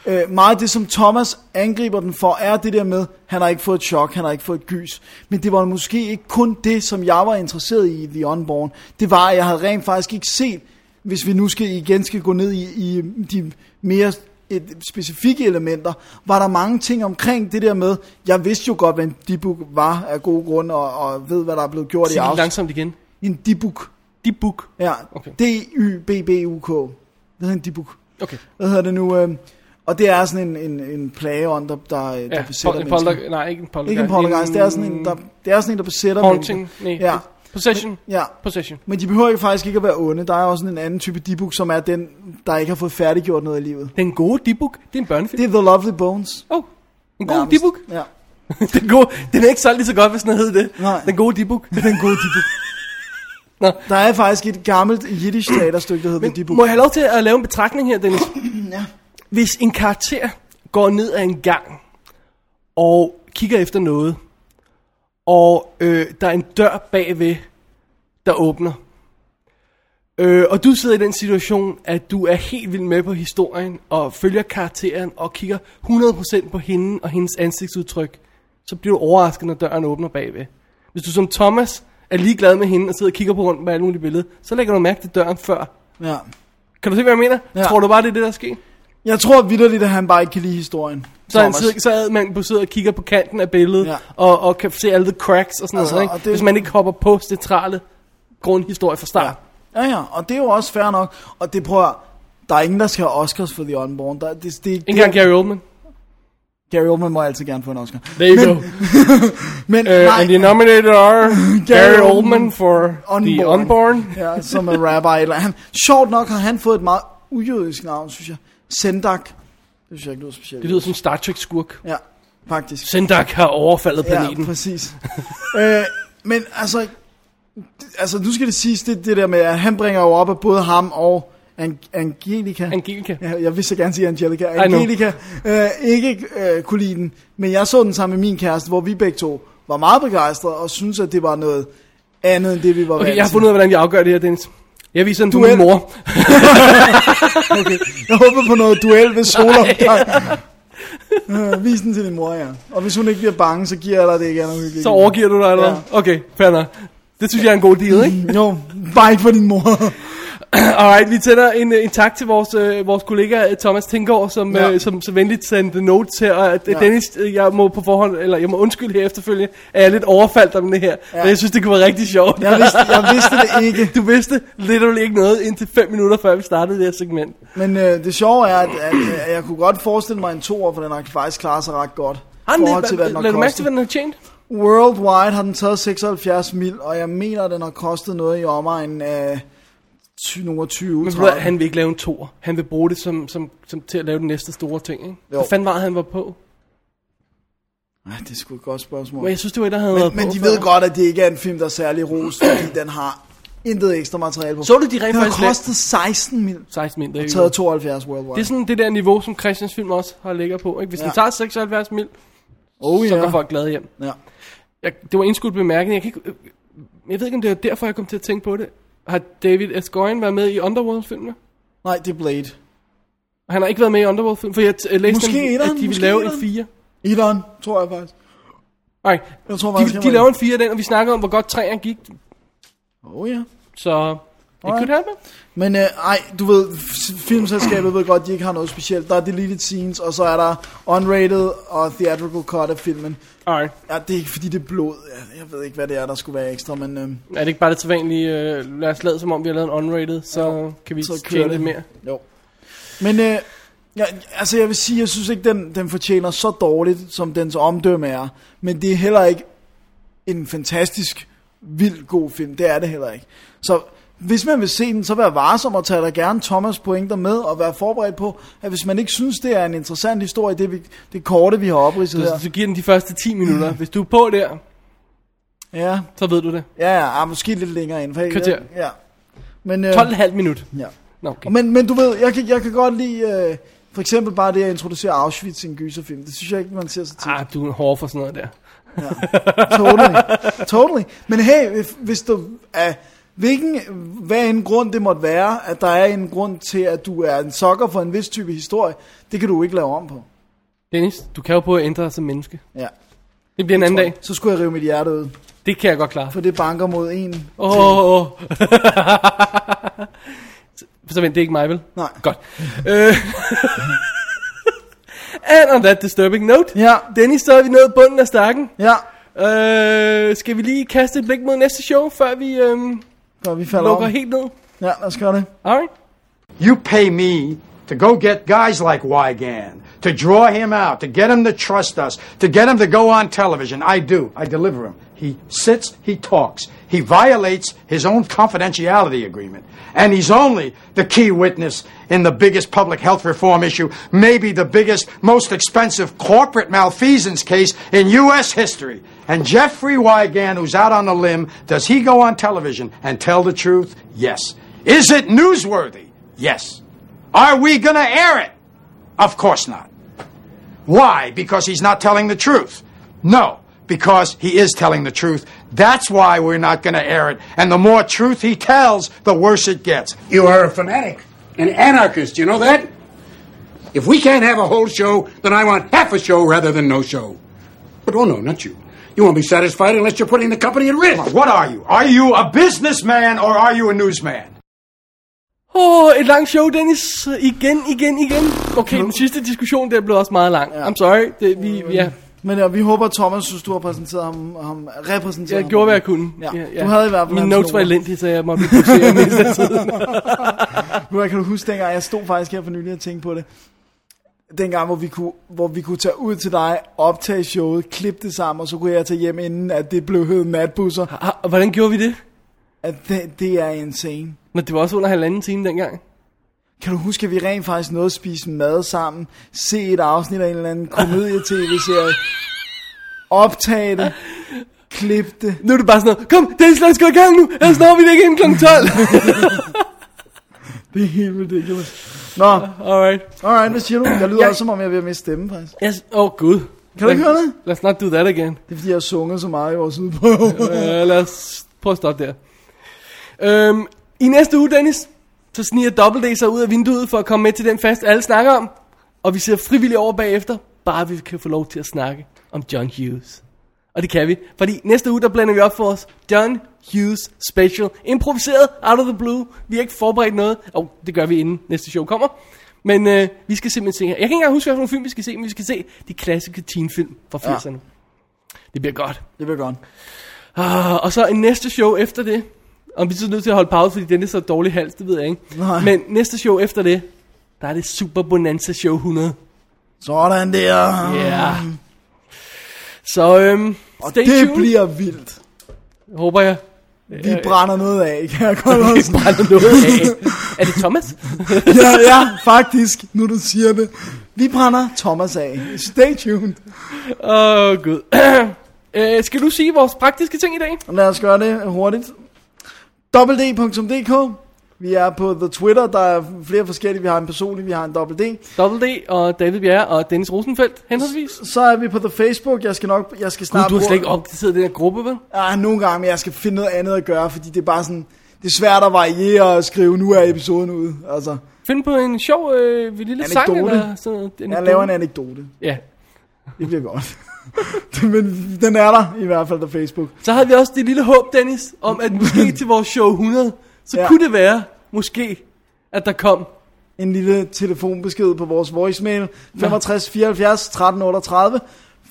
B: øh, meget af det, som Thomas angriber den for, er det der med, han har ikke fået et chok, han har ikke fået et gys. Men det var måske ikke kun det, som jeg var interesseret i i The Unborn. Det var, at jeg havde rent faktisk ikke set, hvis vi nu skal igen skal gå ned i, i de mere et, specifikke elementer, var der mange ting omkring det der med, jeg vidste jo godt, hvad en dibuk var af gode grunde, og, og ved, hvad der er blevet gjort i
A: Sig det
B: afsnit.
A: langsomt igen.
B: En dibuk.
A: De book.
B: Ja,
A: Okay.
B: okay. D-Y-B-B-U-K. Det hedder en dibuk.
A: Okay.
B: Hvad hedder det nu? Øh, og det er sådan en, en, en plageånd, der, der, ja, der
A: Ja,
B: besætter
A: pol- en
B: mennesker.
A: polter, nej, ikke en poltergeist.
B: Ikke en poltergeist, det er sådan en, der, det er sådan en, der besætter
A: Haunting, nej.
B: mennesker. Ja,
A: Possession.
B: ja.
A: Possession.
B: Men de behøver ikke faktisk ikke at være onde. Der er også sådan en anden type dibuk, som er den, der ikke har fået færdiggjort noget i livet.
A: Den gode dibuk, det er en børnefilm.
B: Det er The Lovely Bones.
A: Åh, oh, en god
B: nærmest.
A: dibuk.
B: Ja.
A: (laughs) den, gode, den er ikke solgt lige så godt, hvis den hed det.
B: Nej.
A: Den gode dibuk.
B: Den gode dibuk.
A: Nå.
B: Der er faktisk et gammelt jiddisch teaterstykke, der hedder The Dibuk.
A: Må jeg have lov til at lave en betragtning her, Dennis? Hvis en karakter går ned ad en gang og kigger efter noget, og øh, der er en dør bagved, der åbner, øh, og du sidder i den situation, at du er helt vild med på historien, og følger karakteren, og kigger 100% på hende og hendes ansigtsudtryk, så bliver du overrasket, når døren åbner bagved. Hvis du som Thomas er ligeglad med hende, og sidder og kigger på rundt med alle mulige billeder, så lægger du mærke til døren før,
B: Ja.
A: kan du se, hvad jeg mener?
B: Ja.
A: Ja. Tror du bare, det er det, der sker?
B: Jeg tror vidderligt, at han bare ikke kan lide historien.
A: Så, han
B: Thomas.
A: sidder, så er man på sidder og kigger på kanten af billedet,
B: Ja.
A: ja. og, og kan se alle the cracks og sådan
B: Altså,
A: altså, noget, ikke?
B: og det-
A: Det... hvis man ikke hopper på centrale grundhistorie fra start.
B: Ja, ja, og det er jo også fair nok. Og det prøver jeg, der er ingen, der skal have Oscars for The Unborn. Der, det, det,
A: Ikke engang
B: det,
A: Gary Oldman.
B: Gary Oldman må altid gerne få en Oscar.
A: There you go.
B: Men
A: Uh,
B: (laughs) nej,
A: and the nominated
B: (laughs)
A: are Gary Oldman
B: Oldman
A: for The
B: Unborn.
A: Unborn.
B: ja, som er rabbi eller han. Sjovt nok har han fået et meget ujødisk navn, synes jeg. Sendak. Det synes jeg ikke lyder specielt.
A: Det lyder som Star Trek-skurk.
B: Ja, faktisk.
A: Sendak har overfaldet planeten.
B: Ja, præcis. (laughs) øh, men altså, det- altså, nu skal det siges, det, det der med, at han bringer jo op af både ham og Ang- Angelica.
A: Angelica.
B: Ja, jeg vil så gerne sige Angelica.
A: I know.
B: Angelica øh, ikke øh, kunne lide den, men jeg så den sammen med min kæreste, hvor vi begge to var meget begejstrede og syntes, at det var noget andet end det, vi var
A: Okay,
B: vant
A: jeg har
B: til.
A: fundet ud af, hvordan jeg afgør det her, Dennis. Jeg viser den på
B: Duel.
A: min mor.
B: Jeg håber på noget
A: (laughs)
B: duel ved solopgang. øh, vis den til din mor, ja. Og hvis hun ikke bliver bange, så giver jeg dig det ikke andet. hyggeligt.
A: Så overgiver du dig, eller hvad? Okay, fair nok. Det synes jeg er en god deal, ikke?
B: Jo, bare ikke for din mor.
A: Alright, vi tænder en, øh, en tak til vores, øh, vores kollega øh, Thomas Tinggaard, som, ja.
B: Ja.
A: øh, som så venligt sendte notes her. Og ja.
B: Ja.
A: Dennis, øh, jeg må på forhånd, eller jeg må undskylde her efterfølgende, at jeg er lidt overfaldt om det her. Ja.
B: Ja.
A: Men jeg synes, det kunne være rigtig sjovt.
B: Jeg vidste, jeg vidste det ikke.
A: Du vidste literally ikke noget indtil 5 minutter, før vi startede det her segment.
B: Men øh, det sjove er, at, at, at jeg kunne godt forestille mig en toer, for den har faktisk klaret sig ret godt.
A: Har
B: I
A: den
B: forhold
A: det?
B: hvad den har
A: Lad du mærke til,
B: kostet.
A: hvad den har tjent?
B: Worldwide har den taget 76 mil, og jeg mener, at den har kostet noget i omegnen af ty- nogle 20
A: Men
B: Men,
A: ved du hvad, han vil ikke lave en tor. Han vil bruge det som, som, som til at lave den næste store ting. Ikke?
B: Jo.
A: Hvad fanden var det, han var på?
B: Ej, det er sgu et godt spørgsmål.
A: Men jeg synes, det var et, der havde været
B: Men, men
A: på
B: de
A: før.
B: ved godt, at det ikke er en film, der er særlig rost, fordi den har intet ekstra materiale på.
A: Så du, de rent
B: den har
A: faktisk lavede-
B: kostet 16 mil,
A: 16 mindre. ikke?
B: taget 72 worldwide.
A: Det er sådan det der niveau, som Christians film også har ligger på. Ikke? Hvis ja.
B: Ja.
A: den tager 76 mil,
B: oh,
A: så går folk glade hjem.
B: Ja.
A: Jeg, det var en indskudt bemærkning. Jeg, kan ikke, øh, jeg ved ikke, om det er derfor, jeg kom til at tænke på det. Har David S. Goyen været med i Underworld-filmene?
B: Nej, det er Blade.
A: Han har ikke været med i Underworld-filmen, for jeg t- øh, læste,
B: Måske
A: dem, at
B: etteren,
A: de ville
B: måske
A: lave en
B: etteren.
A: 4.
B: Etteren, tror jeg faktisk.
A: Nej,
B: Jeg tror faktisk,
A: de,
B: jeg
A: de
B: var-
A: laver en 4 af den, og vi snakkede om, hvor godt 3'eren gik.
B: Oh, ja.
A: Så it could happen.
B: Men øh, ej, du ved, f- filmselskabet ved godt, de ikke har noget specielt. Der er deleted scenes, og så er der unrated og theatrical cut af filmen.
A: Alright.
B: Ja, det er ikke fordi, det er blod. Ja, jeg ved ikke, hvad det er, der skulle være ekstra, men øh,
A: Er det ikke bare det sædvanlige, øh, lad os lade som om vi har lavet en unrated, så kan vi
B: så kører
A: tjene lidt
B: det.
A: mere.
B: jo. Men øh, ja, altså, jeg vil sige, jeg synes ikke, den, den fortjener så dårligt, som dens omdømme er. Men det er heller ikke en fantastisk, vild god film. Det er det heller ikke. Så hvis man vil se den, så vær varsom og tag da gerne Thomas pointer med, og vær forberedt på, at hvis man ikke synes, det er en interessant historie, det, vi, det korte, vi har opridset
A: Så,
B: her.
A: så giver den de første 10
B: (clears throat)
A: minutter. Hvis du er på der,
B: Ja,
A: så ved du det.
B: ja, ja, ah, måske lidt længere ind. For jeg-
A: Kvarter.
B: Ja. Men, øh,
A: 12,5 minut.
B: Ja.
A: Nå, okay.
B: Men, men du ved, jeg kan, jeg kan godt lide, øh, for eksempel bare det at introducere Auschwitz i en gyserfilm. Det synes jeg ikke, man ser så tit.
A: Ah, du er hård for sådan noget der. (laughs)
B: totally. totally. Men hey, hvis, hvis du er... Hvilken, hvad en grund det måtte være, at der er en grund til, at du er en sokker for en vis type historie, det kan du ikke lave om på.
A: Dennis, du kan jo prøve at ændre dig som menneske.
B: Ja.
A: Det bliver en anden dag.
B: Så skulle jeg rive mit hjerte ud,
A: Det kan jeg godt klare.
B: for det banker mod en.
A: Åh, (laughs) oh, oh. Så vent, det er ikke mig, vel?
B: Nej.
A: Godt. Øh. (laughs) And on that disturbing note.
B: Ja.
A: Dennis, så er vi nået bunden af stakken.
B: Ja,
A: Øh, skal vi lige kaste et blik mod næste show, før vi øhm,
B: så vi falder
A: lukker
B: om.
A: helt ned?
B: Ja, lad os gøre det.
A: Alright.
F: You pay me to go get guys like Wygan, to draw him out, to get him to trust us, to get him to go on television. I do. I deliver him. He sits, he talks. He violates his own confidentiality agreement. And he's only the key witness in the biggest public health reform issue, maybe the biggest, most expensive corporate malfeasance case in U.S. history. And Jeffrey Wygan, who's out on a limb, does he go on television and tell the truth? Yes. Is it newsworthy? Yes. Are we going to air it? Of course not. Why? Because he's not telling the truth. No, because he is telling the truth. That's why we're not going to air it. And the more truth he tells, the worse it gets.
L: You are a fanatic, an anarchist, you know that? If we can't have a whole show, then I want half a show rather than no show. But oh no, not you. You won't be satisfied unless you're putting the company at risk.
F: What are you? Are you a businessman or are you a newsman?
A: Åh, oh, et langt show, Dennis. Igen, igen, igen. Okay, den sidste diskussion, der blev også meget lang. I'm sorry. Det, vi,
B: Mm.
A: ja,
B: Men ja, vi håber, at Thomas synes, du har præsenteret ham, ham repræsenteret
A: jeg
B: ham.
A: gjorde, hvad jeg kunne.
B: Ja. Du havde i hvert fald
A: Mine
B: hans
A: notes var
B: noter.
A: elendige, så jeg måtte (laughs) fokusere mest af tiden.
B: Nu kan du huske dengang, jeg stod faktisk her for nylig og tænkte på det. Dengang, hvor vi, kunne, hvor vi kunne tage ud til dig, optage showet, klippe det sammen, og så kunne jeg tage hjem, inden at det blev hed natbusser.
A: Ah, og hvordan gjorde vi det?
B: At det, det er insane.
A: Nå, det var også under halvanden time dengang.
B: Kan du huske, at vi rent faktisk nåede at spise mad sammen, se et afsnit af en eller anden komedie-tv-serie, optage det, klippe det.
A: Nu er det bare sådan noget, kom, Dennis, lad os gå i gang nu, ellers når vi det ikke inden kl. (laughs) 12.
B: Det er helt ridiculous. Nå,
A: Alright.
B: alright, hvad siger du? Jeg lyder
A: Jeg-
B: også, som om jeg er ved at miste stemme, faktisk.
A: Yes. Oh, gud.
B: Kan du ikke høre det?
A: Let's not do that again.
B: Det er, fordi jeg har sunget så meget i vores udprøve.
A: (laughs) uh, lad os prøve at stoppe der. Øhm, I næste uge, Dennis, så sniger Double D sig ud af vinduet for at komme med til den fest, alle snakker om. Og vi ser frivilligt over bagefter, bare vi kan få lov til at snakke om John Hughes. Og det kan vi, fordi næste uge, der blander vi op for os John Hughes Special. Improviseret, out of the blue. Vi har ikke forberedt noget. Og oh, det gør vi inden næste show kommer. Men øh, vi skal simpelthen se her. Jeg kan ikke engang huske, hvilken film vi skal se, men vi skal se de klassiske teenfilm fra
B: Ja.
A: 80'erne. Det bliver godt.
B: Det bliver godt.
A: Ah, og så en næste show efter det. Om vi så er nødt til at holde pause, fordi den er så dårlig hals, det ved jeg ikke.
B: Nej.
A: Men næste show efter det, der er det Super Bonanza Show 100.
B: Sådan der.
A: Ja. Så øhm,
B: Og
A: stay
B: det
A: tuned.
B: bliver vildt.
A: Håber jeg.
B: Vi brænder noget af, kan jeg
A: (laughs)
B: godt også.
A: brænder noget af. Er det Thomas?
B: ja, ja, faktisk, nu du siger det. Vi brænder Thomas af. Stay tuned.
A: Åh, oh, gud. (clears throat) øh, skal du sige vores praktiske ting i dag?
B: Lad os gøre det hurtigt. www.dk Vi er på The Twitter, der er flere forskellige. Vi har en personlig, vi har en dobbelt D.
A: Double D og David Bjerre og Dennis Rosenfeldt, henholdsvis.
B: Så er vi på The Facebook. Jeg skal nok, jeg skal
A: Gud,
B: snart...
A: du har slet
B: bruge-
A: ikke opdateret den her gruppe, vel?
B: Ja, nogle gange, men jeg skal finde noget andet at gøre, fordi det er bare sådan... Det er svært at variere og skrive, nu er episoden ude. Altså,
A: Find på en sjov øh, lille sang
B: Anekdote.
A: eller sådan noget.
B: jeg laver en anekdote.
A: Ja.
B: Det bliver godt. (laughs) Men den er der, i hvert fald, der Facebook.
A: Så havde vi også det lille håb, Dennis, om at måske til vores show 100, så
B: Ja.
A: ja. kunne det være, måske, at der kom.
B: en lille telefonbesked på vores voicemail 65 74 13 38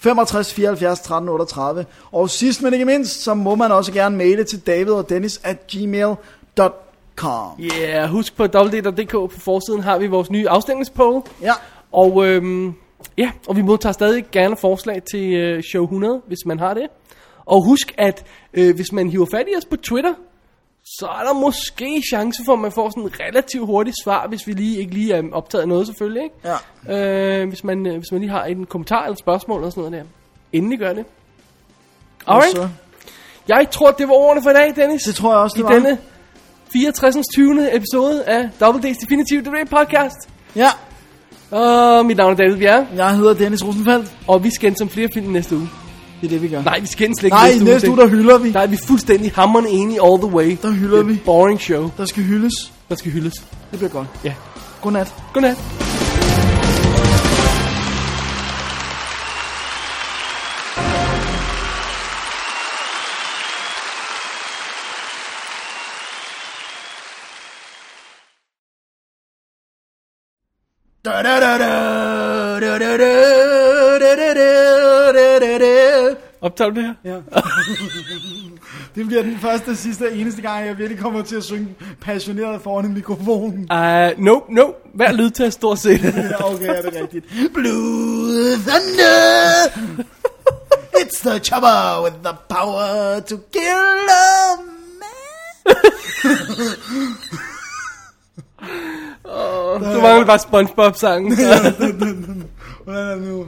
B: 65 74 13 38 og sidst men ikke mindst så må man også gerne maile til david og dennis at gmail.com
A: Ja, yeah, husk på www.dk på forsiden har vi vores nye afstemningspoll.
B: ja
A: Og øhm, ja, og vi modtager stadig gerne forslag til øh, show 100, hvis man har det. Og husk, at øh, hvis man hiver fat i os på Twitter, så er der måske chance for, at man får sådan en relativt hurtigt svar, hvis vi lige ikke lige er optaget noget selvfølgelig. Ikke?
B: ja
A: Øh, hvis, man, øh, hvis man lige har en kommentar eller et spørgsmål eller sådan noget der. Endelig gør det. Alright.
B: så,
A: Jeg tror, det var ordene for i dag, Dennis.
B: det tror jeg også
A: I
B: det var
A: denne 64. 20. episode af Double D's Definitive Debate Podcast.
B: ja
A: Og mit navn er David Bjerre,
B: jeg hedder Dennis Rosenfeldt
A: og vi skændes om flere film næste uge.
B: det er det vi gør
A: Nej, vi skændes ikke
B: nej
A: næste uge. det-
B: næste uge der hylder vi
A: Der er vi fuldstændig hammerne enige all the way.
B: Der hylder
A: Det er et
B: vi.
A: boring show,
B: der skal hyldes
A: der skal hyldes.
B: det bliver godt
A: Ja.
B: godnat
A: Godnat. Optager du det her?
B: Ja. det bliver den første, sidste og eneste gang, jeg virkelig kommer til at synge passioneret foran en (laughs) mikrofon.
A: Uh, no, no. Hver lydtest stort (laughs) set.
B: Ja, okay, er det rigtigt. Blue thunder, it's the chopper with the power to kill a man.
A: du mangler bare (laughs) Spongebob-sangen.
B: Hvordan er det nu?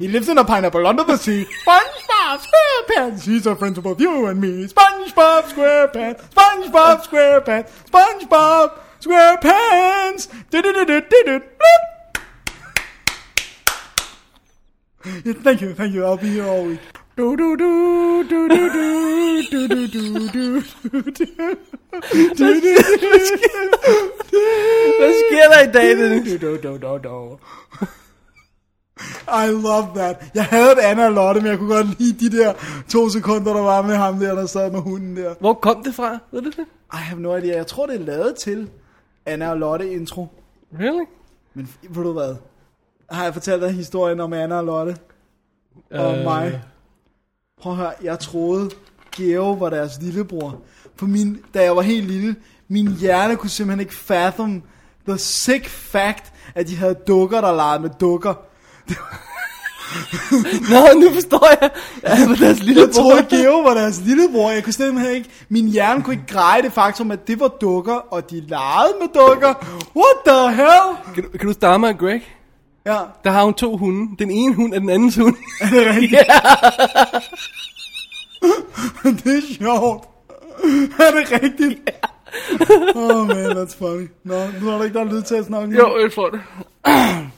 B: He lives in a pineapple under the sea. (laughs) SpongeBob SquarePants. He's a friend of both you and me. SpongeBob SquarePants. SpongeBob SquarePants. SpongeBob SquarePants. (laughs) Du-du-du-du-du-du. Yeah, thank you, thank you. I'll be here all week. Do do do do do do do do do do do do (laughs)
A: Hvad sker der i dag, Dennis?
B: do do do do. I love that. Jeg havde Anna og Lotte, men jeg kunne godt lide de der to sekunder, der var med ham der, der sad med hunden der.
A: Hvor kom det fra? Ved du det?
B: I have no idea. Jeg tror, det er lavet til Anna og Lotte intro.
A: Really?
B: Men f- ved du hvad? Har jeg fortalt dig historien om Anna og Lotte? Og
A: Øh.
B: mig? Prøv at høre, jeg troede, Geo var deres lillebror. For min, da jeg var helt lille, min hjerne kunne simpelthen ikke fathom the sick fact, at de havde dukker, der legede med dukker.
A: (laughs) Nå, nu forstår jeg. Ja, det var deres lille (laughs)
B: Jeg troede, Geo var deres lillebror. Jeg kunne simpelthen ikke... Min hjerne kunne ikke greje det faktum, at det var dukker, og de legede med dukker. What the hell?
A: Kan, du- kan du stamme af Greg?
B: Ja,
A: Der har hun to hunde. Den ene hund er den andens hund.
B: det er rigtigt. (laughs) det er sjovt. er det rigtigt? Åh, oh man, that's funny. Nå, nu har du ikke der lydtest nok. nu?
A: jeg tror det.